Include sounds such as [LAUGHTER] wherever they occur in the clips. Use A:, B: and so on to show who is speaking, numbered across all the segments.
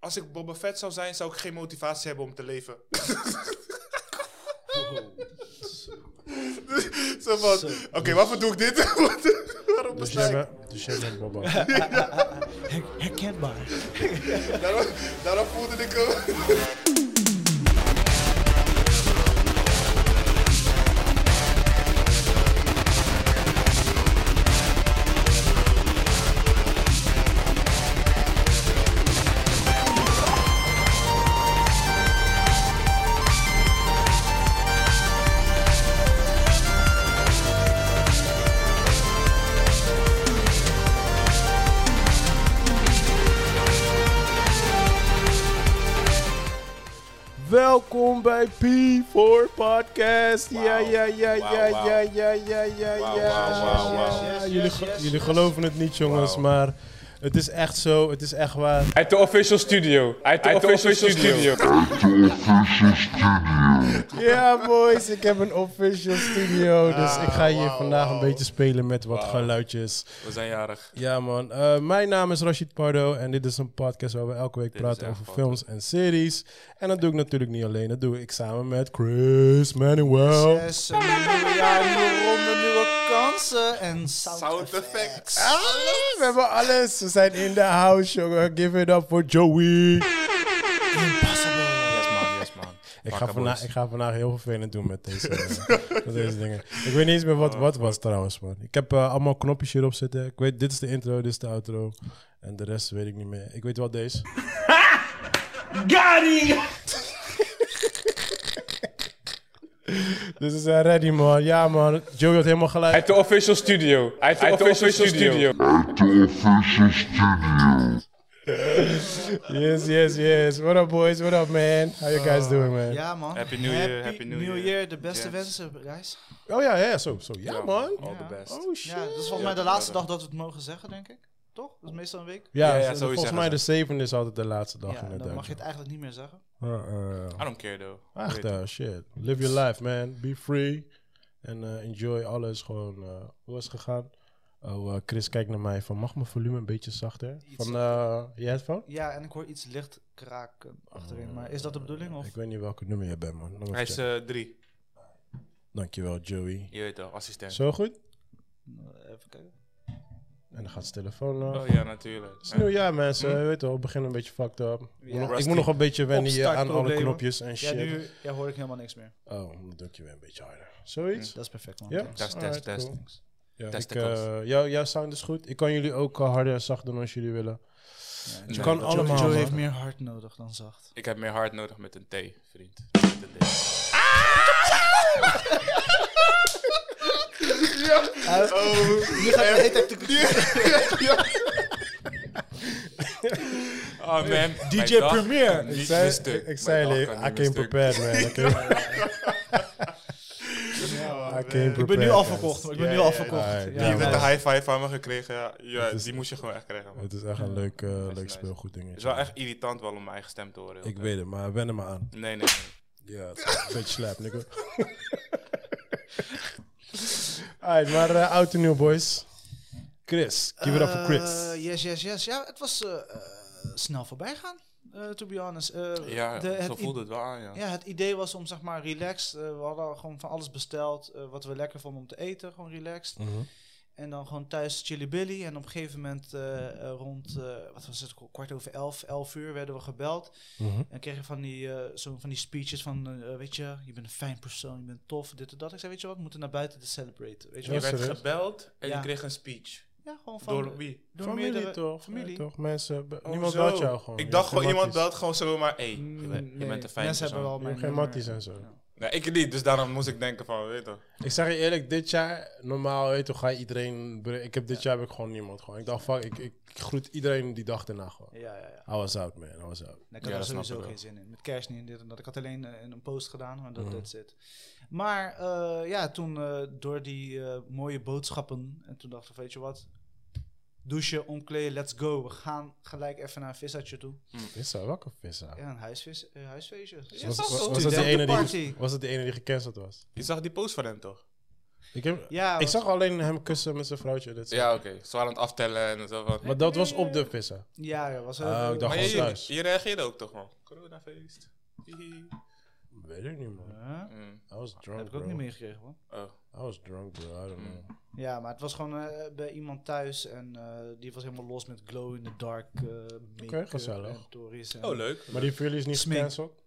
A: als ik Boba Fett zou zijn, zou ik geen motivatie hebben om te leven. [LAUGHS] Zo
B: Zo.
A: van, oké, waarvoor doe ik dit? [LAUGHS] Waarom
C: Dus
A: besta
C: jij,
A: ik?
C: bent, dus jij bent Boba.
B: Her- herkenbaar.
A: Daarom, daarom voelde ik hem.
C: Welkom bij P4 Podcast. Ja,
A: Wauw.
C: ja, ja,
A: Wauw,
C: ja,
A: wauw.
C: ja, ja, ja, ja,
A: Wauw,
C: ja.
A: wauw, wauw, wauw.
C: Ja, Jullie, ge- jullie geloven het niet, jongens,
A: Wauw.
C: maar het is echt zo. Het is echt waar.
D: Uit de official studio. Uit de, official, studio.
C: Ja, boys, ik heb een official studio. Dus ik ga hier
A: wauw,
C: vandaag een
A: wauw.
C: beetje spelen met wat geluidjes.
A: We zijn jarig.
C: Ja, man. Eh, mijn naam is Rashid Pardo en dit is een podcast waar we elke week praten
A: echt
C: over
A: wat.
C: films en series. En dat doe ik natuurlijk niet alleen, dat doe ik samen met Chris Manuel.
B: Zes miljoen jaar ronde nieuwe kansen en sound,
A: Sound
B: effect.
A: effects. [LAUGHS]
C: We hebben alles. We zijn in de house, jongen. Give it up voor Joey.
A: Yes man, yes man.
C: Ik ga, vandaag, ik ga vandaag heel vervelend doen
A: [LAUGHS]
C: met deze, eh, met deze dingen. Ik weet niet eens meer wat wat was trouwens, man. Ik heb eh, allemaal knopjes hierop zitten. Ik weet, dit is de intro, dit is de outro. En de rest weet ik niet meer. Ik weet wel deze. [LAUGHS] Dit is eh, ready, man. Ja, man. Joey had helemaal gelijk.
D: Uit de official studio. Uit de, official, studio.
C: Yes, yes, yes. What up, boys? What up, man? How you guys doing, man?
B: Ja, man.
A: Happy New Year, Happy New Year.
B: De beste
A: Yes.
B: wensen, guys.
C: Oh ja, ja, zo, zo. Ja, man.
A: All the best.
C: Oh, shit.
B: Ja, dat is volgens mij de laatste dag dat we het mogen zeggen, denk ik. Toch? Dat is meestal een week.
A: Ja,
C: Ja,
A: ja,
C: dus
A: zo is
C: volgens
A: zeggen
C: mij
A: ze.
C: de zevende is altijd de laatste dag
B: ja,
C: inderdaad.
B: dan mag je het eigenlijk niet meer zeggen.
C: Uh, uh,
A: I don't care though.
C: echt, eh, shit. Live your life, man. Be free. En eh, enjoy alles. Gewoon, eh, hoe is het gegaan? Oh, eh, Chris kijkt naar mij van, mag mijn volume een beetje zachter? Van, eh je headphone?
B: Ja, en ik hoor iets licht kraken achterin. Maar is dat de bedoeling? Of?
C: Oh, eh, Ik weet niet welke nummer je bent, man. Nog even
A: Hij is
C: checken.
A: eh, drie.
C: Dankjewel, Joey.
A: Je weet wel, assistent.
C: Zo goed?
B: eh, Even kijken.
C: En dan gaat zijn telefoon uh, af.
A: Oh ja, natuurlijk.
C: Het is nieuw jaar, mensen. Je weet wel, het begin een beetje fucked up. Ik moet nog- Ik
A: Rusty.
C: moet nog een beetje wennen hier aan alle
B: Opstartproblemen.
C: knopjes en
B: Ja,
C: shit.
B: nu ja, hoor ik helemaal niks meer.
C: Oh, dan druk je weer een beetje harder.
A: Hm.
C: Zoiets?
B: Dat is perfect, man.
C: Ja?
B: Thanks.
A: Test,
C: Alright,
A: test, test.
C: cool. Ja,
A: Test
C: ik,
A: de kans.
C: eh, jou, jouw sound is goed. Ik kan jullie ook eh, harder en zacht doen als jullie willen.
A: Nee,
C: kan
A: dat-
C: al- Allemaal,
B: Joe
C: man.
B: heeft meer hard nodig dan zacht.
A: Ik heb meer hard nodig met een T, vriend. Met een T.
B: Oh. Nu gaat hij [LAUGHS] heet
A: Oh man.
B: DJ Premier.
C: Ik zei, ik, ik zei jullie, I came
A: [LAUGHS]
C: prepared, man. I came, I came
B: Ik ben nu al verkocht. Ik ben nu al verkocht.
C: Alright,
B: Ja,
C: die
A: Je bent
B: man.
A: de high five van me gekregen. Ja, ja
C: is-
A: die moest je gewoon echt krijgen. man.
C: Het is echt een leuk, eh, leuk
A: nice.
C: speelgoed
A: Het is
C: dingetje.
A: wel echt irritant wel om mijn eigen stem te horen.
C: Ik weet het, maar wen er maar aan.
A: Nee, nee, nee.
C: Ja, het is een beetje slap, nigga. [LAUGHS] Alright, maar eh oud en nieuw, boys. Chris, give it up for Chris.
B: Eh, yes, yes, yes. Ja, het was eh, eh, snel voorbij gaan, eh, to be honest. Eh,
A: Ja,
B: de-
A: zo
B: het i-
A: voelde het wel aan, ja.
B: Ja, het idee was om zeg maar relaxed. eh, we hadden gewoon van alles besteld eh, wat we lekker vonden om te eten, gewoon relaxed.
C: Mhm.
B: En dan gewoon thuis chili billy. En op een gegeven moment eh, eh, rond, eh, wat was het, kwart over elf, elf uur werden we gebeld.
C: Mhm.
B: En kregen van die, eh, zo van die speeches van, eh, weet je, je bent een fijn persoon, je bent tof, dit en dat. Ik zei, weet je wat, we moeten naar buiten te celebraten. Weet
A: Je
C: Ja,
B: je wat?
A: werd
C: serieus?
A: gebeld en
B: Ja.
A: je kreeg een speech.
B: Ja, gewoon van...
A: Door wie?
B: door
C: familie
B: meerdere-
C: toch?
B: familie.
C: Ja, toch? Mensen, be-
A: Oh,
C: niemand
A: zo.
C: belt jou gewoon.
A: Ik
C: Ja,
A: dacht gewoon, iemand
C: automatisch.
A: belt gewoon zomaar, hé, hey, je,
B: Mm,
A: bent- je
B: nee,
A: bent een fijn
B: Mensen
A: persoon.
B: hebben wel mijn
C: geen
B: nummer.
C: matties en zo.
B: Ja.
A: Nee, ik niet, dus daarom moest ik denken van, weet je toch.
C: Ik zeg je eerlijk, dit jaar, normaal weet je toch, ga je iedereen... bre- Ik heb dit jaar heb ik gewoon niemand gewoon. Ik dacht, fuck, ik, ik groet iedereen die dag daarna gewoon.
B: Ja, ja, ja.
C: I was out, man. I was out.
B: Ik had
A: Ja,
B: er
A: dat snap ik
B: sowieso
A: wel.
B: geen zin in. Met kerst niet en dit en dat. Ik had alleen eh, een post gedaan, maar dat
C: Mhm.
B: dat zit. Maar eh, ja, toen eh, door die eh, mooie boodschappen. En toen dacht ik, weet je wat? Douchen, omkleden, let's go. We gaan gelijk even naar een visartje toe.
C: Vissa, welke Vissa?
B: Ja, een huisvis, eh, huisfeestje. Ja,
C: Was,
B: toch?
C: was, was, dat die ene die,
B: Studentenparty.
C: was dat de ene die gecanceld was?
A: Je zag die post van hem toch?
C: Ik, heb,
B: Ja,
C: ik
B: was-
C: zag alleen hem kussen met zijn vrouwtje. Dat
A: Ja, oké. Ze waren aan het aftellen en zo van.
C: Maar dat was op de vissen.
B: Ja, ja, was
C: Ah,
B: heel-
C: ik dacht-
A: Maar je,
C: gewoon thuis.
A: je reageerde ook toch gewoon. Coronafeest. Hihi.
C: Weet ik niet, man.
B: Huh?
A: Mm.
C: I was
B: Dat heb
C: drunk,
B: ik ook
C: bro.
B: niet meegekregen, man.
A: Oh.
C: I was drunk, bro. I don't know.
B: Ja, maar het was gewoon eh, bij iemand thuis en eh, die was helemaal los met glow in the dark eh make
C: gezellig.
B: en Tories en-
A: oh, leuk.
C: Maar die voor jullie is niet
B: Smink.
C: gecanceld?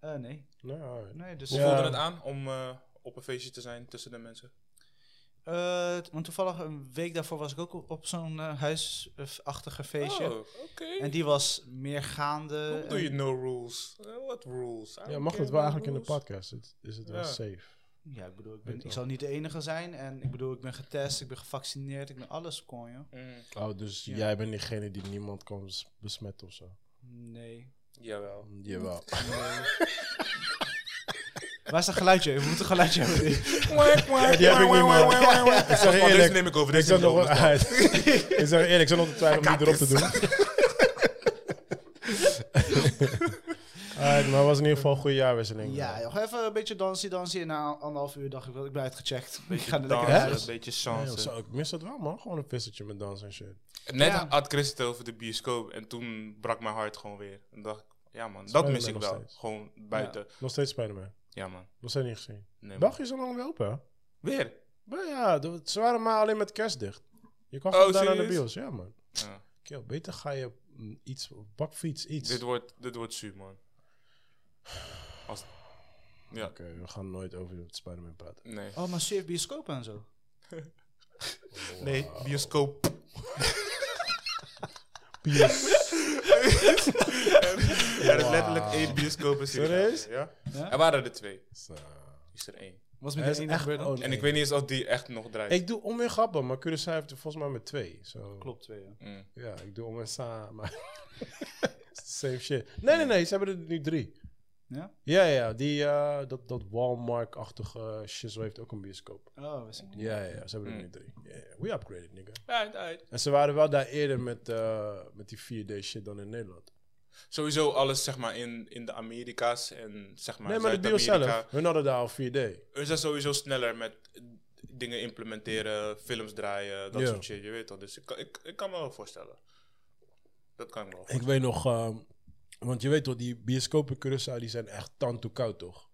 B: Eh, nee,
C: Nee, alright.
B: nee, dus...
A: Hoe
C: Ja.
A: voelde het aan om eh, op een feestje te zijn tussen de mensen?
B: Eh, t- want toevallig een week daarvoor was ik ook op, op zo'n eh, huisachtige feestje.
A: Oh, oké.
B: En die was meer gaande.
A: Hoe doe je no rules? Wat rules? I
C: Eh, Ja,
A: don't
C: mag
A: care
C: het wel
A: about
C: eigenlijk in de
A: rules.
C: podcast? Het- Is het wel
A: Ja.
C: safe?
B: En- Ja, ik bedoel, ik, ben,
C: Weet
B: ik
C: wel.
B: zal niet de enige zijn. En ik bedoel, ik ben getest, ik ben gevaccineerd, ik ben alles kon, joh.
A: Mm,
C: Oh, dus
B: Ja.
C: jij bent diegene die niemand kan bes- besmetten of zo?
B: Nee.
A: [LAUGHS] jawel.
C: Jawel.
A: [LAUGHS]
B: Waar is dat geluidje? We moeten een geluidje hebben.
C: die heb ik niet, man.
A: [LAUGHS] Ik
C: zeg je
A: deze
C: eerlijk,
A: neem ik over.
C: [LAUGHS] Ik
A: Deze
C: zat
A: neem ik
C: nog wel
A: over.
C: uit. [LAUGHS] ik zeg eerlijk, ik zat nog te twijfelen om die erop te [LAUGHS] doen. Alright, maar het was in ieder geval een goede jaarwisseling.
B: Ja, joh, even een beetje dansie, dansie. En na anderhalf uur dacht ik wel, ik ben uitgecheckt. [LAUGHS] Ik ga er
A: Dan
C: dans.
B: lekker
A: is
B: naar huis.
A: het een beetje
C: Nee,
A: chance.
C: joh, zo, ik mis dat wel, man. Gewoon een vissertje met dansen en shit.
A: Net
B: Ja.
A: had Chris het over de bioscoop en toen brak mijn hart gewoon weer. En dacht ik, ja man, dat mis ik
C: nog
A: wel.
C: steeds.
A: Gewoon buiten. Ja,
C: Nog steeds Spider-Man.
A: man.
C: Nog steeds niet gezien.
A: Nee, man.
C: België is al lang weer open, hè?
A: Weer?
C: Maar ja, de- ze waren maar alleen met kerst dicht. Je kan
A: Oh,
C: gewoon daar naar de
A: serieus?
C: bios. Ja, man.
A: Ja.
C: Kill, beter ga je mm, iets, bakfiets, iets.
A: Dit wordt, dit wordt zuur, man. Als... Ja,
C: Oké, we gaan nooit over het Spider-Man
B: [LAUGHS]
C: praten.
A: nee.
B: Oh, maar surf bioscoop en zo.
A: Nee, [LAUGHS] bioscoop.
C: Bios.
A: Er is letterlijk één bioscoop in
C: Serieus?
A: Suriname, Ja?
B: Ja?
A: Er waren er twee.
C: Zo.
A: Is er één.
B: Was
C: Er
B: met
C: is
B: de ene
C: echt oh.
B: gebeurd dan?
C: gewoon-
A: En ik weet niet eens of die echt nog draait.
C: Ik doe om en grappen, maar Curaçao heeft er volgens mij met twee. zo.
B: Klopt, twee, ja.
A: Mm.
C: Ja, ik doe om en sa, maar... [LAUGHS] Same shit. Nee, nee, nee, ze hebben er nu drie.
B: Ja?
C: Ja, ja, die, eh, dat, dat Walmart-achtige shizzle heeft ook een bioscoop.
B: Oh, wist ik niet.
C: Ja, ja, ze hebben er
A: Hmm.
C: nu drie. Ja, ja, We upgraded, nigga.
A: Uit, uit.
C: En ze waren wel daar eerder met, eh, met die 4D shit dan in Nederland.
A: Sowieso alles zeg maar in, in de Amerika's en zeg maar
C: nee, maar de bios
A: Zuid-Amerika.
C: zelf, hun hadden daar al 4D.
A: Ze zijn sowieso sneller met eh, dingen implementeren, films draaien, dat
C: Ja.
A: soort shit, je weet toch. Dus ik, kan- ik, ik kan me wel voorstellen. Dat kan ik me wel
C: Ik weet nog, ehm, want je weet toch, die bioscopen in Curaçao die zijn echt tanto koud, toch?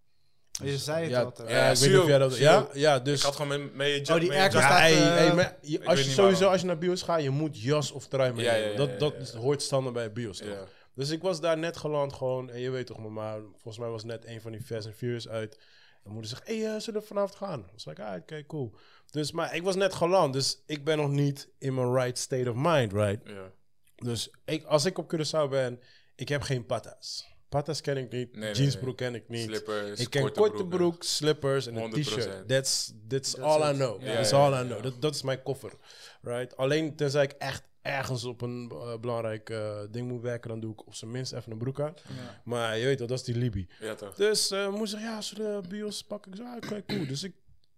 B: Je zei het
C: ja,
B: altijd.
C: ja, ik weet niet
A: Sio,
C: of jij dat...
A: Sio.
C: Ja, ja, dus...
A: Ik had gewoon mee... mee
B: Oh, die
A: mee-
B: airco
A: ja,
C: Ja,
B: staat-
C: hey,
B: eh,
C: hey, maar je-
A: weet
C: als je
A: niet
C: sowieso
A: waarom.
C: als je naar bios gaat, je moet jas of trui mee.
A: Ja, ja,
C: hebben.
A: ja, ja,
C: dat dat
A: ja,
C: is- hoort standaard bij bios. toch?
A: Ja.
C: Dus ik was daar net geland gewoon en je weet toch, mama, volgens mij was net een van die Fast and Furious uit. En moeder zegt, hé, hey, eh, zullen we vanavond gaan? Ik was like, ah, oké, cool. Dus, maar ik was net geland, dus ik ben nog niet in mijn right state of mind, right?
A: Ja.
C: Dus ik, als ik op Curaçao ben, ik heb geen patas. Patas ken ik niet,
A: Nee, nee,
C: jeansbroek ken ik niet.
A: Slippers,
C: ik ken korte,
A: korte
C: broek,
A: broeken.
C: slippers en een
A: 100%.
C: t-shirt. That's, that's all I know.
A: Ja,
C: that's
A: ja,
C: all
A: ja,
C: I know.
A: ja.
C: Dat, dat is mijn koffer. Right? Alleen tenzij ik echt ergens op een eh, belangrijk eh, ding moet werken, dan doe ik op zijn minst even een broek aan. Maar je weet wel, dat is die Libi.
A: Ja, toch.
C: Dus eh moest zeggen, ja, zullen we bios pakken? Ik zei, ah, oké, cool. Dus ik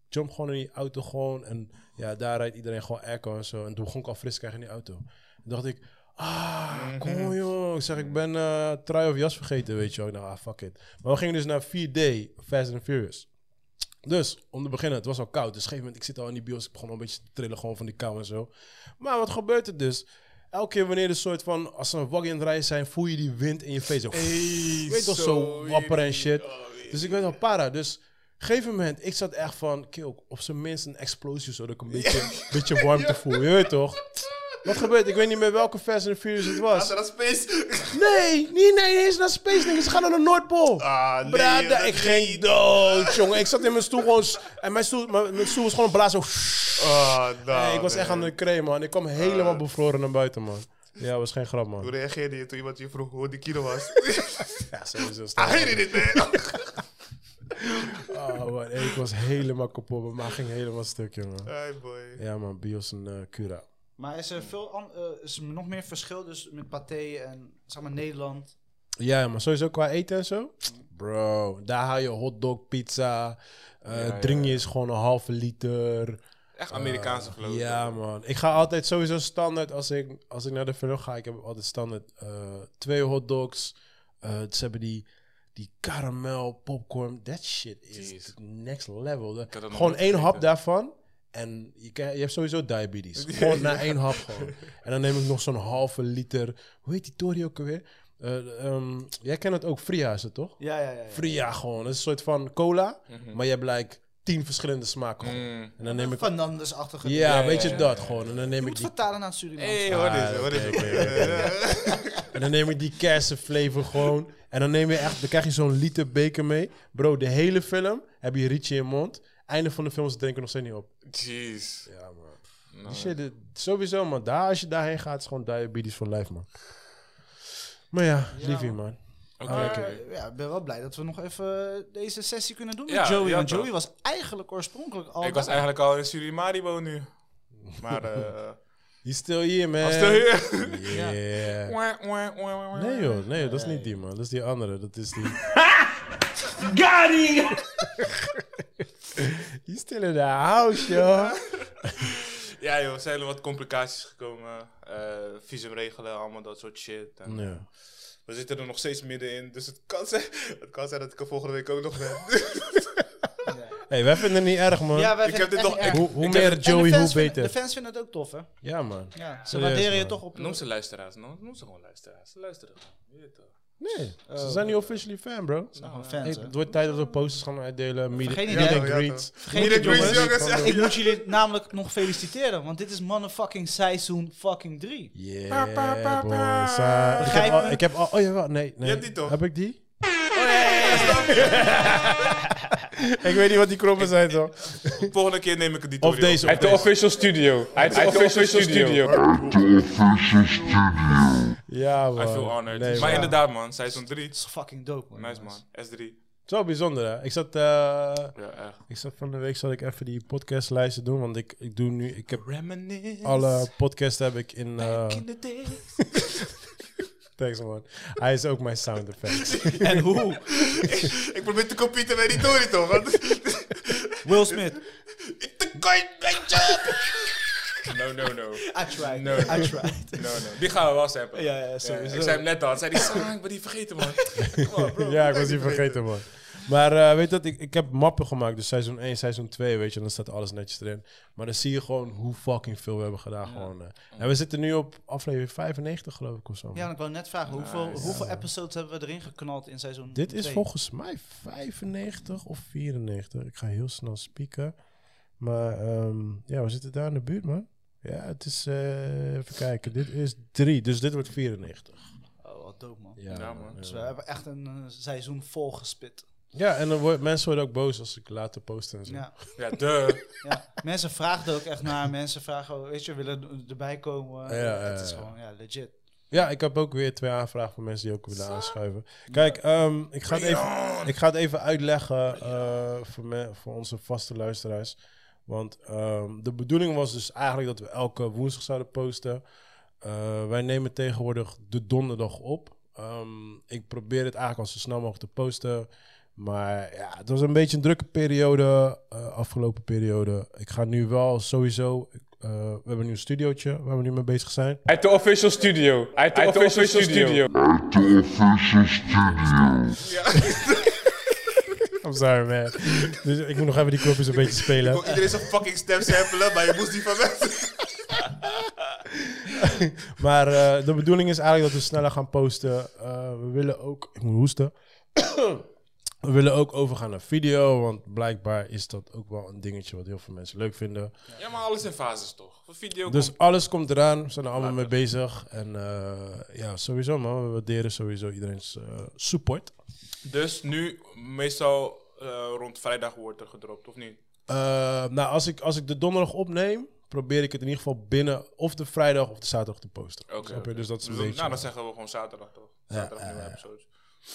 C: jump gewoon in die auto gewoon. En ja, daar rijdt iedereen gewoon airco en zo. En toen begon ik al fris krijgen in die auto. En dacht ik, ah, kom joh. Ik zeg, ik ben eh trui of jas vergeten, weet je wel. Ik dacht, ah, fuck it. Maar we gingen dus naar 4D, Fast and Furious. Dus, om te beginnen, het was al koud. Dus op een gegeven moment, ik zit al in die bios. Ik begon al een beetje te trillen gewoon van die kou en zo. Maar wat gebeurt er dus? Elke keer wanneer er soort van, als ze een waggie aan het rijden zijn, voel je die wind in je face. Zo, je weet toch zo
A: sorry.
C: wapper en shit.
A: Oh,
C: Dus ik weet wel para. Dus op een gegeven moment, ik zat echt van, kill, op zijn minst een explosie zodat ik een beetje, beetje warmte voel. Je weet toch? Wat gebeurt? Ik weet niet meer welke Fast and Furious het was.
A: dat space?
C: Nee, niet nee, nee, eens naar Space Ninja. Ze gaan naar de Noordpool.
A: Ah, nee,
C: Brada,
A: dat
C: ik ging dood, jongen. Ik zat in mijn stoel gewoon... s- En mijn stoel, mijn, mijn stoel was gewoon een blaas zo...
A: Ah,
C: Hey, ik was echt aan de creme, man. Ik kwam helemaal bevroren naar buiten, man. Ja, was geen grap, man.
A: reageerde je toen iemand je vroeg hoe die kilo was?
C: Ja, sowieso.
A: it, man.
C: [LAUGHS] Oh, man. Hey, ik was helemaal kapot. Mijn maag ging helemaal stuk, jongen.
A: Hey, boy.
C: Ja, man. Bios en eh, Cura.
B: Maar is er, veel an- eh, is er nog meer verschil dus met Pathé en zeg maar Nederland?
C: Ja, maar sowieso qua eten en zo. Bro, daar haal je hotdog, pizza. eh drink je eens gewoon een halve liter.
A: Echt Amerikaanse geloof ik.
C: Ja, man. Ik ga altijd sowieso standaard, als ik, als ik naar de vlog ga, ik heb altijd standaard eh, twee hotdogs. Eh, ze hebben die die karamel, popcorn, that shit is
A: Jeez.
C: the next level. De-
A: had dat nog
C: gewoon
A: nooit
C: één hap
A: gegeten.
C: daarvan en je, krijg- je hebt sowieso diabetes.
A: [LAUGHS]
C: Gewoon na één hap gewoon. En dan neem ik nog zo'n halve liter, hoe heet die tori ook alweer? Eh, ehm, jij kent het ook, Fria is het toch?
B: Ja, ja, ja. ja.
C: Fria gewoon, het is een soort van cola, maar je hebt like tien verschillende smaken gewoon.
A: Mhm. Mm.
C: En dan neem ik,
B: Fernandes-achtige. dingen.
C: ja,
A: ja,
C: weet je
A: ja,
C: dat gewoon. En dan neem
B: Je
C: ik
B: moet
C: die
B: vertalen naar Suriname.
A: Hey, wat is het? Wat is
C: Ah,
A: het?
C: oké, oké, [LAUGHS] En dan neem je die kersenflavor gewoon. En dan neem je echt, dan krijg je zo'n liter beker mee. Bro, de hele film heb je rietje in je mond. Einde van de film, ze drinken nog steeds niet op.
A: Jeez.
C: Ja, man.
A: Nou,
C: Die shit, dit- sowieso, man. Daar, als je daarheen gaat, is gewoon diabetes voor lijf, man. Maar ja,
B: Ja,
C: liefie,
B: man.
C: man.
A: oké.
B: Maar
C: Oké.
B: ja, ik ben wel blij dat we nog even deze sessie kunnen doen met
A: Ja,
B: Joey.
A: ja,
B: want
A: toch.
B: Joey was eigenlijk oorspronkelijk al...
A: Ik was
B: daar.
A: eigenlijk al in Surimaribo nu. Maar,
C: [LAUGHS]
A: eh...
C: You still here, man.
A: Stel je...
C: Yeah. Nee, joh. Nee, joh, dat is niet die, man. Dat is die andere. Dat is die... [LAUGHS] you still in the house, joh.
A: Ja joh, er zijn wat complicaties gekomen. Eh visum regelen, allemaal dat soort shit. En,
C: Ja.
A: We zitten er nog steeds middenin, dus het kan zijn, [LAUGHS] het kan zijn dat ik er volgende week ook nog ben.
C: hey, wij vinden het niet erg, man.
B: Ja, wij
A: Ik
B: vinden
A: heb
B: het
A: dit
B: echt
A: nog- ik-
C: hoe
B: niet erg.
C: hoe
A: heb-
C: meer
B: En de
C: Joey,
B: fans
C: hoe
B: vinden-
C: beter.
B: De fans vinden het ook tof, hè?
C: Ja, man.
B: Ja, ze
C: Serieus,
B: waarderen je
C: man.
B: toch
A: [LAUGHS]
B: op...
A: Noem ze luisteraars, noem, noem ze gewoon luisteraars. Ze Luisteren gewoon. Je weet toch.
C: Nee,
B: Oh.
C: ze zijn niet officially fan, bro.
B: Nou,
A: Nou,
B: fans,
C: Hey,
B: hè.
C: het wordt tijd dat we posters gaan uitdelen. Meet
B: Vergeet
C: meet
B: niet,
C: and
B: hè?
A: Ja, toch, ja,
C: greets.
B: Vergeet
A: Meet
B: niet,
A: and greets,
B: jongens.
A: jongens, ja.
B: [LAUGHS] Ik moet jullie namelijk nog feliciteren, want dit is motherfucking seizoen fucking 3.
C: Yeah, boys. Ah, ik, heb
B: Begrijp
C: al,
B: me?
C: ik heb al... Oh, jawel. Nee, nee.
A: hebt die toch? Oh,
C: Heb ik die? [LAUGHS] ik weet niet wat die kroppen zijn, toch?
A: Volgende keer neem ik het die
C: Of
A: Torio.
C: deze. Of
D: At the
C: deze.
D: official studio. At the official studio.
C: Ja, man.
A: I feel honored.
C: Nee,
A: maar
C: man.
A: inderdaad man, seizoen 3.
B: Dat is fucking dope, man.
A: Nice
B: jongens.
A: man, S3.
C: Het is wel bijzonder, hè. Ik zat... eh,
A: Ja, echt.
C: ik zat van de week zat ik even die podcastlijsten doen, want ik, ik doe nu... Ik heb
A: Reminisce.
C: alle podcasts heb ik in... eh,
A: In the days. [LAUGHS]
C: thanks, man. Hij is ook mijn sound effect.
B: [LAUGHS] En hoe?
A: ik probeer te competen bij die Tory toch? [LAUGHS] want-
B: Will
A: [LAUGHS]
B: Smith.
A: Ik te kort mijn job! No, no, no.
B: I tried.
A: No.
B: I tried.
A: [LAUGHS] No, no. Die gaan we wel samplen.
B: [LAUGHS] Ja, ja, sowieso.
A: ik zei hem net al. Hij zei die "Ah, ik ben die vergeten,
C: [LAUGHS]
A: man. Kom op, Oh, bro.
C: ja, ik was die vergeten, man. Maar eh, weet dat ik, ik heb mappen gemaakt. Dus seizoen 1, seizoen 2, weet je. En dan staat alles netjes erin. Maar dan zie je gewoon hoe fucking veel we hebben gedaan. Gewoon, eh. En we zitten nu op aflevering 95, geloof ik, of zo. man.
B: Ja, en ik wou net vragen, hoeveel,
A: Nice.
B: hoeveel episodes hebben we erin geknald in seizoen
C: Dit is
B: twee?
C: volgens mij 95 of 94. Ik ga heel snel spieken. Maar ehm, ja, we zitten daar in de buurt, man. Ja, het is... eh, even kijken. Dit is 3, dus dit wordt 94.
B: Oh, wat dope, man.
C: Ja,
A: man.
B: Dus we hebben echt een eh, seizoen vol gespit.
C: Ja, en dan worden mensen worden ook boos als ik later post en zo.
B: Ja,
A: Ja, duh.
B: ja. mensen vragen er ook echt naar. Mensen vragen, oh, weet je, willen erbij komen.
C: Ja, ja,
B: het is
C: ja.
B: gewoon ja, legit.
C: Ja, ik heb ook weer twee aanvragen van mensen die ook willen aanschuiven. Kijk, ehm, ik, ga het even, ik ga het even uitleggen eh, voor, me, voor onze vaste luisteraars. Want ehm, de bedoeling was dus eigenlijk dat we elke woensdag zouden posten. Eh, wij nemen tegenwoordig de donderdag op. Ehm, ik probeer het eigenlijk al zo snel mogelijk te posten. Maar ja, het was een beetje een drukke periode, eh, afgelopen periode. Ik ga nu wel sowieso... eh, we hebben nu een studiootje waar we nu mee bezig zijn.
D: At the official studio. At the official studio.
C: I'm sorry,
A: [LAUGHS]
C: man. Dus ik moet nog even die knopjes een beetje
A: Ik
C: spelen.
A: kon iedereen zijn fucking stem samplen, maar je moest die van mensen.
C: Maar eh, de bedoeling is eigenlijk dat we sneller gaan posten. Eh, we willen ook... Ik moet hoesten. [CLEARS THROAT] we willen ook overgaan naar video. Want blijkbaar is dat ook wel een dingetje wat heel veel mensen leuk vinden.
A: [LAUGHS] Ja, maar alles in fases toch? Voor video
C: Dus alles komt eraan. We zijn er allemaal mee bezig. En eh, ja, sowieso man. We waarderen sowieso iedereen's eh, support.
A: komt- Dus nu, meestal eh, rond vrijdag wordt er gedropt, of niet?
C: Eh, nou, als ik, als ik de donderdag opneem... probeer ik het in ieder geval binnen of de vrijdag of de zaterdag te posten.
A: Oké.
C: Snap je? Dus dat is een
A: dan-
C: beetje...
A: nou, dan zeggen we gewoon zaterdag toch? Zaterdag nieuwe episodes.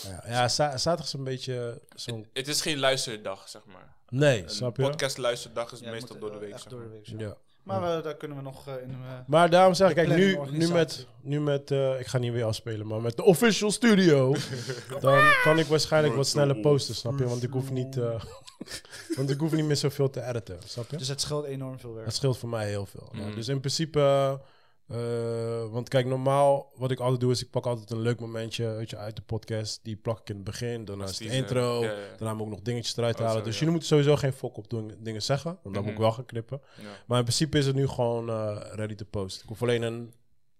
C: Ja, ja za- zaterdag is een beetje zo'n...
A: Het is geen luisterdag, zeg maar.
C: Nee,
A: Een
C: snap je?
A: podcast luisterdag is
B: Ja,
A: meestal
B: moet,
A: door de
B: eh,
A: week.
B: echt
A: zeg
B: door de
A: maar.
B: week, zo.
C: Ja.
B: Maar we- daar kunnen we nog eh, in... eh,
C: Maar daarom zeg ik,
B: De
C: kijk, nu,
B: planning,
C: nu met, nu met eh, ik ga niet weer afspelen, maar met de official [LAUGHS] studio, dan kan ik waarschijnlijk wat sneller posten, snap je? Want ik hoef niet, eh, [LAUGHS] want ik hoef niet meer zoveel te editen, snap je?
B: dus het scheelt enorm veel werk.
C: Mm. Dat scheelt voor mij heel veel. Ja, dus in principe eh, Eh, want kijk, normaal wat ik altijd doe is ik pak altijd een leuk momentje weet je, uit de podcast. Die plak ik in het begin, daarna
A: Als
C: is de
A: teaser.
C: intro.
A: Ja, ja, ja.
C: Daarna moet ik nog dingetjes eruit
A: Oh,
C: halen.
A: zo,
C: dus
A: ja.
C: jullie moeten sowieso geen fok op doen, dingen zeggen. Want dan moet ik
A: Mhm.
C: wel gaan knippen.
A: Ja.
C: Maar in principe is het nu gewoon eh, ready to post. Ik hoef alleen een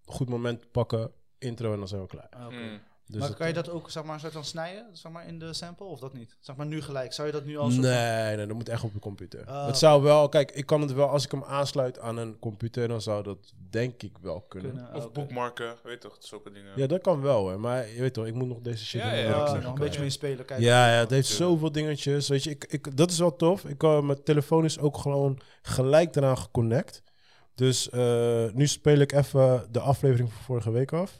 C: goed moment te pakken, intro en dan zijn we klaar.
B: Ah, oké.
A: Mm.
C: Dus
B: maar
C: dat-
B: kan je dat ook zeg maar, soort van snijden zeg maar, in de sample of dat niet? Zeg maar nu gelijk. Zou je dat nu al zo...
C: Nee, nee, dat moet echt op de computer.
B: Ah, oké.
C: het zou wel, kijk, ik kan het wel, als ik hem aansluit aan een computer, dan zou dat denk ik wel kunnen.
B: kunnen? Ah,
A: Of
B: oké.
A: boekmarken, weet toch, zulke dingen.
C: Ja, dat kan wel, hè. maar je weet toch, ik moet nog deze shit
A: Ja,
C: in mijn
A: ja,
C: werk
B: Ah,
A: ja.
C: leggen.
B: nog een beetje mee spelen. Kijken.
C: Ja, ja, het heeft
A: Tuurlijk.
C: zoveel dingetjes. Weet je, ik, ik, dat is wel tof. Ik, kan mijn telefoon is ook gewoon gelijk daaraan geconnect. Dus eh, nu speel ik even de aflevering van vorige week af.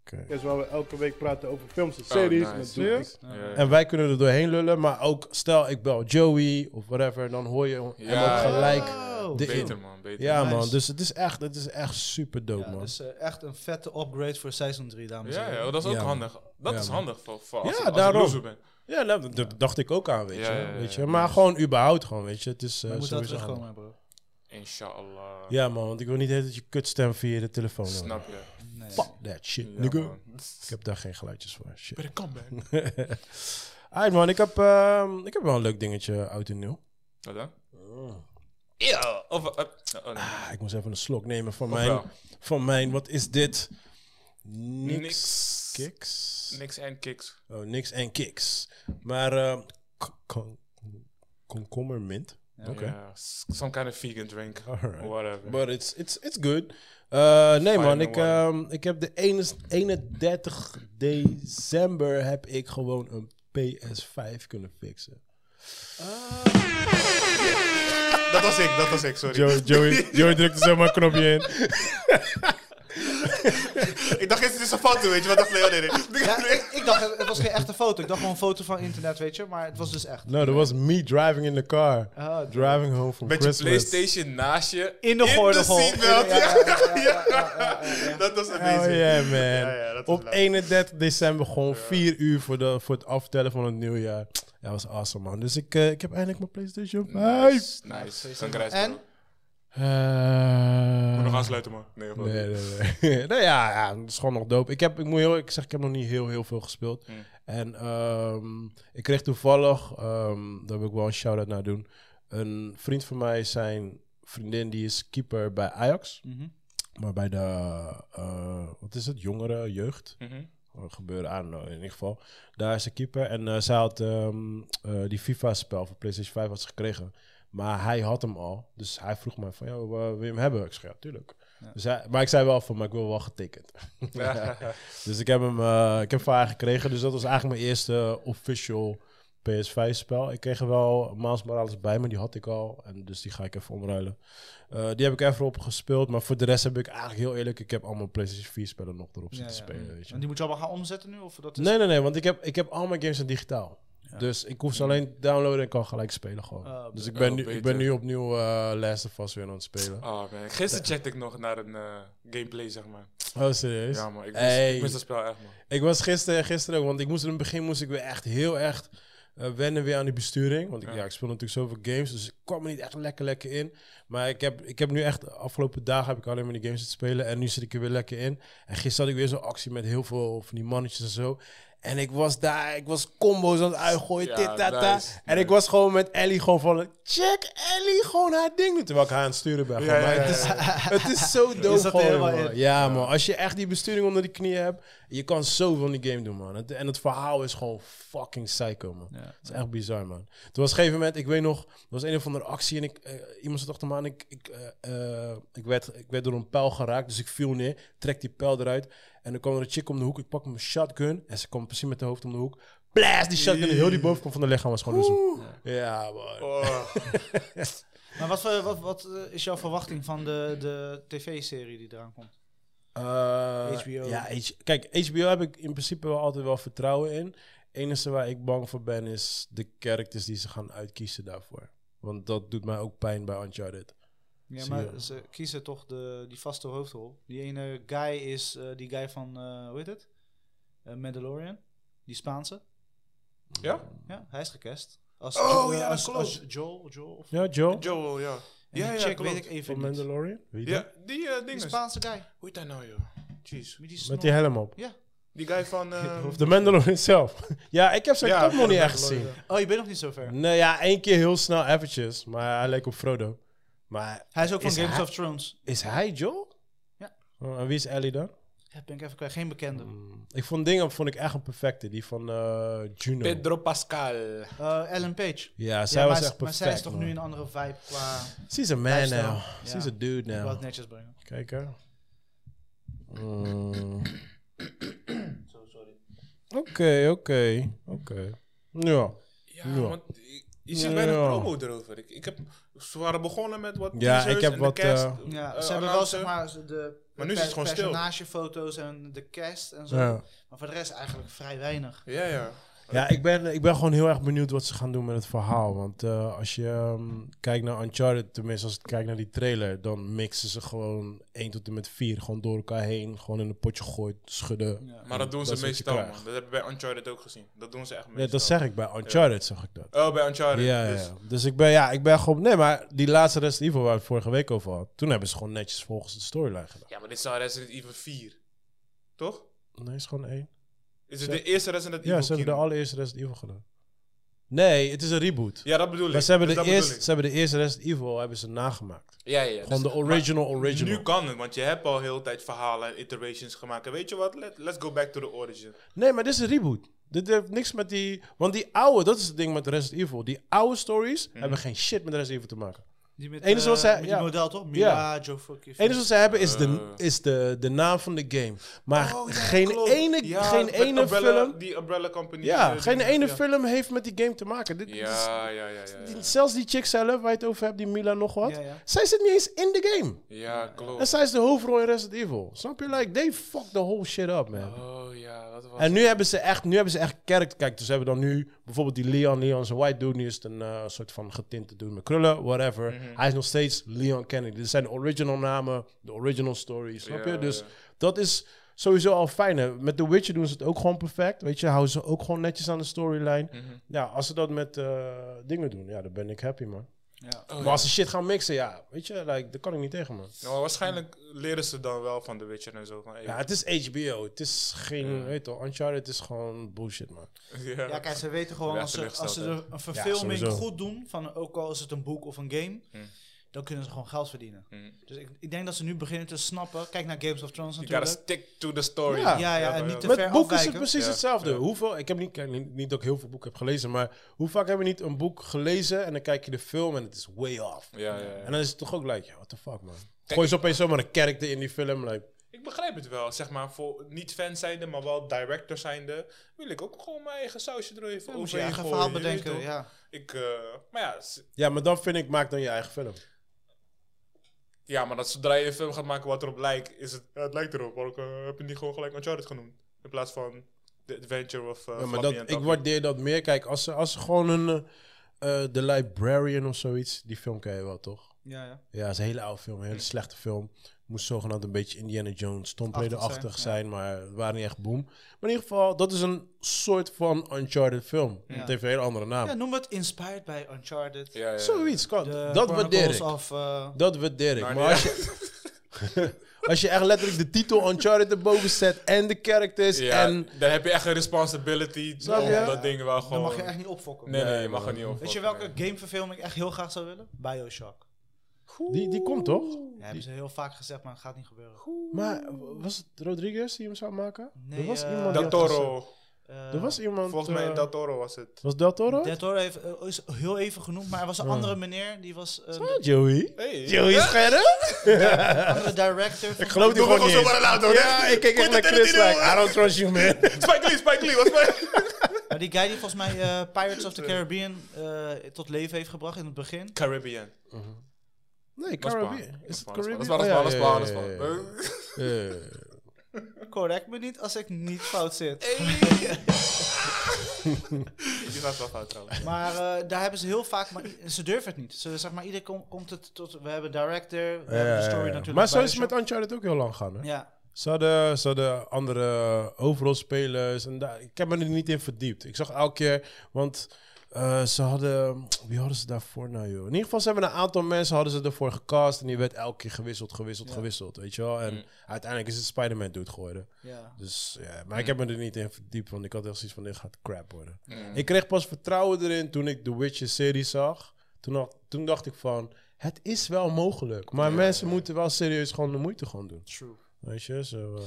C: Oké.
E: Is waar we elke week praten over films en
A: Oh,
E: series.
A: nice.
E: met Netflix.
A: Ja, ja.
C: En wij kunnen er doorheen lullen, maar ook stel ik bel Joey of whatever, dan hoor je hem
A: Ja,
C: ook gelijk.
B: Oh, Wow.
C: de
A: beter
C: in-
A: man, beter.
C: Ja,
B: Nice.
C: man. Dus het is echt, het is echt super dope,
B: Ja,
C: man.
B: dus eh, echt een vette upgrade voor seizoen 3, dames en
A: Ja,
B: heren.
A: ja, dat is ook
C: Ja, man.
A: handig. Dat
C: Ja,
A: is
C: man.
A: handig voor, voor als,
C: Ja,
A: ik- als
C: daarom.
A: ik loser ben.
C: Ja, nou, dat dat dacht ik ook aan, weet je.
A: Ja, ja, ja,
C: weet je.
A: ja.
C: Maar gewoon überhaupt gewoon, weet je. Het is eh,
B: Maar moet dat
C: sowieso
B: terugkomen, bro.
A: Inshallah.
C: handig. Ja, man, want ik wil niet dat je kutstem via de telefoon. hoort.
A: Snap je?
B: Nee.
C: Fuck that shit,
A: Ja,
C: nigga.
A: man.
C: Ik heb daar geen geluidjes voor. Shit. [LAUGHS]
A: Ben ik kan, man.
C: Alright, man, ik heb, ehm, ik heb wel een leuk dingetje, oud en nieuw.
A: Wat dan? Oh. Ja, of... eh, oh, nee.
C: Ah, ik moest even een slok nemen van
A: Of
C: mijn,
A: wel.
C: van mijn, wat is dit? Niks.
A: Niks.
C: Kicks?
A: Niks en kicks.
C: Oh, niks en kicks. Maar, ehm, k- kon- komkommermint? Oké.
A: Ja, s- some kind of vegan drink.
C: Alright.
A: Whatever.
C: But it's, it's, it's good. Eh, nee man,
A: Fine
C: ik,
A: one.
C: ehm, ik heb de ene- 31 december heb ik gewoon een PS5 kunnen fixen.
A: dat was ik, dat was ik, sorry.
C: Joey, Joey, Joey drukte zomaar een knopje in.
A: ik dacht eerst, het is een foto, weet je. Maar dacht, nee, nee, [LAUGHS] nee.
B: Ja, ik, ik dacht, het- het was geen echte foto. Ik dacht gewoon een foto van internet, weet je. Maar het was dus echt.
C: No, that was me driving in the car.
B: Ah, d-
C: Driving home from
A: Met je
C: Christmas.
A: Playstation naast je.
B: in de gordel.
A: seatbelt.
B: Ja, ja, ja, ja, ja, ja, ja.
A: [LAUGHS] Dat was amazing.
C: Oh yeah, man.
A: ja, dat is
C: Op
A: leuk.
C: 31 december gewoon 4 uur voor, de, voor het aftellen van het nieuwjaar. Dat was awesome, man. Dus ik, eh, ik heb eindelijk mijn PlayStation 5.
A: Nice, nice. Congrats, bro.
B: En?
C: Eh,
A: Moet nog aansluiten, man. Nee, of wat?
C: Nee, nee, nee. [LAUGHS] nou ja, ja, dat is gewoon nog dope. Ik, heb, ik moet heel eerlijk zeggen, ik heb nog niet heel, heel veel gespeeld. En ehm, ik kreeg toevallig, ehm daar wil ik wel een shout-out naar doen. Een vriend van mij, zijn vriendin, die is keeper bij Ajax.
B: Mhm.
C: Maar bij de, eh, wat is het, jongere jeugd?
A: Mhm.
C: Eh, Gebeuren aan, in ieder geval. Daar is de keeper. En eh, zij had ehm, eh, die FIFA-spel voor PlayStation 5 had ze gekregen. Maar hij had hem al. Dus hij vroeg mij van, ja, eh, wil je hem hebben? Ik zei, ja, tuurlijk. Dus hij- maar ik zei wel van, maar ik wil wel getekend. [LAUGHS] dus ik heb hem eh, ik heb voor haar gekregen. Dus dat was eigenlijk mijn eerste eh, official PS5-spel. Ik kreeg er wel Miles Morales bij, maar die had ik al. En dus die ga ik even omruilen. Eh, die heb ik even op gespeeld. Maar voor de rest heb ik eigenlijk heel eerlijk... Ik heb allemaal PlayStation 4-spellen nog erop
B: Ja,
C: zitten
B: ja.
C: spelen, weet je.
B: En die dus- moet je allemaal gaan omzetten nu? Of dat is...
C: Nee, nee, nee, want ik heb, ik heb al mijn games in digitaal. Dus ik hoef ze alleen downloaden en kan gelijk spelen gewoon.
B: Ah,
C: dus ik
A: Oh,
C: ben, nu,
A: beter.
C: ik ben nu opnieuw eh Last of Us weer aan het spelen.
A: Oh man, gisteren checkte ik nog naar een eh, gameplay, zeg maar.
C: Oh, serieus?
A: Ja man, ik mis,
C: Hey.
A: ik mis dat spel echt man.
C: Ik was gisteren, gisteren ook, want ik moest in het begin moest ik weer echt heel echt eh, wennen weer aan die besturing. Want ik,
A: Ja.
C: ja. ik speel natuurlijk zoveel games, dus ik kwam er niet echt lekker lekker in. Maar ik heb, ik heb nu echt, de afgelopen dagen heb ik alleen maar die games te spelen. En nu zit ik er weer lekker in. En gisteren had ik weer zo'n actie met heel veel van die mannetjes en zo. En ik was daar, ik was combo's aan het uitgooien,
A: Ja,
C: dit, dat, dat.
A: nice,
C: En ik
A: nice.
C: was gewoon met Ellie gewoon van, check Ellie gewoon haar ding doen. Terwijl ik haar aan het sturen ben. gewoon.
A: ja,
C: Maar
A: ja,
C: het is- het is
B: [LAUGHS]
C: zo dope
B: Je zat er
C: gewoon,
B: helemaal
C: man.
B: in.
C: Ja, man. Als je echt die besturing onder de knie hebt, je kan zoveel in die game doen, man. Het- en het verhaal is gewoon fucking psycho, man.
B: Ja.
C: Het is echt bizar, man. Toen was op een gegeven moment, ik weet nog, er was een of andere actie en ik, eh, iemand zat achter me aan. Ik, ik, eh, eh, ik, werd, ik werd door een pijl geraakt, dus ik viel neer, trek die pijl eruit. En dan kwam er een chick om de hoek, ik pak mijn shotgun en ze kwam precies met haar hoofd om de hoek. Blast, die shotgun, heel die bovenkant van de lichaam was gewoon zo. Ja, man.
A: Oh,
C: [LAUGHS]
B: Maar wat, voor- wat, wat eh, is jouw verwachting van de, de tv-serie die eraan komt?
C: Eh,
B: HBO.
C: Ja, H- kijk, HBO heb ik in principe wel altijd wel vertrouwen in. enige waar ik bang voor ben is de characters die ze gaan uitkiezen daarvoor. Want dat doet mij ook pijn bij Uncharted.
B: Ja,
C: Zie
B: maar
C: je.
B: ze kiezen toch de, die vaste hoofdrol. Die ene guy is eh, die guy van, eh, hoe heet het? Eh, Mandalorian. Die Spaanse.
A: ja?
B: Ja, hij is gecast. Als
A: Oh,
B: Jo- eh,
A: ja, dat
B: als,
A: klopt.
B: als Joel. Joel of-
C: Ja, Joe?
A: [LAUGHS] Joel, ja.
B: En
A: Ja,
B: die
A: ja,
B: chick
A: klopt.
B: weet ik even
C: Van
B: niet.
C: Mandalorian? Wie dat?
A: Ja, die eh
B: Die
A: dingen. Hoe
B: Spaanse guy.
A: heet dat nou, joh? Jeez.
B: Met die
C: Met
B: snor.
C: die helm op.
B: Ja.
A: Die guy
C: [LAUGHS]
A: van... eh,
C: Of de Mandalorian zelf. [LAUGHS] ja, ik heb zijn
A: Ja,
C: kop nog niet
A: de
C: echt gezien.
B: Oh, je bent nog niet zo ver.
C: Nee, ja, één keer heel snel eventjes. Maar hij leek op Frodo. Maar
B: Hij is ook van
C: Is
B: Games
C: hij-
B: of Thrones.
C: is hij Joel?
B: Ja.
C: Oh, en wie is Ellie dan?
B: Ja, ben ik even kwijt. Geen bekende.
C: Ik vond dingen vond ik echt een perfecte. Die van eh, Juno.
A: Pedro Pascal.
B: Eh, Ellen Page.
C: Ja, zij
B: Ja,
C: was
B: maar,
C: echt perfect.
B: maar zij is toch
C: man.
B: nu een andere vibe qua...
C: She's a man
B: Lifestyle.
C: now.
B: Ja.
C: She's a dude
B: Ik wil het
C: now.
B: netjes brengen.
C: Kijk hè. Mm. Oké, oké, oké. Ja.
A: Ja,
C: Ja.
A: want je- je ziet weinig
C: Ja.
A: promo erover. Ik, ik heb, ze waren begonnen met wat
C: Ja,
A: teasers
C: ik heb
A: en
C: wat,
A: de cast.
C: eh,
B: Ja,
A: eh,
B: ze hebben wel
A: announcer.
B: zeg maar de- de
A: Maar nu is het gewoon stil.
B: personagefoto's en de cast en zo.
C: Ja.
B: Maar voor de rest eigenlijk vrij weinig.
A: Ja, ja.
C: Ja, ik ben, ik ben gewoon heel erg benieuwd wat ze gaan doen met het verhaal. Want eh, als je ehm, kijkt naar Uncharted, tenminste als ik kijk naar die trailer, dan mixen ze gewoon 1 tot en met 4 gewoon door elkaar heen. Gewoon in een potje gooit, schudden.
B: Ja.
A: Maar dat doen
C: Dat
A: ze
C: is wat je
A: meestal, man.
C: krijgt.
A: Dat hebben we bij Uncharted ook gezien. Dat doen ze echt meestal.
C: Nee, dat zeg ik bij Uncharted, zag ik dat.
A: Oh, bij Uncharted.
C: Ja, ja.
A: Dus-
C: ja. Dus ik ben, ja, ik ben gewoon... Nee, maar die laatste Resident Evil waar we het vorige week over hadden... Toen hebben ze gewoon netjes volgens de storyline gedaan.
A: Ja, maar dit is al Resident Evil 4. Toch?
C: Nee, is gewoon één.
A: Is het
C: Ze-
A: de eerste Resident Evil
C: Ja, ze hebben de
A: kino?
C: allereerste Resident Evil gedaan. Nee, het is een reboot.
A: Ja, dat bedoel ik.
C: Maar ze hebben,
A: Dus
C: de
A: dat
C: eerste,
A: bedoel
C: ze hebben de eerste Resident Evil hebben ze nagemaakt.
A: ik. Ja, ja, ja.
C: Gewoon
A: Dus-
C: de original,
A: maar
C: original.
A: Nu kan het, want je hebt al heel de tijd verhalen en iterations gemaakt. En weet je wat? Let, let's go back to the origin.
C: Nee, maar dit is een reboot. Dit heeft niks met die... Want die oude, dat is het ding met Resident Evil. Die oude stories
A: Mhm.
C: hebben geen shit met Resident Evil te maken.
B: Die met,
C: Enige
B: eh,
C: wat zij-
B: met
C: ja.
B: die model toch? Mila, Joe Fucking.
C: Het enige wat ze hebben is, de, is de, de naam van de game. Maar
A: Eh. Oh, ja,
C: geen
A: klopt.
C: ene,
A: Ja,
C: geen
A: met
C: ene
A: Umbrella-
C: film...
A: Die Umbrella Company.
C: Ja,
A: eh,
C: geen
A: die-
C: ene
A: ja.
C: film heeft met die game te maken. Dit, dit is-
A: Ja, ja, ja, ja. ja.
C: die- zelfs die chick zelf, waar je het over hebt, die Mila nog wat.
B: Ja, ja.
C: Zij zit niet eens in de game.
A: Ja,
C: En
A: klopt.
C: zij is de hoofdrol in Resident Evil. Snap je? Like, they fucked the whole shit up, man.
A: Oh ja, dat was...
C: En nu hebben ze echt, nu hebben ze echt character. Kijk, dus ze hebben dan nu bijvoorbeeld die Leon. Leon is een white dude. Nu is het een eh, soort van getinte dude met krullen, whatever.
A: Mhm.
C: Hij is nog steeds Leon Kennedy. Dit zijn de original namen, de original stories, snap
A: Ja,
C: je? Dus
A: ja.
C: dat is sowieso al fijn. Hè? Met The Witcher doen ze het ook gewoon perfect. Weet je, houden ze ook gewoon netjes aan de storyline.
A: Mhm.
C: Ja, als ze dat met eh, dingen doen, ja, dan ben ik happy, man.
B: Ja.
C: Maar als ze shit gaan mixen, ja, weet je, like, daar kan ik niet tegen, man.
A: Nou, maar waarschijnlijk leren ze dan wel van The Witcher en zo. Van, hey,
C: Ja, het is HBO. Het is geen, weet je wel, Uncharted is gewoon bullshit, man.
A: [LAUGHS] ja.
B: Ja, kijk, ze weten gewoon
A: Ja,
B: als ze, als ze
A: teleurgesteld,
B: er een verfilming
C: sowieso.
B: goed doen, van, ook al is het een boek of een game,
A: Hm.
B: dan kunnen ze gewoon geld verdienen. Dus ik, ik denk dat ze nu beginnen te snappen. Kijk naar Games of Thrones
A: You gotta
B: natuurlijk.
A: stick to the story.
C: Ja.
B: Ja, ja, en niet te
C: Met
B: ver
C: boeken is
B: afwijken.
C: het precies
A: Ja,
C: hetzelfde.
A: ja.
C: Hoeveel, ik heb niet, ik- niet, niet dat ik heel veel boeken heb gelezen, maar hoe vaak hebben we niet een boek gelezen en dan kijk je de film en het is way off.
A: Ja, ja, ja.
C: En dan is het toch ook like, ja, what the fuck man. Gooi ze opeens zomaar een character in die film, like,
A: Ik begrijp het wel, zeg maar, voor niet fan zijnde, maar wel director zijnde, wil ik ook gewoon mijn eigen sausje er even
B: Dan moet je
A: overheen
B: eigen
A: gooien,
B: verhaal
A: je weet
B: bedenken.
A: toch?
B: Ja.
A: Ik, eh, maar ja, s-
C: ja, maar dan vind ik, maak dan je eigen film.
A: ja, maar dat zodra je een film gaat maken wat erop lijkt, is het, ja, het lijkt erop. Waarom eh, heb je niet gewoon gelijk Uncharted genoemd? In plaats van The Adventure of eh
C: Ja, maar
A: Flappy
C: dat,
A: en
C: ik
A: Tappy.
C: waardeer dat meer. Kijk, als ze, als ze gewoon een, eh, eh, The Librarian of zoiets, die film ken je wel toch?
B: Ja, ja.
C: Ja, het is een hele oude film,
B: Hm.
C: een hele slechte film. Moest zogenaamd een beetje Indiana Jones, Tomb Raider-achtig
B: Achtig
C: zijn,
B: zijn,
C: maar het waren niet echt boom. Maar in ieder geval, dat is een soort van Uncharted film. Het heeft een hele andere naam.
B: ja, noem het Inspired by Uncharted.
A: Ja, ja, ja.
C: Zoiets, kan.
B: De
C: dat waardeer
B: Chronicles
C: ik.
B: Of, eh,
C: Dat waardeer ik.
A: Maar
C: maar als je, als je [LAUGHS] echt letterlijk de titel Uncharted erboven zet en de characters
A: Ja,
C: en...
A: dan heb je echt een responsibility
C: Snap
A: om
C: je?
A: dat ding wel gewoon...
B: dan mag je echt niet opfokken.
A: Nee, nee, je mag er niet over.
B: Weet je welke gameverfilming ik echt heel graag zou willen? Bioshock.
C: Die, die komt toch?
B: Ja, hebben ze heel vaak gezegd, maar het gaat niet gebeuren.
C: Maar was het Rodriguez die hem zou maken?
B: Nee,
C: er was
B: eh,
C: iemand die
A: Dat
C: had gezegd-
A: Toro.
B: Eh,
C: Er was iemand...
A: Volgens mij
C: eh,
A: Dat Toro was het.
C: Was Del Toro?
B: Dead Horror heeft, eh, is heel even genoemd, maar er was een andere meneer, die was eh,
C: Ah, Joey.
A: Hey.
C: Joey Scherder?
B: een andere director. Van
C: Ik geloof die
A: Doe
C: gewoon
A: gewoon
C: niet
A: zo
C: eens.
A: maar een auto, hè?
C: Ja, ik kijk echt
A: Quentin
C: naar Chris
A: Tarantino,
C: like, I don't trust you, man.
A: [LAUGHS] Spike Lee, Spike Lee, was Spike
B: Maar die guy die volgens mij eh, Pirates of the Caribbean eh, tot leven heeft gebracht in het
A: [LAUGHS]
B: begin.
A: Caribbean.
C: Nee,
A: Dat is
C: Caribbean. Is het Caribbean?
A: Dat is waar, dat is
C: Oh, ja,
A: waar, dat is waar, dat is
C: ja,
A: waar.
C: ja,
A: dat
C: ja,
A: is waar.
C: ja, ja.
B: Correct me niet als ik niet fout zit.
A: Die gaat wel fout trouwens.
B: Maar eh, daar hebben ze heel vaak, maar i- ze durven het niet. Ze, zeg maar, iedereen kom- komt het tot, we hebben director, we hebben
C: Ja,
B: de story
C: ja, ja.
B: natuurlijk.
C: Maar zo is het
B: Bioshock.
C: met Uncharted ook heel lang gaan. Hè?
B: Ja,
C: Ze, hadden, ze hadden andere overal spelers. En daar, ik heb me er niet in verdiept. Ik zag elke keer, want eh, Eh, ze hadden... Wie hadden ze daarvoor nou, joh? In ieder geval, ze hebben een aantal mensen hadden ze ervoor gecast. En die werd elke keer gewisseld, gewisseld, gewisseld. Weet je wel? En uiteindelijk is het Spider-Man dude geworden.
B: Ja.
C: Dus ja, maar ik heb me er niet in verdiept, want ik had echt zoiets van, dit gaat crap worden. Ik kreeg pas vertrouwen erin toen ik The Witcher-serie zag. Toen, dacht- toen dacht ik van, het is wel mogelijk. Maar mensen moeten wel serieus gewoon de moeite gewoon doen.
B: True.
C: Weet je, zo... eh,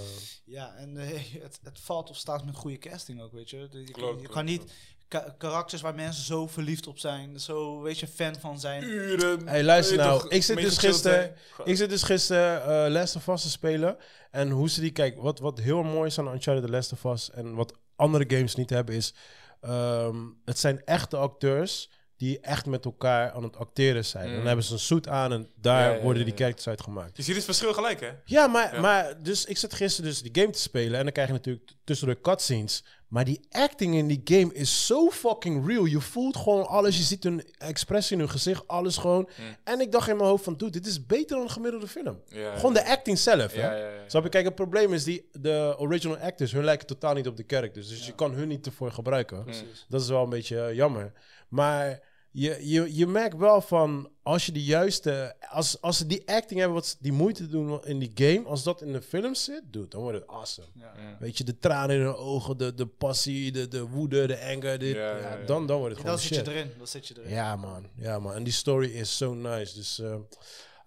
B: Ja, en eh, [LAUGHS] het, het valt of staat met goede casting ook, weet je. Je- Je,
A: Klopt,
B: je
A: klopt,
B: kan niet ka- karakters waar mensen zo verliefd op zijn, zo, weet je, fan van
A: Mm.
B: zijn.
A: Uren.
C: Hey, luister
A: weet je
C: nou.
A: toch,
C: Ik zit
A: mee
C: dus
A: gechilled
C: gisteren,
A: zijn.
C: ik zit dus gisteren eh Last of Us te spelen. En hoe ze die, kijk, wat, wat heel mooi is aan Uncharted The Last of Us en wat andere games niet hebben is, ehm, het zijn echte acteurs die echt met elkaar aan het acteren zijn. Dan hebben ze een suit aan en daar
A: Mm. Ja, ja,
C: worden
A: ja,
C: die
A: ja.
C: characters uit gemaakt.
A: Je ziet het verschil gelijk, hè?
C: Ja, maar,
A: Ja.
C: maar dus ik zat gisteren dus die game te spelen en dan krijg je natuurlijk t- tussen de cutscenes. Maar die acting in die game is zo fucking real. Je voelt gewoon alles, je ziet hun expressie in hun gezicht, alles gewoon. En ik dacht in mijn hoofd van, dude, dit is beter dan een gemiddelde film.
A: Mm. Ja,
C: gewoon de acting zelf,
A: Ja,
C: hè?
A: ja, ja.
C: Snap je? Kijk, het probleem is, die, de original actors, hun lijken totaal niet op de characters. Dus je kan hun niet ervoor gebruiken. Dat is wel een beetje eh, jammer. Maar je, je, je merkt wel van, als je de juiste... Als, als ze die acting hebben, wat ze die moeite doen in die game... Als dat in de film zit, dude, dan wordt het awesome.
B: Ja.
C: Weet je, de tranen in hun ogen, de, de passie, de, de woede, de anger. Dit,
A: Ja,
C: ja,
A: ja, ja.
C: Dan, dan wordt het
B: Dan
C: gewoon
B: zit
C: shit.
B: je erin, dan zit je erin.
C: Ja, man. Ja, man. En die story is zo nice. Dus, eh I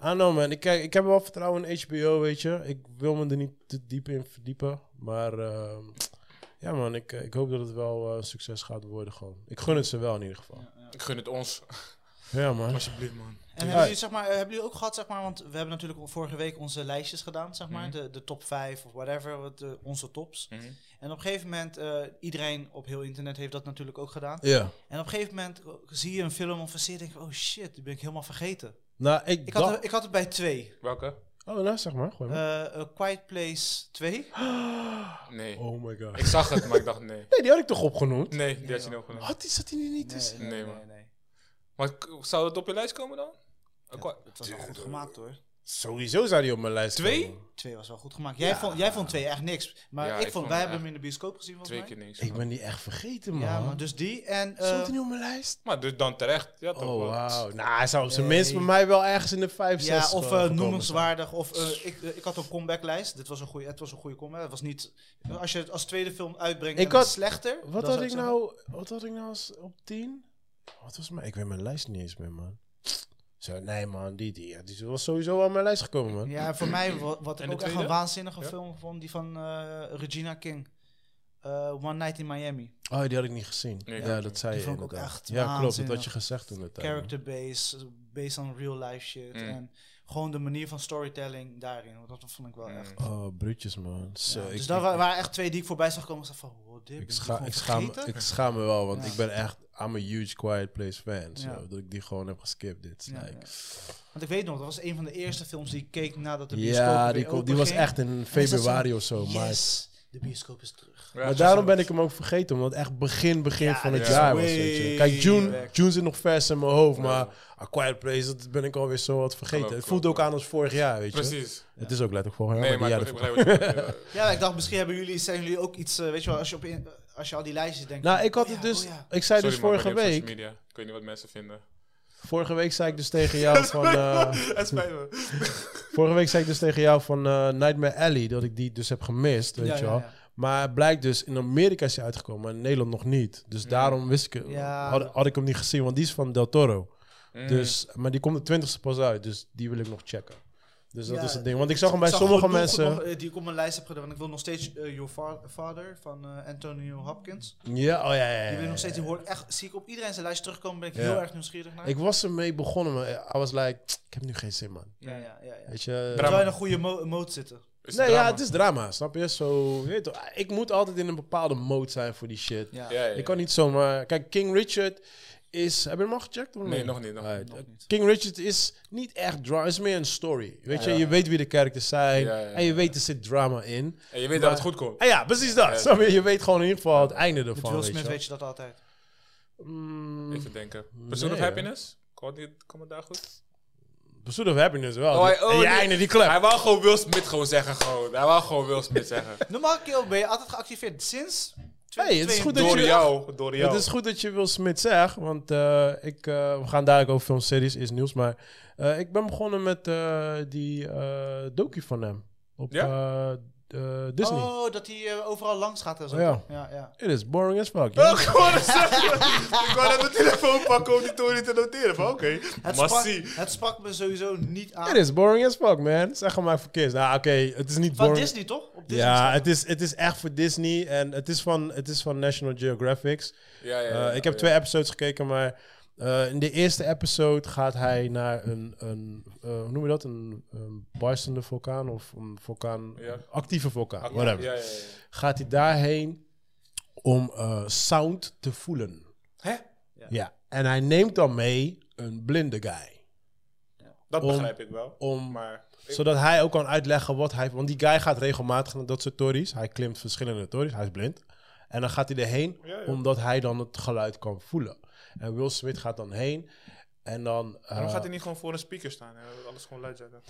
C: don't know, man. Ik, kijk, ik heb wel vertrouwen in HBO, weet je. Ik wil me er niet te diep in verdiepen. Maar, eh, ja, man. Ik, ik hoop dat het wel eh, succes gaat worden, gewoon. Ik gun het ze wel, in ieder geval.
A: Ik gun het ons.
C: Ja, man.
A: Alsjeblieft, man.
B: En hebben jullie, zeg maar, eh, hebben jullie ook gehad, zeg maar, want we hebben natuurlijk al vorige week onze lijstjes gedaan, zeg
A: Mhm.
B: maar, de, de top 5 of whatever, wat, eh, onze tops. En op een gegeven moment, eh, iedereen op heel internet heeft dat natuurlijk ook gedaan.
C: Ja.
B: En op een gegeven moment eh, zie je een film of een serie en denk je, oh shit, die ben ik helemaal vergeten.
C: Nou, ik,
B: Ik
C: dacht...
B: had, ik had het bij twee.
A: Welke?
C: Oh, nou, zeg maar. Gooi maar.
B: Eh, eh, Quiet Place 2.
A: Nee.
C: oh my god.
A: [LAUGHS] Ik zag het, maar ik dacht nee.
C: Nee, die had ik toch opgenoemd?
A: Nee, die had je niet opgenomen.
C: Had die, zat die nu niet tussen?
A: Nee, man. Maar k- zou het op je lijst komen dan? Een kwa-
B: Het was wel goed gemaakt hoor.
C: Sowieso zou die op mijn lijst
A: Twee?
C: komen.
B: Twee was wel goed gemaakt. Jij, vond, jij vond twee echt niks. Maar
A: Ja,
B: ik,
A: ik
B: vond,
A: vond
B: wij
A: hem
B: hebben hem in de bioscoop gezien volgens
A: Twee Mhm.
B: mij.
A: keer niks.
C: Ik ben die echt vergeten, man.
B: Ja, maar dus die en... eh,
C: Stond die niet op mijn lijst?
A: Maar dus dan terecht. Ja, toch
C: Oh,
A: wel.
C: wauw. Nou, hij zou op zijn
B: Nee.
C: minst bij mij wel ergens in de 5, 6
B: ja, of eh, noemenswaardig. Of, eh, ik, eh, ik had een comebacklijst. Dit was een goede, het was een goede comeback. Het was niet, als je het als tweede film uitbrengt
C: Ik
B: en het
C: had-
B: is slechter... dan
C: Wat
B: zou
C: had ik
B: zeggen-
C: nou, wat had ik nou als op 10? Wat was mijn, ik weet mijn lijst niet eens meer, man. Zo, nee man, die, die, die was sowieso wel op mijn lijst gekomen, man.
B: Ja, en voor mij, wa- wat
A: En
B: ik
A: de
B: ook echt een
A: tweede?
B: waanzinnige
A: Ja.
B: film vond, die van eh, Regina King. Eh, One Night in Miami.
C: Oh, die had ik niet gezien.
A: Nee, ik
C: ja,
A: ook
C: dat
A: niet.
C: zei
B: Die
C: je
B: vond ik ook
C: inderdaad.
B: echt
C: ja, klopt, dat had je
B: waanzinnig.
C: gezegd toen de tijd. man.
B: Character based, based on real life shit.
A: Mm.
B: En gewoon de manier van storytelling daarin. want Dat vond ik wel
A: Mm.
B: echt.
C: Oh, brutjes, man. Zo,
B: Ja,
C: eh, ik,
B: dus
C: ik-
B: dat wa- waren echt twee die ik voorbij zag komen. Ik dacht van, wow, dit
C: ik,
B: ben
C: scha-
B: gewoon
C: ik, schaam,
B: vergeten?
C: ik schaam me wel, want
B: Ja.
C: ik ben echt, I'm a huge Quiet Place fan.
B: Ja.
C: zo, dat ik die gewoon heb geskipt, dit.
B: Ja,
C: like.
B: ja. Want ik weet nog, dat was een van de eerste films die ik keek nadat de bioscoop
C: Ja,
B: weer
C: die, kon-
B: open
C: die was
B: ging.
C: echt in
B: En ik zat
C: februari of zo. Maar,
B: Yes, de bioscoop is terug.
A: Ja,
C: maar
A: zo
C: daarom
A: zo.
C: ben ik hem ook vergeten, omdat echt begin, begin
B: Ja,
C: van
B: dit
C: het
A: is
C: jaar was.
B: way
C: Weet je. Kijk, June,
B: back.
C: June zit nog vers in mijn hoofd, maar A Quiet Place, dat ben ik alweer zo wat vergeten.
A: Klopt,
C: het voelt
A: klopt,
C: ook aan als vorig jaar, weet je.
A: Precies.
C: Het is ook letterlijk vorig jaar,
A: Nee,
C: maar,
A: maar
C: die
A: ik, ik
C: jaren
A: begrijp wat je
C: [LAUGHS]
A: bedoelt, Eh, ja.
B: Ja, ik dacht, misschien hebben jullie, zijn jullie ook iets, eh, weet je wel, als je, op in- als je al die lijstjes denkt.
C: Nou,
B: van,
C: ik had
B: oh
C: het
B: ja,
C: dus...
B: oh ja.
C: Ik zei
A: Sorry, man,
C: dus
A: maar
C: vorige
A: ik heb social
C: week...
A: media. Ik weet niet wat mensen
C: [LAUGHS]
A: vinden.
C: Vorige week zei ik dus tegen
A: [LAUGHS]
C: jou van... eh,
A: Het spijt me.
C: vorige week zei ik dus tegen jou van eh, Nightmare Alley... dat ik die dus heb gemist, weet
B: Ja,
C: je
B: ja,
C: wel.
B: ja.
C: Maar het blijkt dus, in Amerika is hij uitgekomen... maar in Nederland nog niet. Dus daarom wist ik,
B: Ja. Mm.
C: had, had ik hem niet gezien, want die is van Del Toro. Dus, maar die komt de 20ste pas uit, dus die wil ik nog checken. Dus dat
B: Ja,
C: is het ding. Want ik zag hem bij
B: zag
C: sommige
B: gewoon doelgroep
C: mensen.
B: nog, eh, die ik op mijn lijst heb gedaan. Want ik wil nog steeds eh, Your Fa- Father van eh, Antonio Hopkins.
C: Ja, oh ja, ja, ja,
B: Die wil ik nog
C: ja,
B: steeds,
C: ja.
B: die hoor ik echt, zie ik op iedereen zijn lijst terugkomen. Ben ik
C: Ja.
B: heel erg nieuwsgierig naar.
C: Ik was ermee begonnen, maar I was like, ik heb nu geen zin, man.
B: ja, ja, ja. ja.
C: Weet je?
B: Terwijl je in een goede mo- mode zitten.
A: Is
C: Nee,
A: drama.
C: ja, het is drama, snap je? Zo, je weet toch, ik moet altijd in een bepaalde mode zijn voor die shit.
B: Ja.
A: Ja, ja,
C: Ik kan niet zomaar... Kijk, King Richard is... Heb je hem al gecheckt? of
A: Nee, nog niet, nog
C: Alright.
B: nog niet.
C: King Richard is niet echt drama, is meer een story. Weet je, je weet wie de characters zijn.
A: Ja, ja, ja.
C: En je weet, er zit drama in.
A: En je weet dat
C: Maar-
A: het goed komt.
C: En ja, precies dat. Snap je? Je weet gewoon in ieder geval het einde
B: Met Will
C: ervan.
B: Smith
C: Weet je wel.
B: weet je dat altijd.
C: Mm,
A: Even denken. Pursuit
C: Nee,
A: of
C: hè?
A: Happiness? Komt het komt het daar goed?
C: Pursuit of Happiness wel.
A: Oh, hij-
C: en
A: oh,
C: je
A: nee.
C: einde die club.
A: Hij wou gewoon
C: [LAUGHS]
A: Will Smith gewoon zeggen. Gewoon. Hij wou gewoon Will Smith zeggen.
B: Normaal kerel ben je altijd geactiveerd. Sinds
C: Hey, het is goed dat
A: Door
C: je-
A: jou, door jou.
C: Het is goed dat je Will Smith zegt, want eh, ik, eh, we gaan dadelijk over filmseries, is nieuws. Maar eh, ik ben begonnen met eh, die eh docu van hem op
A: Ja?
C: eh, eh, Disney.
B: Oh, dat hij eh, overal langs gaat en zo.
C: Oh, Ja.
B: toch? ja, ja.
C: It is boring as fuck.
A: Oh, [LAUGHS]
C: joh.
A: ik wou net zeggen. Ik wou net mijn telefoon pakken om die toren te noteren. Van oké,
B: Het, sprak,
A: massie.
B: het sprak me sowieso niet aan.
C: It is boring as fuck, man. Zeg maar voor kids. Nou, oké, het is niet
B: Van
C: boring.
B: Disney, toch? Op Disney
C: ja,
B: staat
C: het is, het is echt voor Disney en het is van, het is van National Geographic.
A: Ja, ja,
C: Eh,
A: ja,
C: ik heb
A: ja.
C: twee episodes gekeken, maar eh, in de eerste episode gaat hij naar een, een eh, hoe noem je dat? Een, een barstende vulkaan of een vulkaan,
A: Ja.
C: actieve vulkaan,
A: Oké,
C: whatever.
A: Ja, ja, ja.
C: Gaat hij daarheen om eh, sound te voelen.
A: Hè?
C: Ja. En hij neemt dan mee een blinde guy.
A: Dat
C: Om-
A: begrijp ik wel.
C: Om,
A: Maar
C: zodat hij ook kan uitleggen wat hij... Want die guy gaat regelmatig naar dat soort tories. Hij klimt verschillende tories. Hij is blind. En dan gaat hij erheen
A: Ja, ja.
C: omdat hij dan het geluid kan voelen. En Will Smith gaat dan heen. En dan... eh,
A: waarom gaat hij niet gewoon voor een speaker staan en alles gewoon luid zetten?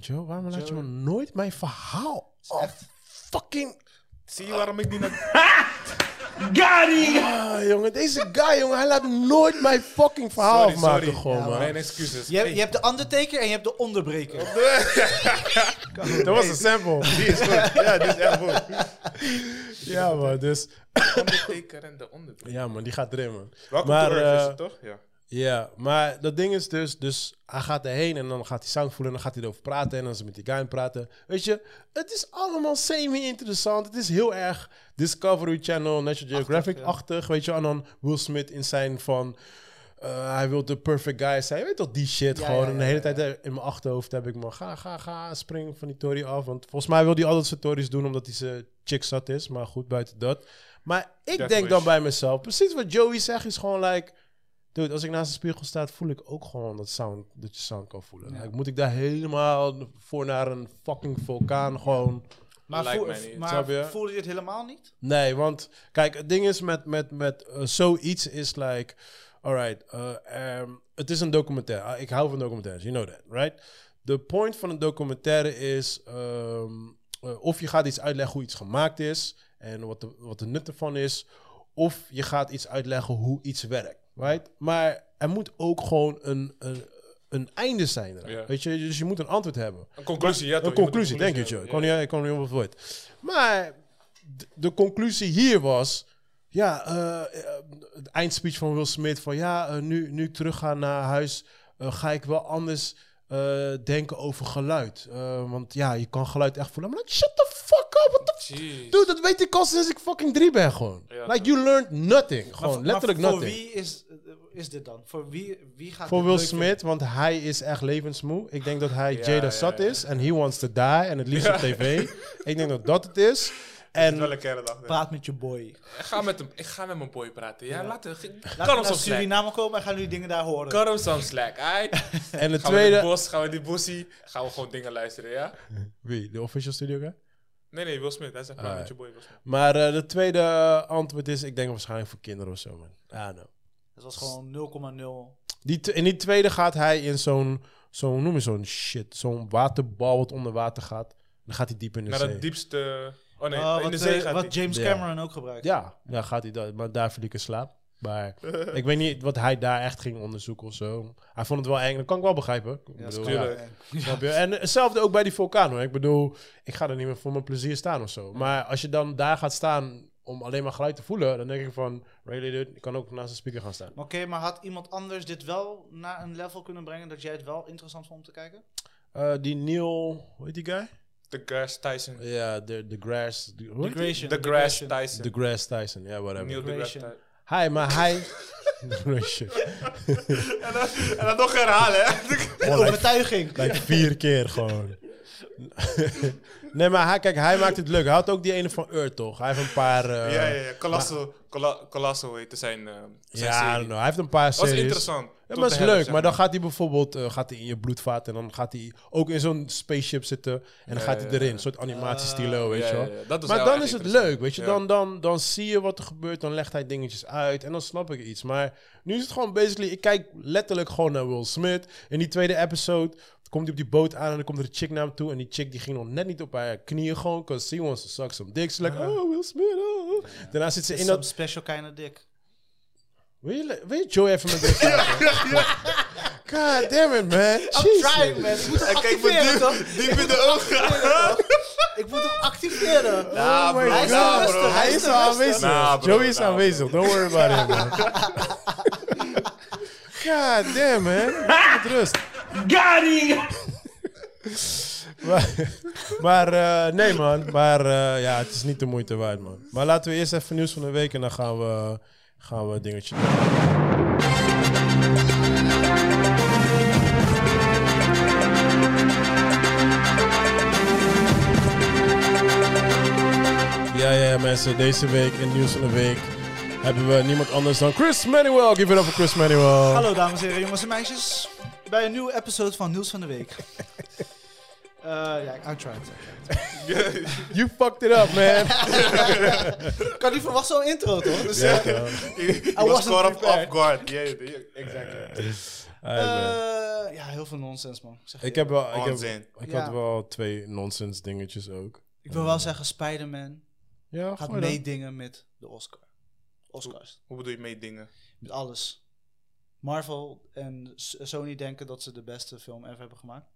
C: Joe, waarom laat je me nooit mijn verhaal af? Fucking...
A: Zie je waarom ik niet naar...
C: Ah, jongen, deze guy, jongen, hij laat nooit mijn fucking verhaal
A: Sorry,
C: [LAUGHS] afmaken,
A: sorry.
C: gewoon, man.
A: Mijn excuses.
B: Je, je hebt de undertaker en je hebt de onderbreker.
C: Dat was een sample.
A: Die is goed. Ja, die is echt [LAUGHS] goed.
C: ja, man, dus...
A: Onderteker en de onderteker.
C: Ja, man, die gaat erin, man.
A: Welkom dus-
C: Maar,
A: to Earth is
C: eh,
A: het toch? Ja.
C: Ja, maar dat ding is dus, dus hij gaat erheen en dan gaat hij sound voelen en dan gaat hij erover praten en dan is hij met die guy aan het praten. Weet je, het is allemaal semi-interessant. Het is heel erg Discovery Channel, National Geographic-achtig, weet je. En dan Will Smith in zijn van, eh, hij wil de perfect guy zijn. Weet toch, die shit
B: Ja,
C: gewoon.
B: ja,
C: en
B: ja,
C: de hele
B: ja,
C: tijd eh, in mijn achterhoofd heb ik me, ga, ga, ga, spring van die tory af. Want volgens mij wil hij altijd zijn tories doen omdat hij zijn chick zat is, maar goed, buiten dat. Maar ik
A: Death
C: denk
A: wish.
C: dan bij mezelf, precies wat Joey zegt is gewoon like... Dude, als ik naast de spiegel sta, voel ik ook gewoon dat, sound, dat je sound kan voelen. Like, moet ik daar helemaal voor naar een fucking vulkaan gewoon...
B: Maar,
A: Lijkt
B: voel-
A: mij niet.
B: maar
C: Snap je?
B: voelde je het helemaal niet?
C: Nee, want kijk, het ding is met, met, met eh, zoiets is like... Alright, eh, ehm, het is een documentaire. Ah, ik hou van documentaires, you know that, right? De point van een documentaire is... ehm, eh, of je gaat iets uitleggen hoe iets gemaakt is... en wat de, wat de nut ervan is... of je gaat iets uitleggen hoe iets werkt, right? Maar er moet ook gewoon een, een, een einde zijn. eraan,
A: Ja.
C: Weet je? Dus je moet een antwoord hebben
A: Een conclusie, ja toch?
C: een
A: Je moet
C: conclusie, denk je, Joe.
A: hebben.
C: Ik kon niet- Ik kon niet op het woord. Maar d- de conclusie hier was... Ja, eh, eh, het eindspeech van Will Smith van... Ja, eh, nu, nu ik terugga naar huis eh, ga ik wel anders eh, denken over geluid. Eh, want ja, je kan geluid echt voelen. Maar like, shut the fuck up, what the f-
A: Ja. Jeez.
C: Dude, dat weet ik al sinds ik fucking drie ben gewoon.
A: Ja,
C: like, you learned nothing. Gewoon,
B: Maar-
C: letterlijk
B: maar
C: nothing.
B: Voor wie is, eh, is dit dan? Voor wie, wie gaat
C: Voor
B: dit
C: Will
B: leuk vinden?
C: Smith, want hij is echt levensmoe. Ik denk dat hij
A: Ja,
C: Jada
A: ja,
C: zat
A: ja.
C: is en he wants to die en het liefst op tv.
A: [LAUGHS]
C: Ik denk dat dat het is.
A: Het is wel
C: En
A: een kere dag. denk ik.
B: Praat met je boy.
A: Ik ga met hem, ik ga met mijn boy praten. Ja, laat hem.
B: Laat
A: Kan ons
B: hem naar
A: op slack.
B: Suriname komen en gaan nu dingen daar horen.
A: Kan hem soms slack, aight?
C: En de
A: Gaan we in het
C: tweede...
A: bos, gaan we in die bossie, gaan we gewoon dingen luisteren, ja?
C: Wie? De official studio guy?
A: Nee, nee, Will Smith. Hij zegt praat
C: Ah,
A: met je boy, Will Smith.
C: Maar eh, de tweede eh, antwoord is, ik denk waarschijnlijk voor kinderen of zo, man. I don't know.
B: Het was gewoon 0,0.
C: Die t- in die tweede gaat hij in zo'n, zo'n hoe noem je zo'n shit, zo'n waterbal wat onder water gaat. Dan gaat hij diep in de
A: Naar
C: zee.
A: het diepste... Oh nee,
B: Ah,
A: in de
B: wat,
A: zee
B: eh,
A: gaat
B: wat
A: hij.
B: James
C: Ja.
B: Cameron ook gebruikt.
C: Ja, daar gaat hij dat, maar daar viel ik in slaap. Maar ik weet niet wat hij daar echt ging onderzoeken of zo. Hij vond het wel eng, dat kan ik wel begrijpen. Ik
B: Ja,
C: bedoel,
A: tuurlijk.
B: ja.
C: snap je? En hetzelfde ook bij die vulkaan hoor. Ik bedoel, ik ga er niet meer voor mijn plezier staan of zo. Maar als je dan daar gaat staan om alleen maar geluid te voelen, dan denk ik van, really dude, ik kan ook naast een speaker gaan staan.
B: Maar Oké, maar had iemand anders dit wel naar een level kunnen brengen dat jij het wel interessant vond om te kijken?
C: Eh, die Neil, hoe heet die guy?
A: De Grass Tyson.
C: Ja, de de Grass. de- hoe heet die?
A: De Grass Tyson.
C: De Grass Tyson, ja, whatever.
A: Neil deGrasse
B: Gratian.
A: Tyson.
C: Hij, maar hij... [LAUGHS] Shit.
A: En dat nog herhalen, hè?
B: Overtuiging.
C: Like vier
A: [LAUGHS]
C: keer gewoon. nee, maar hij, kijk, hij maakt het leuk. Hij had ook die ene van Earth, toch? Hij heeft een paar... eh,
A: Ja, ja, ja. Colossal, Colo- Colossal heette zijn, eh zijn
C: Ja, I
A: serie.
C: don't know. Hij heeft een paar
A: Dat
C: series.
A: is interessant.
C: Ja,
A: Tot
C: maar
A: de
C: is
A: helft,
C: leuk.
A: zeg
C: Maar dan gaat hij bijvoorbeeld eh, gaat hij in je bloedvaat en dan gaat hij ook in zo'n spaceship zitten en dan
A: Ja,
C: gaat hij
A: ja,
C: erin.
A: ja. Ah,
C: Een soort animatiestilo, weet
A: ja,
C: je wel.
A: ja, ja. Dat is
C: maar
A: wel
C: dan
A: echt
C: is het
A: interessant.
C: leuk, weet je.
A: Ja.
C: Dan, dan, dan zie je wat er gebeurt, dan legt hij dingetjes uit en dan snap ik iets. Maar nu is het gewoon basically, ik kijk letterlijk gewoon naar Will Smith. In die tweede episode komt hij op die boot aan en dan komt er een chick naar hem toe. En die chick die ging nog net niet op haar knieën gewoon. Cause she wants to suck some dick. Ze like,
A: Ah.
C: oh, Will Smith, oh. oh." Daarna zit ze in
B: Some
C: dat...
B: special kind of dick.
C: Wil je, wil je Joey even
A: [LAUGHS]
C: met dit praten? God damn it, man.
B: I'm
C: Jezus.
B: trying, man. Ik
C: [LAUGHS]
B: moet hem
A: kijk me
B: activeren, toch?
A: diep, diep in de ogen.
B: Ik moet hem
C: [LAUGHS]
B: activeren.
A: Nah,
C: Oh my
A: bro.
B: Hij is
C: Oh
A: Nah,
C: God,
B: al rustig,
A: bro.
C: Hij is al aanwezig.
A: Nah, bro,
C: Joey is
A: nah, bro.
C: aanwezig. Don't worry about him, man.
A: [LAUGHS]
C: God damn, man. Met rust. Maar, maar eh, nee, man. Maar eh, ja, het is niet de moeite waard, man. Maar laten we eerst even nieuws van de week en dan gaan we, gaan we een dingetje doen. Ja, ja, mensen. Deze week in nieuws van de week hebben we niemand anders dan Chris Manuel. Give it up for Chris Manuel.
B: Hallo dames en heren, jongens en meisjes. Bij een nieuwe episode van Nieuws van de
C: [LAUGHS]
B: Week. Eh, ja, ik tried.
A: [LAUGHS]
C: You fucked it up, man.
B: Ik kan niet verwachten zo'n intro, toch? Dus,
C: [LAUGHS] Ja,
B: eh,
C: toch.
A: He
B: wasn't
A: was caught up
B: prepared.
A: off guard. Yeah, yeah, exactly.
C: Alright, man.
B: eh, ja, heel veel nonsens, man. Ik, zeg je
C: Ik heb wel, ik, heb,
A: Onzin.
C: ik
B: Ja.
C: had wel twee nonsens dingetjes ook.
B: eerlijk. ik wil wel zeggen, Spider-Man
C: Ja,
B: gaat
C: gooi dan.
B: meedingen met de Oscar. Oscars.
A: Hoe bedoel je mee dingen?
B: Met alles. Marvel en S- Sony denken dat ze de beste film ever hebben gemaakt.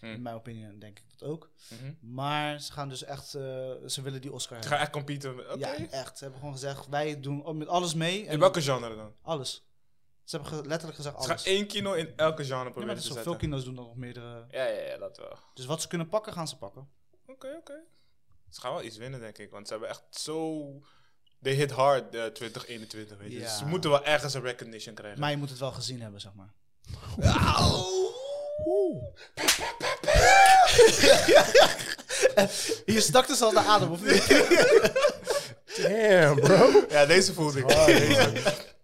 A: Hmm.
B: In mijn opinie denk ik dat ook.
A: Mhm.
B: Maar ze gaan dus echt, eh, ze willen die Oscar
A: Ik
B: hebben.
A: ga echt competen. Oké.
B: Ja, echt. Ze hebben gewoon gezegd, wij doen met alles mee. En
A: In welke genre dan?
B: Alles. Ze hebben ge- letterlijk gezegd
A: Ze
B: alles.
A: gaan één kino in elke genre
B: Ja,
A: proberen
B: maar dat
A: te
B: is zo.
A: zetten.
B: Veel kino's doen dat nog meerdere.
A: Ja, ja, ja, dat wel. Oké,
B: Dus wat ze kunnen pakken, gaan ze pakken.
A: oké. Ze gaan wel iets winnen, denk ik. Want ze hebben echt zo... They hit hard, eh, 2021, weet je.
B: Ja.
A: Dus ze moeten wel ergens een recognition krijgen.
B: Maar je moet het wel gezien hebben, zeg maar. [LAUGHS] Je stak dus al de adem,
A: [LAUGHS]
B: of niet?
C: Damn, bro.
A: Ja, deze voelde ik. [LAUGHS] deze,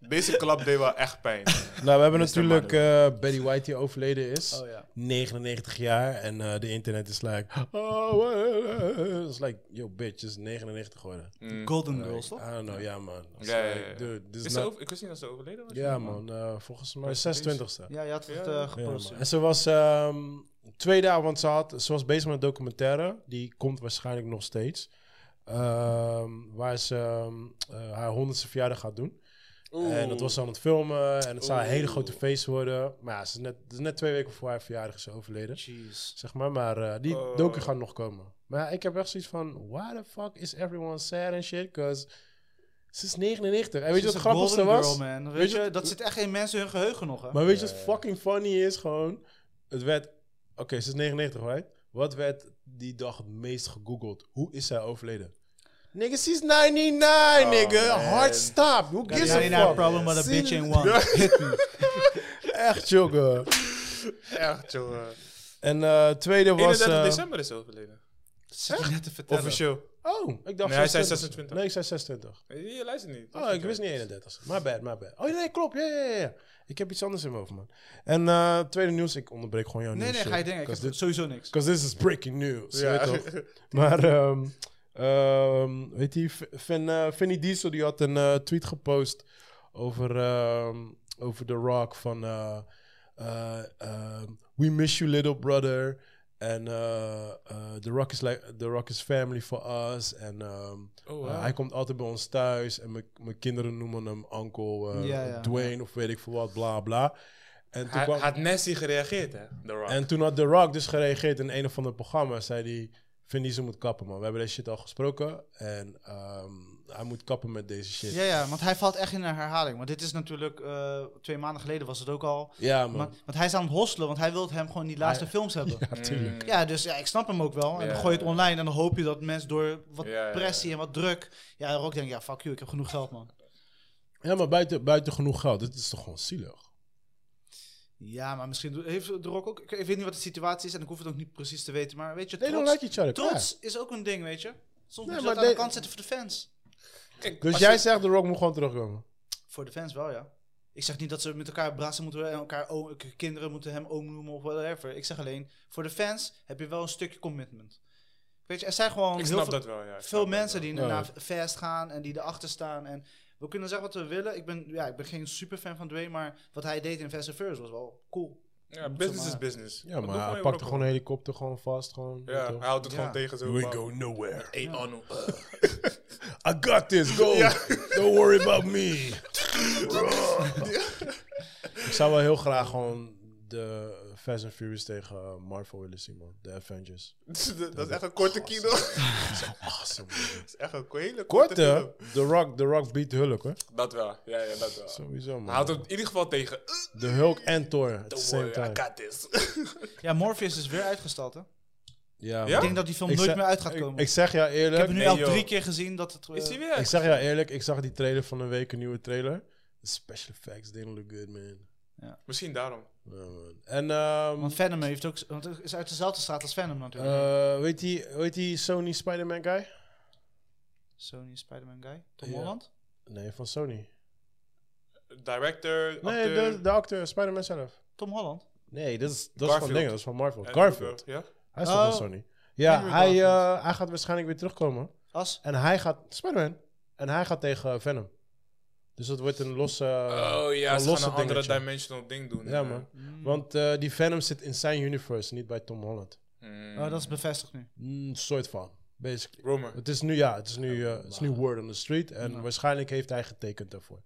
A: deze klap deed wel echt
C: [LAUGHS]
A: pijn.
C: nou, we hebben natuurlijk eh, Betty White die overleden is.
B: Oh ja.
C: 99 jaar. En eh, de internet is like... Oh, eh, it's like, yo, bitch, is 99 geworden.
A: Mm,
B: Golden Girls, toch?
C: I don't know, ja, man. It's
A: Ja, ja,
C: like,
A: ja.
C: Dude, this
A: Is
C: is
A: ze
C: not-
A: over- ik wist niet dat ze overleden was.
C: Ja, man. eh, volgens mij 26e.
B: Ja, je had het
A: Ja,
B: eh
C: Ja,
B: gepost.
C: man.
B: Ja,
C: en ze was ehm, twee dagen, want ze, had, ze was bezig met een documentaire. Die komt waarschijnlijk nog steeds. Ehm, waar ze ehm, eh, haar honderdste verjaardag gaat doen. En dat was ze aan het filmen. En het zou een
A: Oeh.
C: hele grote feest worden. Maar ja, ze is net, het is net twee weken voor haar verjaardag is ze overleden.
B: Jeez.
C: Zeg maar, maar eh, die
A: Oh.
C: docu gaan nog komen. Maar ja, ik heb echt zoiets van... Why the fuck is everyone sad and shit? Cause ze is 99. En weet je wat
B: Ze is
C: het
B: een
C: grappigste
B: golden
C: was?
B: Girl, man. Weet,
C: Weet je
B: je,
C: wat-
B: dat zit echt in mensen hun geheugen nog, hè?
C: Maar weet je wat fucking funny is gewoon? Het werd... Oké, ze is 99, right? Wat werd die dag het meest gegoogeld? Hoe is zij overleden? Nigga, she's 99, nigga.
A: man.
C: Hard stop. Who
B: Oh, Got
C: gives
B: a
C: a fuck?
B: problem with a
C: Zie-
B: bitch in [LAUGHS] one.
C: Echt, jongen.
A: Echt, joh.
C: En eh tweede was...
A: 31
C: eh,
A: december is ze overleden.
B: Dat zit je net te vertellen.
A: Officieel.
C: Oh, ik dacht
A: Nee, hij zei 26.
C: Nee, ik zei 26.
A: Je luistert niet.
C: Oh, ik wist niet 31. My bad, my bad. Oh nee, klopt. Ja, ja, ja, ja. Ik heb iets anders in mijn hoofd, man. En eh, tweede nieuws, ik onderbreek gewoon jouw
B: Nee,
C: nieuws.
B: nee, ga je denken. Ik heb
C: Because dit
B: sowieso niks.
C: 'cause this is breaking news.
A: Ja.
C: Ja. Weet
A: [LAUGHS]
C: toch? Maar, ehm, ehm, weet je, Vin, eh, Vinnie Diesel die had een eh, tweet gepost over, ehm, over The Rock van... eh, eh, ehm, we miss you, little brother. En eh, eh, The Rock is like The Rock is family for us. En ehm,
A: Oh,
C: eh,
A: wauw.
C: hij komt altijd bij ons thuis. En mijn- mijn kinderen noemen hem Uncle eh,
B: Ja, ja.
C: Dwayne of weet ik veel wat, bla bla. En toen,
A: Hij
C: kwam-
A: had Nessie gereageerd, hè? The Rock.
C: en toen had The Rock dus gereageerd in een of ander programma. Zei die vind die ze moet kappen, man. We hebben deze shit al gesproken. En ehm, hij moet kappen met deze shit.
B: Ja, ja, want hij valt echt in een herhaling. Want dit is natuurlijk, eh, twee maanden geleden was het ook al.
C: Ja, man.
B: Maar, want hij is aan het hostelen, want hij wil hem gewoon in die laatste films hebben. Ja,
A: Mm.
B: dus ja, ik snap hem ook wel. En dan
A: Ja.
B: gooi je het online en dan hoop je dat mensen door wat
A: Ja, ja, ja.
B: pressie en wat druk... Ja, er ook denken, ja, fuck you, ik heb genoeg geld, man.
C: Ja, maar buiten, buiten genoeg geld. Dit is toch gewoon zielig?
B: Ja, maar misschien do- heeft de Rock ook... Ik ik weet niet wat de situatie is en ik hoef het ook niet precies te weten. Maar weet je,
C: They don't
B: trots,
C: like each other. klaar.
B: trots is ook een ding, weet je.
C: Nee,
B: Soms moet je
C: maar
B: dat aan de
C: they-
B: kant zetten voor de fans.
A: Kijk,
C: Dus
A: als
C: jij
A: je-
C: zegt The Rock moet gewoon terugkomen?
B: Voor de fans wel, ja. Ik zeg niet dat ze met elkaar brassen moeten en elkaar oom- k- kinderen moeten hem oom noemen of whatever. Ik zeg alleen, voor de fans heb je wel een stukje commitment. Weet je, er zijn gewoon
A: Ik
B: heel
A: snap
B: veel,
A: dat wel, ja. Ik snap
B: veel
A: dat
B: mensen
A: wel.
B: die
C: Ja.
B: naar Fast gaan en die erachter staan. En we kunnen zeggen wat we willen. Ik ben, ja, ik ben geen superfan van Dwayne, maar wat hij deed in Fast and Furious was wel cool.
A: Ja, business is
B: maar.
A: business.
C: Ja,
A: Dat doe
C: maar hij
A: je
C: pakte
A: ook
C: gewoon een helikopter gewoon vast. Gewoon,
A: wel. Ja,
C: weet je
A: hij
C: wel.
A: houdt het
B: Ja.
A: gewoon tegen zo.
C: You ain't go nowhere.
A: Hey, Arno.
C: [LAUGHS] I got this, go.
A: Ja.
C: Don't worry about me. ik zou wel heel graag gewoon de Fast and Furious tegen eh, Marvel willen zien, man. De Avengers. [LAUGHS]
A: Dat is echt een korte kino. Dat
C: Awesome. man.
A: is echt een hele korte
C: Korte,
A: kino.
C: The Rock, The Rock beat Hulk, hoor.
A: Dat wel. Ja, ja, dat wel.
C: Sowieso,
A: Hij houdt
C: man.
A: hem in ieder geval tegen. Uh,
C: De Hulk en Thor at the
A: Don't
C: same
A: worry, I
C: time.
A: got this.
B: Ja, Morpheus is weer uitgesteld, hè?
C: Ja,
A: Ja?
B: Ik
C: man.
B: denk dat die film
C: Ik
B: nooit
C: zeg-
B: meer uit gaat
C: Ik-
B: komen.
C: Ik
B: Ik,
C: zeg jou
B: heb
C: eerlijk,
B: nu
A: Nee,
B: al
A: joh.
B: drie keer gezien dat het...
A: [LAUGHS]
B: eh,
A: is hij weer?
C: ik zeg jou eerlijk, ik zag die trailer van een week, een nieuwe trailer. The special effects didn't look good, man.
A: Misschien daarom.
C: Ja, man. En ehm
B: Want Venom heeft ook... Want het is uit dezelfde straat als Venom natuurlijk.
C: eh, weet, die, weet die Sony Spider-Man guy?
B: Sony Spider-Man guy. Tom
C: Ja.
B: Holland?
C: Nee, van Sony.
A: Director,
C: Nee,
A: acteur,
C: de, de acteur, Spider-Man zelf.
B: Tom Holland?
C: Nee, dat is, dat is van
A: Garfield.
C: dingen, dat is van Marvel.
A: en-
C: Garfield.
A: Ja?
C: Hij is toch
B: Oh.
C: van Sony? Ja,
B: Andrew
C: hij,
B: Garfield.
C: eh, hij gaat waarschijnlijk weer terugkomen.
B: As?
C: En hij gaat, Spider-Man, en hij gaat tegen Venom. Dus dat wordt een losse...
A: Oh ja,
C: een
A: ze
C: losse
A: gaan een andere
C: dingetje.
A: dimensional ding doen.
C: Ja, man. Want eh, die Venom zit in zijn universe, niet bij Tom Holland.
A: Mm.
B: Oh, dat is bevestigd nu.
C: Een Mm, soort van, basically.
A: Rumor.
C: Het Ah, is nu, ja, het is nu, eh, het is nu word on the street. En waarschijnlijk heeft hij getekend daarvoor.